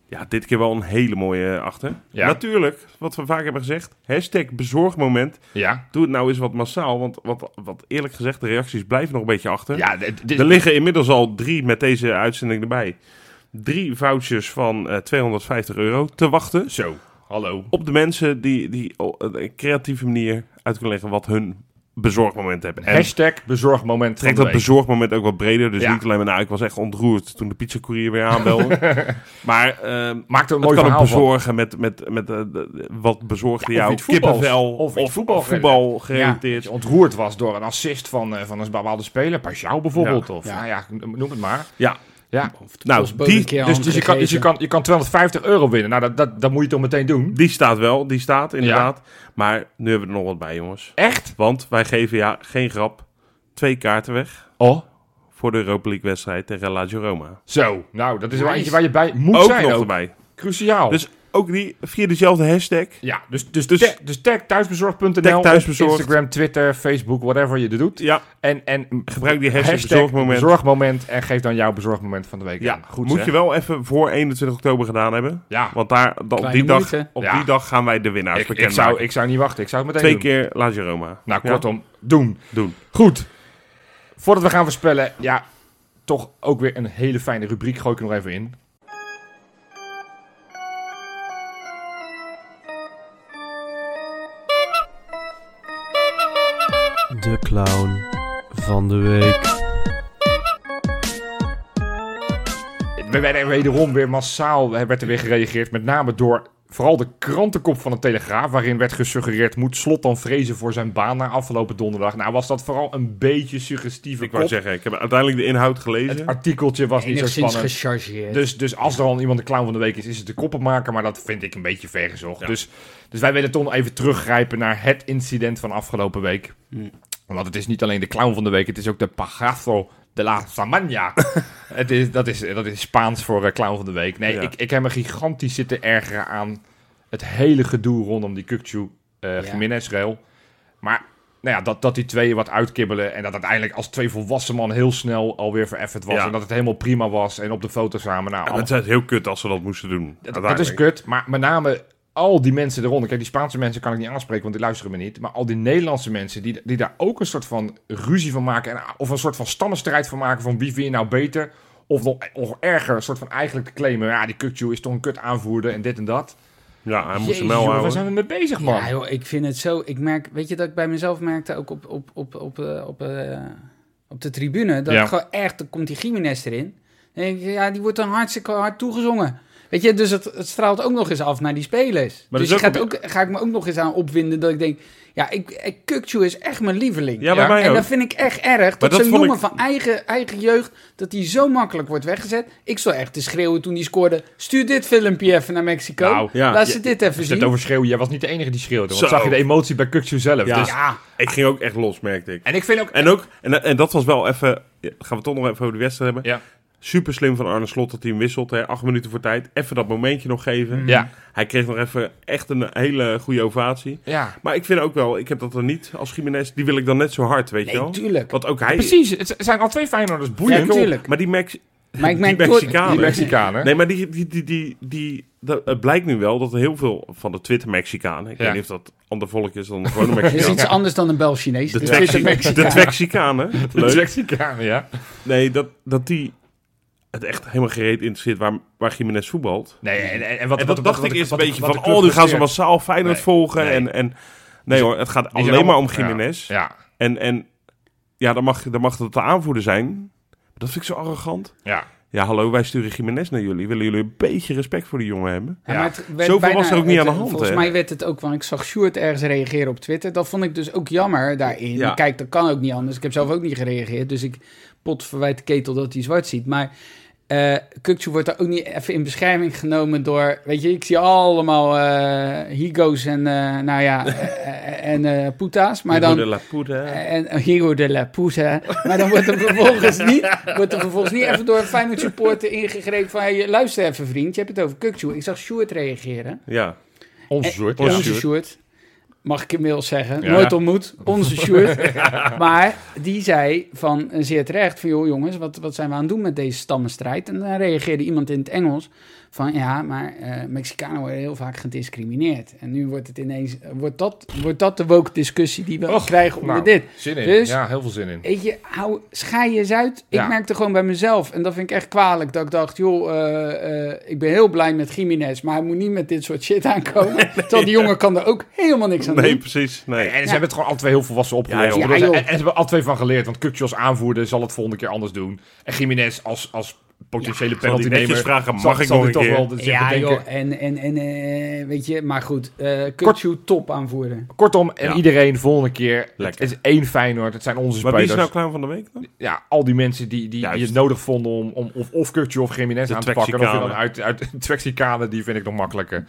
Speaker 3: Ja, dit keer wel een hele mooie achter.
Speaker 2: Ja.
Speaker 3: Natuurlijk, wat we vaak hebben gezegd. Hashtag bezorgmoment.
Speaker 2: Ja,
Speaker 3: Doe het nou eens wat massaal. Want wat, wat eerlijk gezegd, de reacties blijven nog een beetje achter.
Speaker 2: ja dit, dit-
Speaker 3: Er liggen inmiddels al drie met deze uitzending erbij. Drie vouchers van eh, 250 euro te wachten
Speaker 2: zo. Hallo.
Speaker 3: op de mensen die, die op een creatieve manier uit kunnen leggen wat hun bezorgmoment hebben. En
Speaker 2: Hashtag bezorgmoment van
Speaker 3: trek
Speaker 2: de
Speaker 3: dat
Speaker 2: week.
Speaker 3: bezorgmoment ook wat breder. Dus
Speaker 2: Ja.
Speaker 3: niet alleen maar, nou, ik was echt ontroerd toen de pizzacourier weer aanbelde. maar ehm
Speaker 2: Maakt er
Speaker 3: het
Speaker 2: een mooi
Speaker 3: kan ook
Speaker 2: verhaal van.
Speaker 3: bezorgen met, met, met eh, de- de- wat bezorgde
Speaker 2: Ja, of
Speaker 3: jou.
Speaker 2: iets voetbals.
Speaker 3: Kippenvel
Speaker 2: Of iets voetbal
Speaker 3: voetbal
Speaker 2: Dat
Speaker 3: gerelateerd.
Speaker 2: je ontroerd was door een assist van, eh, van een bepaalde speler. Pajou bijvoorbeeld. Of,
Speaker 4: Ja.
Speaker 2: Nou ja, noem het maar.
Speaker 3: Ja.
Speaker 2: Ja.
Speaker 3: Nou, die,
Speaker 2: Dus, dus, je, kan, dus je, kan, je kan 250 euro winnen. Nou, dat, dat, dat moet je toch meteen doen?
Speaker 3: die staat wel, die staat inderdaad. Maar nu hebben we er nog wat bij, jongens.
Speaker 2: Echt?
Speaker 3: Want wij geven, ja, geen grap, twee kaarten weg
Speaker 2: Oh.
Speaker 3: voor de Europa League wedstrijd tegen Lazio Roma.
Speaker 2: Zo. Nou, dat is wel
Speaker 4: Nice.
Speaker 2: eentje waar je bij moet
Speaker 3: ook
Speaker 2: zijn
Speaker 3: nog
Speaker 2: ook.
Speaker 3: erbij.
Speaker 2: Cruciaal.
Speaker 3: Dus ook die via dezelfde hashtag.
Speaker 2: Ja, dus, dus,
Speaker 3: Dus-
Speaker 2: dus, tag, dus tag thuisbezorgd.nl,
Speaker 3: Tag thuisbezorgd.
Speaker 2: op Instagram, Twitter, Facebook, whatever je er doet.
Speaker 3: Ja,
Speaker 2: En, en
Speaker 3: gebruik die hashtag, bezorgmoment.
Speaker 2: bezorgmoment en geef dan jouw bezorgmoment van de week
Speaker 3: ja,
Speaker 2: aan. Goed
Speaker 3: moet
Speaker 2: zeg.
Speaker 3: je wel even voor 21 oktober gedaan hebben.
Speaker 2: Ja,
Speaker 3: Want daar, dan op,
Speaker 4: Kleine
Speaker 3: die dag,
Speaker 4: moeite.
Speaker 3: op
Speaker 2: Ja.
Speaker 3: die dag gaan wij de winnaars
Speaker 2: ik, ik,
Speaker 3: bekendmaken.
Speaker 2: zou, ik zou niet wachten. Ik zou het meteen
Speaker 3: Twee
Speaker 2: doen.
Speaker 3: keer Lazio Roma.
Speaker 2: Nou,
Speaker 3: Ja?
Speaker 2: kortom, doen.
Speaker 3: Doen.
Speaker 2: Goed. Voordat we gaan voorspellen, ja, toch ook weer een hele fijne rubriek. Gooi ik er nog even in.
Speaker 5: De clown van de week.
Speaker 2: We werden wederom weer massaal eh, werd er weer gereageerd. Met name door vooral de krantenkop van de Telegraaf. Waarin werd gesuggereerd: moet slot dan vrezen voor zijn baan na afgelopen donderdag? Nou, was dat vooral een beetje suggestieve
Speaker 3: Ik
Speaker 2: kop.
Speaker 3: wou zeggen, ik heb uiteindelijk de inhoud gelezen.
Speaker 2: Het artikeltje was niet zo
Speaker 4: Enigszins
Speaker 2: spannend.
Speaker 4: gechargeerd.
Speaker 2: Dus, dus als er al iemand de clown van de week is, is het de koppenmaker. Maar dat vind ik een beetje vergezocht. Dus, dus wij willen toch nog even teruggrijpen naar het incident van afgelopen week.
Speaker 3: Hm.
Speaker 4: Hmm.
Speaker 2: Want het is niet alleen de clown van de week, het is ook de pagazo de la Samania. het is, dat, is, dat is Spaans voor eh, clown van de week. Nee,
Speaker 3: Ja.
Speaker 2: ik, ik heb me gigantisch zitten ergeren aan het hele gedoe rondom die Kukchu
Speaker 4: Ja.
Speaker 2: eh Jiménez-rail. Maar nou ja, dat, dat die twee wat uitkibbelen en dat uiteindelijk als twee volwassen man heel snel alweer vereffend was.
Speaker 3: Ja.
Speaker 2: En dat het helemaal prima was en op de foto samen. Nou,
Speaker 3: Ja, maar
Speaker 2: allemaal-
Speaker 3: het is heel kut als ze dat moesten doen.
Speaker 2: dat, dat is kut, maar met name al die mensen eronder. Kijk, die Spaanse mensen kan ik niet aanspreken, want die luisteren me niet. Maar al die Nederlandse mensen die, die daar ook een soort van ruzie van maken. En, of een soort van stammenstrijd van maken van wie vind je nou beter. Of nog, nog erger, een soort van eigenlijk te claimen. Ja, die Kukju is toch een kut aanvoerder en dit en dat.
Speaker 3: Ja, hij moest
Speaker 2: Jezus,
Speaker 3: hem wel
Speaker 2: joh, waar
Speaker 3: houden.
Speaker 2: zijn we mee bezig, man?
Speaker 4: Ja, joh, ik vind het zo. Ik merk, weet je dat ik bij mezelf merkte ook op, op, op, op, eh, op, eh, op de tribune. Dat
Speaker 2: Ja.
Speaker 4: ik gewoon echt, dan komt die Jiménez erin. En ik, ja, die wordt dan hartstikke hard toegezongen. Weet je, dus het, het straalt ook nog eens af naar die spelers.
Speaker 3: dat
Speaker 4: dus
Speaker 3: is
Speaker 4: je
Speaker 3: ook
Speaker 4: gaat
Speaker 3: een
Speaker 4: ook, ga ik me ook nog eens aan opwinden dat ik denk... Ja, ik, ik, Kukçu is echt mijn lieveling.
Speaker 3: Ja, bij
Speaker 2: Ja,
Speaker 3: mij
Speaker 4: en
Speaker 3: ook.
Speaker 4: dat vind ik echt erg. Dat
Speaker 3: dat
Speaker 4: zo'n
Speaker 3: vond
Speaker 4: jongen
Speaker 3: ik-
Speaker 4: van eigen, eigen jeugd, dat hij zo makkelijk wordt weggezet. Ik stond echt te schreeuwen toen hij scoorde. Stuur dit filmpje even naar Mexico.
Speaker 2: Nou,
Speaker 3: ja.
Speaker 4: Laat ze dit even
Speaker 2: Als je
Speaker 4: zien.
Speaker 2: het over schreeuwen, jij was niet de enige die schreeuwde. Want
Speaker 3: dus Zo.
Speaker 2: zag je de emotie bij Kukju zelf.
Speaker 3: Ja.
Speaker 2: Dus,
Speaker 4: Ja,
Speaker 3: Ik ging ook echt los, merkte ik.
Speaker 2: en ik vind ook...
Speaker 3: En ook, en, en dat was wel even, ja, gaan we toch nog even over de wedstrijd hebben.
Speaker 2: Ja.
Speaker 3: Super slim van Arne Slot dat hij hem wisselt. Hè. Acht minuten voor tijd. Even dat momentje nog geven.
Speaker 2: Ja.
Speaker 3: Hij kreeg nog even echt een hele goede ovatie.
Speaker 2: ja.
Speaker 3: Maar ik vind ook wel, ik heb dat er niet als Jiménez. Die wil ik dan net zo hard, weet je
Speaker 4: nee,
Speaker 3: wel.
Speaker 4: tuurlijk.
Speaker 3: Want ook hij...
Speaker 2: Precies, het zijn al twee Feyenoorders.
Speaker 4: Ja,
Speaker 2: Boeiend.
Speaker 4: tuurlijk.
Speaker 3: Maar die, Mex,
Speaker 4: Maar ik
Speaker 3: die
Speaker 4: merk toch-
Speaker 3: Mexicanen.
Speaker 2: die Mexicanen.
Speaker 3: Nee, maar die, die, die, die, die, dat- het blijkt nu wel dat er heel veel van de Twitter-Mexicanen... Ik
Speaker 2: Ja.
Speaker 3: weet niet of dat ander volk is dan de gewone
Speaker 4: Dat is iets
Speaker 3: Mexicanen.
Speaker 4: anders dan een Bel-Chinees.
Speaker 3: De
Speaker 4: Dus het is een
Speaker 3: Twexi- De
Speaker 4: Mexicaan.
Speaker 3: Twexicanen.
Speaker 2: De
Speaker 3: Leuk.
Speaker 2: Mexicanen, ja.
Speaker 3: Nee, dat, dat die het echt helemaal gereed interesseert waar, waar Jiménez voetbalt.
Speaker 2: Nee, en, en, en wat,
Speaker 3: en dat
Speaker 2: wat, wat-
Speaker 3: dacht
Speaker 2: wat-
Speaker 3: ik eerst
Speaker 2: wat-
Speaker 3: een beetje
Speaker 2: wat de
Speaker 3: van...
Speaker 2: club
Speaker 3: Oh, nu gaan ze
Speaker 2: presteert.
Speaker 3: massaal Feyenoord
Speaker 2: Nee,
Speaker 3: volgen.
Speaker 2: nee.
Speaker 3: En, en, nee hoor, het gaat
Speaker 2: Die zijn
Speaker 3: alleen maar om
Speaker 2: allemaal- ja,
Speaker 3: Jiménez.
Speaker 2: Ja,
Speaker 3: En, en ja, dan mag, dan mag dat de aanvoerder zijn. Dat vind ik zo arrogant.
Speaker 2: ja.
Speaker 3: Ja, hallo, wij sturen Jiménez naar jullie. Willen jullie een beetje respect voor die jongen hebben?
Speaker 4: Ja,
Speaker 2: Ja.
Speaker 4: maar het werd
Speaker 3: Zoveel was er ook niet
Speaker 4: het-
Speaker 3: aan de hand,
Speaker 4: Volgens
Speaker 3: hè?
Speaker 4: mij werd het ook, want ik zag Sjoerd ergens reageren op Twitter. Dat vond ik dus ook jammer daarin.
Speaker 3: Ja.
Speaker 4: Kijk, dat kan ook niet anders. Ik heb zelf ook niet gereageerd. Dus ik pot verwijt de ketel dat hij zwart ziet. Maar eh Kukçu wordt daar ook niet even in bescherming genomen door... Weet je, ik zie allemaal eh higo's en, eh, nou ja, eh, en eh poeta's. Maar dan... Eh,
Speaker 3: Hugo de la Poeder.
Speaker 4: En Hero de la Pouza. Maar dan wordt er vervolgens niet, wordt er vervolgens niet even door een Feyenoord supporter ingegrepen van... Hey, luister even vriend, je hebt het over Kukçu. Ik zag Sjoerd reageren.
Speaker 3: Ja.
Speaker 2: Onze
Speaker 4: Eh,
Speaker 2: soort,
Speaker 3: onze
Speaker 2: ja.
Speaker 4: Onze Sjoerd. Mag ik inmiddels zeggen.
Speaker 2: Oh, Ja.
Speaker 4: Nooit ontmoet. Onze Sjoerd. Maar die zei van eh, zeer terecht van... joh jongens, wat, wat zijn we aan het doen met deze stammenstrijd? En dan reageerde iemand in het Engels van... ja, maar eh, Mexicanen worden heel vaak gediscrimineerd. En nu wordt het ineens... wordt, dat, wordt dat de woke discussie die we
Speaker 2: Och,
Speaker 4: krijgen onder
Speaker 2: nou,
Speaker 4: dit?
Speaker 2: Zin in.
Speaker 4: Dus-
Speaker 2: ja, heel veel zin in.
Speaker 4: Weet je, hou, schei je eens uit. Ik
Speaker 2: Ja.
Speaker 4: merkte gewoon bij mezelf, en dat vind ik echt kwalijk, dat ik dacht, joh, eh, eh, ik ben heel blij met Jiménez, maar hij moet niet met dit soort shit aankomen. Terwijl die jongen kan er ook helemaal niks aan
Speaker 3: Nee,
Speaker 4: doen.
Speaker 3: precies.
Speaker 2: En
Speaker 3: Nee.
Speaker 2: ze hebben het gewoon al twee heel volwassen opgelost.
Speaker 3: joh.
Speaker 2: Ik bedoel,
Speaker 4: Ja, joh.
Speaker 2: En, en ze hebben al twee van geleerd. Want Kukje als aanvoerder zal het volgende keer anders doen. En Jiménez als, als potentiële
Speaker 3: Zal die netjes
Speaker 2: penaltynemer...
Speaker 3: vragen,
Speaker 2: zal-
Speaker 3: mag ik
Speaker 2: zal
Speaker 3: nog
Speaker 2: die
Speaker 3: een
Speaker 2: toch
Speaker 3: keer?
Speaker 2: wel zich
Speaker 4: Ja,
Speaker 2: bedenken.
Speaker 4: joh, en, en, en eh, weet je, maar goed, eh Kutsu top aanvoeren.
Speaker 2: Kortom, en
Speaker 3: Ja.
Speaker 2: iedereen volgende keer.
Speaker 3: Lekker.
Speaker 2: Het is één Feyenoord. Het zijn onze
Speaker 3: Maar wie
Speaker 2: spelers.
Speaker 3: is nou klaar van de week dan?
Speaker 2: ja, al die mensen die, die, die
Speaker 3: Juist.
Speaker 2: het nodig vonden om, om of, of Kukje of Jiménez
Speaker 3: De
Speaker 2: aan te pakken. Of je dan
Speaker 3: Twexicanen.
Speaker 2: uit, uit Twexicanen, die vind ik nog makkelijker.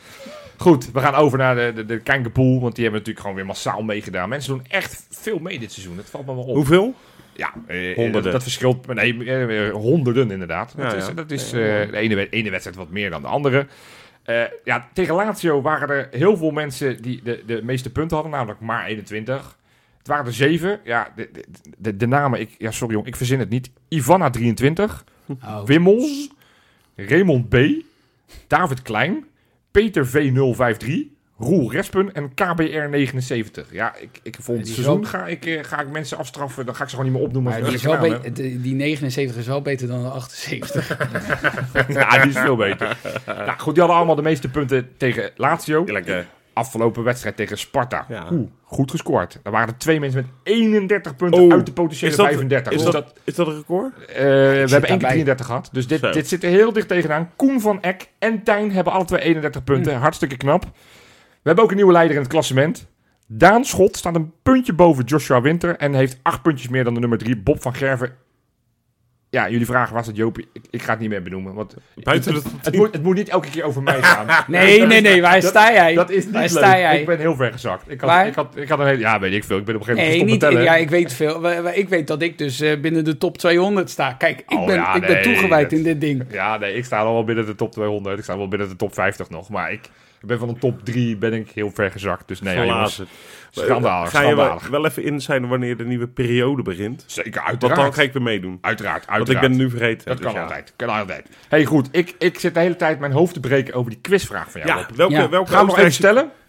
Speaker 2: Goed, we gaan over naar de, de, de Kankerpool, want die hebben natuurlijk gewoon weer massaal meegedaan. Mensen doen echt veel mee dit seizoen, dat valt me wel op.
Speaker 3: Hoeveel?
Speaker 2: Ja, eh,
Speaker 3: Honderden.
Speaker 2: Dat, dat verschilt, nee, eh, eh, honderden inderdaad.
Speaker 3: Ja,
Speaker 2: dat is,
Speaker 3: ja.
Speaker 2: dat is eh, de ene, wed- ene wedstrijd wat meer dan de andere. Eh, ja, tegen Lazio waren er heel veel mensen die de, de meeste punten hadden, namelijk maar 21. Het waren er zeven. Ja, de, de, de, de namen, ik, ja, sorry jong, ik verzin het niet. Ivana 23,
Speaker 4: Oh.
Speaker 2: Wimmels, Raymond B, David Klein, Peter V053, Roel Respen en KBR79. Ja, ik, ik vond het
Speaker 4: Die
Speaker 2: seizoen
Speaker 4: is
Speaker 2: ga ik, eh, ga ik mensen afstraffen, dan ga ik ze gewoon niet meer opnoemen.
Speaker 4: Maar
Speaker 2: als
Speaker 4: die, is
Speaker 2: ik
Speaker 4: wel
Speaker 2: naam heb.
Speaker 4: be- de- die 79 is wel beter dan de 78.
Speaker 2: Ja, die is veel beter. nou, goed, die hadden allemaal de meeste punten tegen Lazio.
Speaker 3: Lekker.
Speaker 2: Afgelopen wedstrijd tegen Sparta.
Speaker 3: Ja.
Speaker 2: Oeh, goed gescoord. Daar waren er twee mensen met 31 punten
Speaker 3: Oh,
Speaker 2: uit de potentiële
Speaker 3: is dat-
Speaker 2: 35.
Speaker 3: Is
Speaker 2: Dus
Speaker 3: dat, is dat een record?
Speaker 2: eh, we hebben één keer
Speaker 4: daarbij.
Speaker 2: 33 gehad. Dus dit,
Speaker 3: Zo.
Speaker 2: dit zit er heel dicht tegenaan. Koen van Eck en Tijn hebben alle twee 31 punten.
Speaker 4: Mm.
Speaker 2: Hartstikke knap. We hebben ook een nieuwe leider in het klassement. Daan Schot staat een puntje boven Joshua Winter. En heeft acht puntjes meer dan de nummer drie, Bob van Gerven. Ja, jullie vragen was het Jopie. Ik, ik ga het niet meer benoemen. Want
Speaker 3: Buiten
Speaker 2: het,
Speaker 3: de
Speaker 2: het moet, het moet niet elke keer over mij gaan.
Speaker 4: Nee, nee, nee. Waar sta jij?
Speaker 2: Dat is niet
Speaker 4: Waar
Speaker 2: leuk.
Speaker 4: sta jij?
Speaker 2: Ik ben heel ver gezakt. Ik had,
Speaker 4: Waar?
Speaker 2: ik had, ik had een hele... Ja, weet ik veel. Ik ben op een gegeven
Speaker 4: Nee,
Speaker 2: moment
Speaker 4: niet,
Speaker 2: gestopt met
Speaker 4: ja,
Speaker 2: tellen.
Speaker 4: ik weet veel. We- we- Ik weet dat ik dus eh, binnen de top 200 sta. Kijk, ik
Speaker 2: Oh,
Speaker 4: ben,
Speaker 2: ja,
Speaker 4: ik ben
Speaker 2: nee,
Speaker 4: toegewijd
Speaker 2: dat-
Speaker 4: in dit ding.
Speaker 2: Ja, nee, ik sta al wel binnen de top 200. Ik sta wel binnen de top 50 nog. Maar ik, ik ben van de top 3 ben ik heel ver gezakt. Dus nee, ja, jongens,
Speaker 3: Glazen.
Speaker 2: schandalig,
Speaker 3: Ga je wel,
Speaker 2: schandalig.
Speaker 3: wel even in zijn wanneer de nieuwe periode begint?
Speaker 2: Zeker,
Speaker 3: Want
Speaker 2: uiteraard.
Speaker 3: dan ga ik weer meedoen.
Speaker 2: Uiteraard,
Speaker 3: Want
Speaker 2: uiteraard.
Speaker 3: ik ben het nu vergeten.
Speaker 2: Dat
Speaker 3: dus
Speaker 2: kan
Speaker 3: ja.
Speaker 2: altijd, kan altijd. hey, goed, ik, ik zit de hele tijd mijn hoofd te breken over die quizvraag van jou.
Speaker 3: Ja,
Speaker 2: Rob.
Speaker 3: welke,
Speaker 4: Ja.
Speaker 3: welke
Speaker 2: Gaan we nog even
Speaker 3: Oostenrijkse-
Speaker 2: stellen?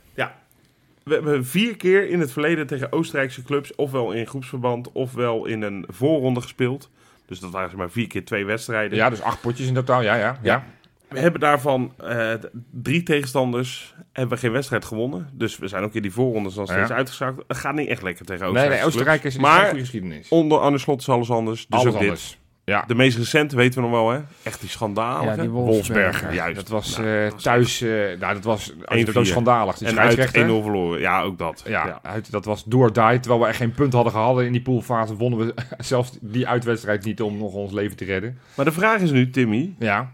Speaker 3: We hebben vier keer in het verleden tegen Oostenrijkse clubs, ofwel in groepsverband, ofwel in een voorronde gespeeld. Dus dat waren zeg maar vier keer twee wedstrijden.
Speaker 2: Ja, dus acht potjes in totaal, ja, ja. ja.
Speaker 3: We hebben daarvan eh, d- drie tegenstanders, hebben we geen wedstrijd gewonnen. Dus we zijn ook in die voorrondes dan steeds
Speaker 2: Ja.
Speaker 3: uitgeschakeld. Het gaat niet echt lekker tegen
Speaker 2: nee,
Speaker 3: Oostenrijkse
Speaker 2: nee, Oostenrijk is
Speaker 3: clubs.
Speaker 2: is geen
Speaker 3: Maar
Speaker 2: goede geschiedenis.
Speaker 3: onder Arne Slot is alles anders. Dus
Speaker 2: Alles
Speaker 3: ook dit.
Speaker 2: anders. Ja.
Speaker 3: De meest recente weten we nog wel, hè? Echt die schandalen.
Speaker 2: Wolfsberger, juist. Dat was eh, thuis, eh, nou, dat was dat was schandalig. Die
Speaker 3: en uit 1-0
Speaker 2: scheidsrechter.
Speaker 3: verloren. Ja, ook dat.
Speaker 2: Ja,
Speaker 3: Ja.
Speaker 2: Uit, dat was door die. Terwijl we echt geen punt hadden gehad in die poolfase, wonnen we zelfs die uitwedstrijd niet om nog ons leven te redden.
Speaker 3: Maar de vraag is nu, Timmy,
Speaker 2: Ja,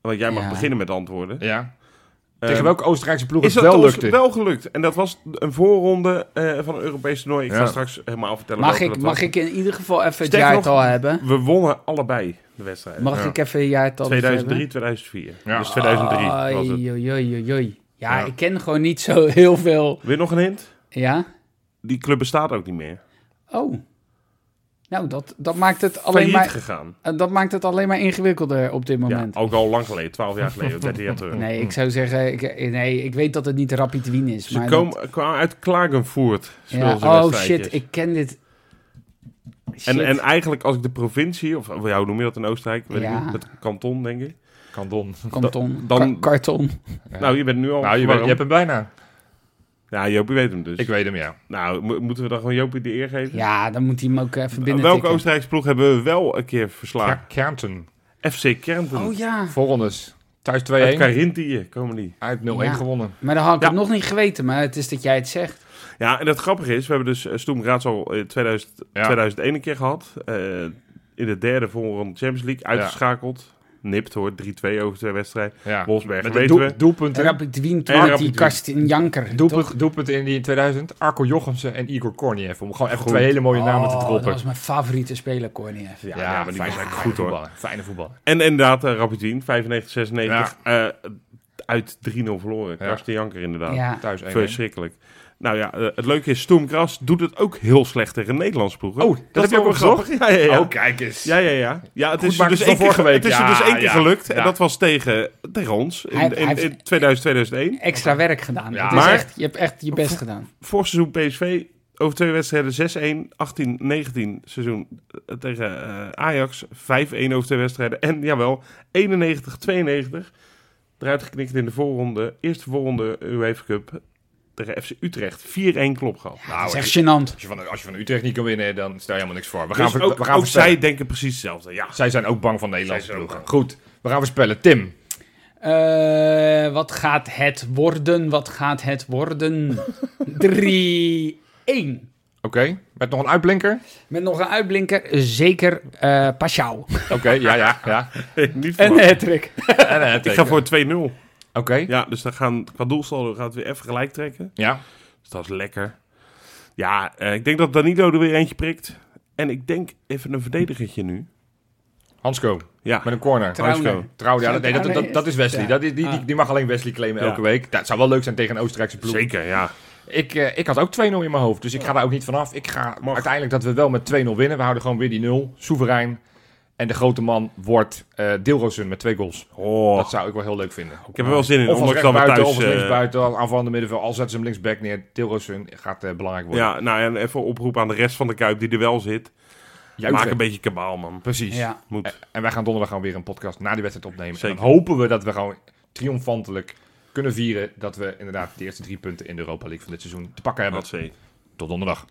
Speaker 3: want jij mag
Speaker 4: Ja.
Speaker 3: beginnen met antwoorden.
Speaker 2: ja.
Speaker 3: Ehm,
Speaker 2: Tegen welke Oostenrijkse ploeg
Speaker 3: is
Speaker 2: het
Speaker 3: dat
Speaker 2: wel
Speaker 3: ons
Speaker 2: lukte?
Speaker 3: wel gelukt. En dat was een voorronde eh, van een Europees toernooi. Ik ga
Speaker 2: Ja.
Speaker 3: straks helemaal vertellen
Speaker 4: Mag
Speaker 3: welke
Speaker 4: ik,
Speaker 3: dat
Speaker 4: mag
Speaker 3: was.
Speaker 4: ik in ieder geval even het
Speaker 3: Sterker nog-
Speaker 4: jaartal hebben?
Speaker 3: We wonnen allebei de wedstrijd.
Speaker 4: Mag
Speaker 2: Ja.
Speaker 4: ik even een jaartal
Speaker 3: 2003, 2004.
Speaker 2: Ja.
Speaker 3: Dus 2003 was het.
Speaker 4: het. Ja,
Speaker 2: Ja.
Speaker 4: ik ken gewoon niet zo heel veel.
Speaker 3: Weer nog een hint?
Speaker 4: Ja?
Speaker 3: Die club bestaat ook niet meer.
Speaker 4: Oh. Nou, dat, dat, maakt het alleen
Speaker 3: Alleen
Speaker 4: maar,
Speaker 3: gegaan.
Speaker 4: eh, dat maakt het alleen maar ingewikkelder op dit
Speaker 3: Ja,
Speaker 4: moment.
Speaker 3: ook al lang geleden. 12 jaar geleden, 13 jaar terug.
Speaker 4: Nee, ik zou zeggen... Ik, nee, ik weet dat het niet Rapid Wien is.
Speaker 3: Ze
Speaker 4: maar
Speaker 3: komen-
Speaker 4: dat-
Speaker 3: kwamen uit Klagenvoort.
Speaker 4: ja,
Speaker 3: speelden ze
Speaker 4: Oh
Speaker 3: wedstrijdjes.
Speaker 4: shit, ik ken dit... Shit.
Speaker 3: En, en eigenlijk als ik de provincie, of hoe noem je dat in Oostenrijk? Weet
Speaker 4: Ja.
Speaker 3: ik niet, het kanton, denk ik.
Speaker 2: Kandon.
Speaker 4: Oh, Kanton.
Speaker 3: dan-
Speaker 4: Ka- karton.
Speaker 2: Ja.
Speaker 3: Nou, je bent nu al...
Speaker 2: Nou, je, weet-
Speaker 3: warm.
Speaker 2: je hebt hem bijna.
Speaker 3: Ja, Jopie weet hem dus.
Speaker 2: Ik weet hem, ja.
Speaker 3: Nou, mo- moeten we dan gewoon Jopie de eer geven?
Speaker 4: Ja, dan moet hij hem ook even binnen
Speaker 3: Welke
Speaker 4: tikken.
Speaker 3: Oostenrijkse ploeg hebben we wel een keer
Speaker 2: ja.
Speaker 3: verslagen?
Speaker 2: Kärnten.
Speaker 3: FC Kärnten.
Speaker 4: Oh ja.
Speaker 2: Voorrondes. Thuis 2-1.
Speaker 3: Uit
Speaker 2: Uit,
Speaker 3: Carinthië komen die.
Speaker 2: 0-1
Speaker 4: Ja.
Speaker 2: gewonnen.
Speaker 4: Maar dan had ik
Speaker 3: Ja.
Speaker 4: het nog niet geweten, maar het is dat jij het zegt.
Speaker 3: Ja, en dat grappige is, we hebben dus eh, Stoem Raads al in 2000,
Speaker 2: Ja.
Speaker 3: 2001 een keer gehad. Eh, in de derde voorronde Champions League uitgeschakeld. Nipt hoor, 3-2 over twee wedstrijden.
Speaker 2: Ja.
Speaker 3: Wolfsberg,
Speaker 2: Met de
Speaker 3: weten
Speaker 2: doel,
Speaker 3: we.
Speaker 2: doelpunten.
Speaker 4: Rapid Wien
Speaker 3: En
Speaker 4: toen met
Speaker 3: Rapid
Speaker 4: die
Speaker 3: Wien.
Speaker 4: Karsten Janker. toch?
Speaker 2: Doelpunt, doelpunten in die 2000. Arco Jochemsen en Igor Korniev. Om gewoon even twee hele mooie namen te
Speaker 4: Oh,
Speaker 2: droppen.
Speaker 4: Dat was mijn favoriete speler, Corniev.
Speaker 3: Ja,
Speaker 2: Ja,
Speaker 3: ja, maar die
Speaker 2: fijne-
Speaker 3: was eigenlijk
Speaker 2: fijne
Speaker 3: goed hoor.
Speaker 2: voetballer. Fijne voetballer.
Speaker 3: En inderdaad, eh, Rapid Wien, 95, 96. eh, uit 3-0 verloren.
Speaker 2: Ja.
Speaker 3: Karsten Janker inderdaad.
Speaker 4: Ja.
Speaker 2: Thuis 1
Speaker 3: Verschrikkelijk. Nou ja, eh, het leuke is, Stoem Gras doet het ook heel slecht tegen Nederlandse ploegen.
Speaker 2: Oh, dat heb
Speaker 3: is
Speaker 2: je
Speaker 3: ook
Speaker 2: ook
Speaker 3: wel
Speaker 2: gezocht?
Speaker 3: Ja, ja, ja.
Speaker 2: Oh, kijk eens.
Speaker 3: Ja, ja, ja. ja het
Speaker 2: Goed
Speaker 3: is je
Speaker 2: maken
Speaker 3: dus
Speaker 2: van
Speaker 3: één keer,
Speaker 2: vorige
Speaker 3: ge-
Speaker 2: week.
Speaker 3: het is je
Speaker 2: Ja,
Speaker 3: dus één keer
Speaker 2: ja.
Speaker 3: gelukt. En
Speaker 2: Ja.
Speaker 3: dat was tegen, tegen ons in,
Speaker 4: Hij-
Speaker 3: in,
Speaker 4: hij-
Speaker 3: in 2000, 2001.
Speaker 4: Extra werk gedaan.
Speaker 2: Ja.
Speaker 4: Het is
Speaker 3: Maar-
Speaker 4: echt, je hebt echt je best gedaan.
Speaker 3: Vorig seizoen PSV, over twee wedstrijden 6-1, 18-19 seizoen eh, tegen eh, Ajax. 5-1 over twee wedstrijden. En jawel, 91-92 eruit geknikt in de voorronde. Eerste voorronde UEFA Cup tegen FC Utrecht. 4-1 klop gehad.
Speaker 4: Het is
Speaker 2: Nou,
Speaker 4: echt gênant.
Speaker 2: Als je, van, als je van Utrecht niet kan winnen, dan stel je helemaal niks voor. We gaan,
Speaker 3: Dus
Speaker 2: ver-
Speaker 3: ook,
Speaker 2: we gaan
Speaker 3: ook
Speaker 2: voorspellen.
Speaker 3: zij denken precies hetzelfde. Ja,
Speaker 2: zij zijn ook bang van Nederlandse
Speaker 3: Zij zijn ook
Speaker 2: ploegen. Goed, we gaan voorspellen. Tim,
Speaker 4: Eh, wat gaat het worden? Wat gaat het worden? 3-1.
Speaker 2: oké? Met nog een uitblinker?
Speaker 4: Met nog een uitblinker, zeker eh Pashao.
Speaker 2: Oké, ja, ja, ja.
Speaker 3: niet
Speaker 4: En
Speaker 3: verwacht.
Speaker 4: een hat
Speaker 2: En, eh,
Speaker 3: Ik
Speaker 2: teken.
Speaker 3: ga voor 2-0.
Speaker 2: Oké,
Speaker 3: Ja, dus dan gaan, qua doelsaldo gaat het weer even gelijk trekken.
Speaker 2: ja.
Speaker 3: Dus dat is lekker. Ja, eh, ik denk dat Danilo er weer eentje prikt. En ik denk even een verdedigertje nu.
Speaker 2: Hansco,
Speaker 3: Ja,
Speaker 2: met een corner.
Speaker 3: Hansko.
Speaker 4: Trouwner.
Speaker 2: Trouw, ja,
Speaker 4: Zou
Speaker 2: dat,
Speaker 4: het
Speaker 2: nee, dat, dat,
Speaker 4: Trouwner
Speaker 2: dat is Wesley.
Speaker 4: Ja.
Speaker 2: Dat, die, die,
Speaker 4: Ah.
Speaker 2: die, die mag alleen Wesley claimen
Speaker 3: Ja.
Speaker 2: elke week. Dat zou wel leuk zijn tegen een Oostenrijkse ploeg.
Speaker 3: zeker, ja.
Speaker 2: Ik, eh, ik had ook 2-0 in mijn hoofd, dus ik ga daar ook niet vanaf. Ik ga
Speaker 3: Mag.
Speaker 2: uiteindelijk dat we wel met 2-0 winnen. We houden gewoon weer die 0, soeverein. En de grote man wordt eh Deelrozen met twee goals.
Speaker 3: Oh,
Speaker 2: Dat zou ik wel heel leuk vinden.
Speaker 3: ik heb er wel zin in.
Speaker 2: Of als
Speaker 3: Ondanks dat we
Speaker 2: rechtsbuiten,
Speaker 3: thuis...
Speaker 2: of als
Speaker 3: eh,
Speaker 2: linksbuiten, als aanvallende middenveld. Al zetten ze hem linksback neer. Tilrosun gaat eh, belangrijk worden.
Speaker 3: ja, nou en even oproep aan de rest van de Kuip die er wel zit.
Speaker 2: Juichen.
Speaker 3: Maak een beetje kabaal, man.
Speaker 2: Precies.
Speaker 4: Ja.
Speaker 3: Moet.
Speaker 2: En wij gaan donderdag gewoon weer een podcast na die wedstrijd opnemen.
Speaker 3: Zeker.
Speaker 2: En dan hopen we dat we gewoon triomfantelijk kunnen vieren dat we inderdaad de eerste drie punten in de Europa League van dit seizoen te pakken hebben.
Speaker 3: Dat zee.
Speaker 2: Tot donderdag.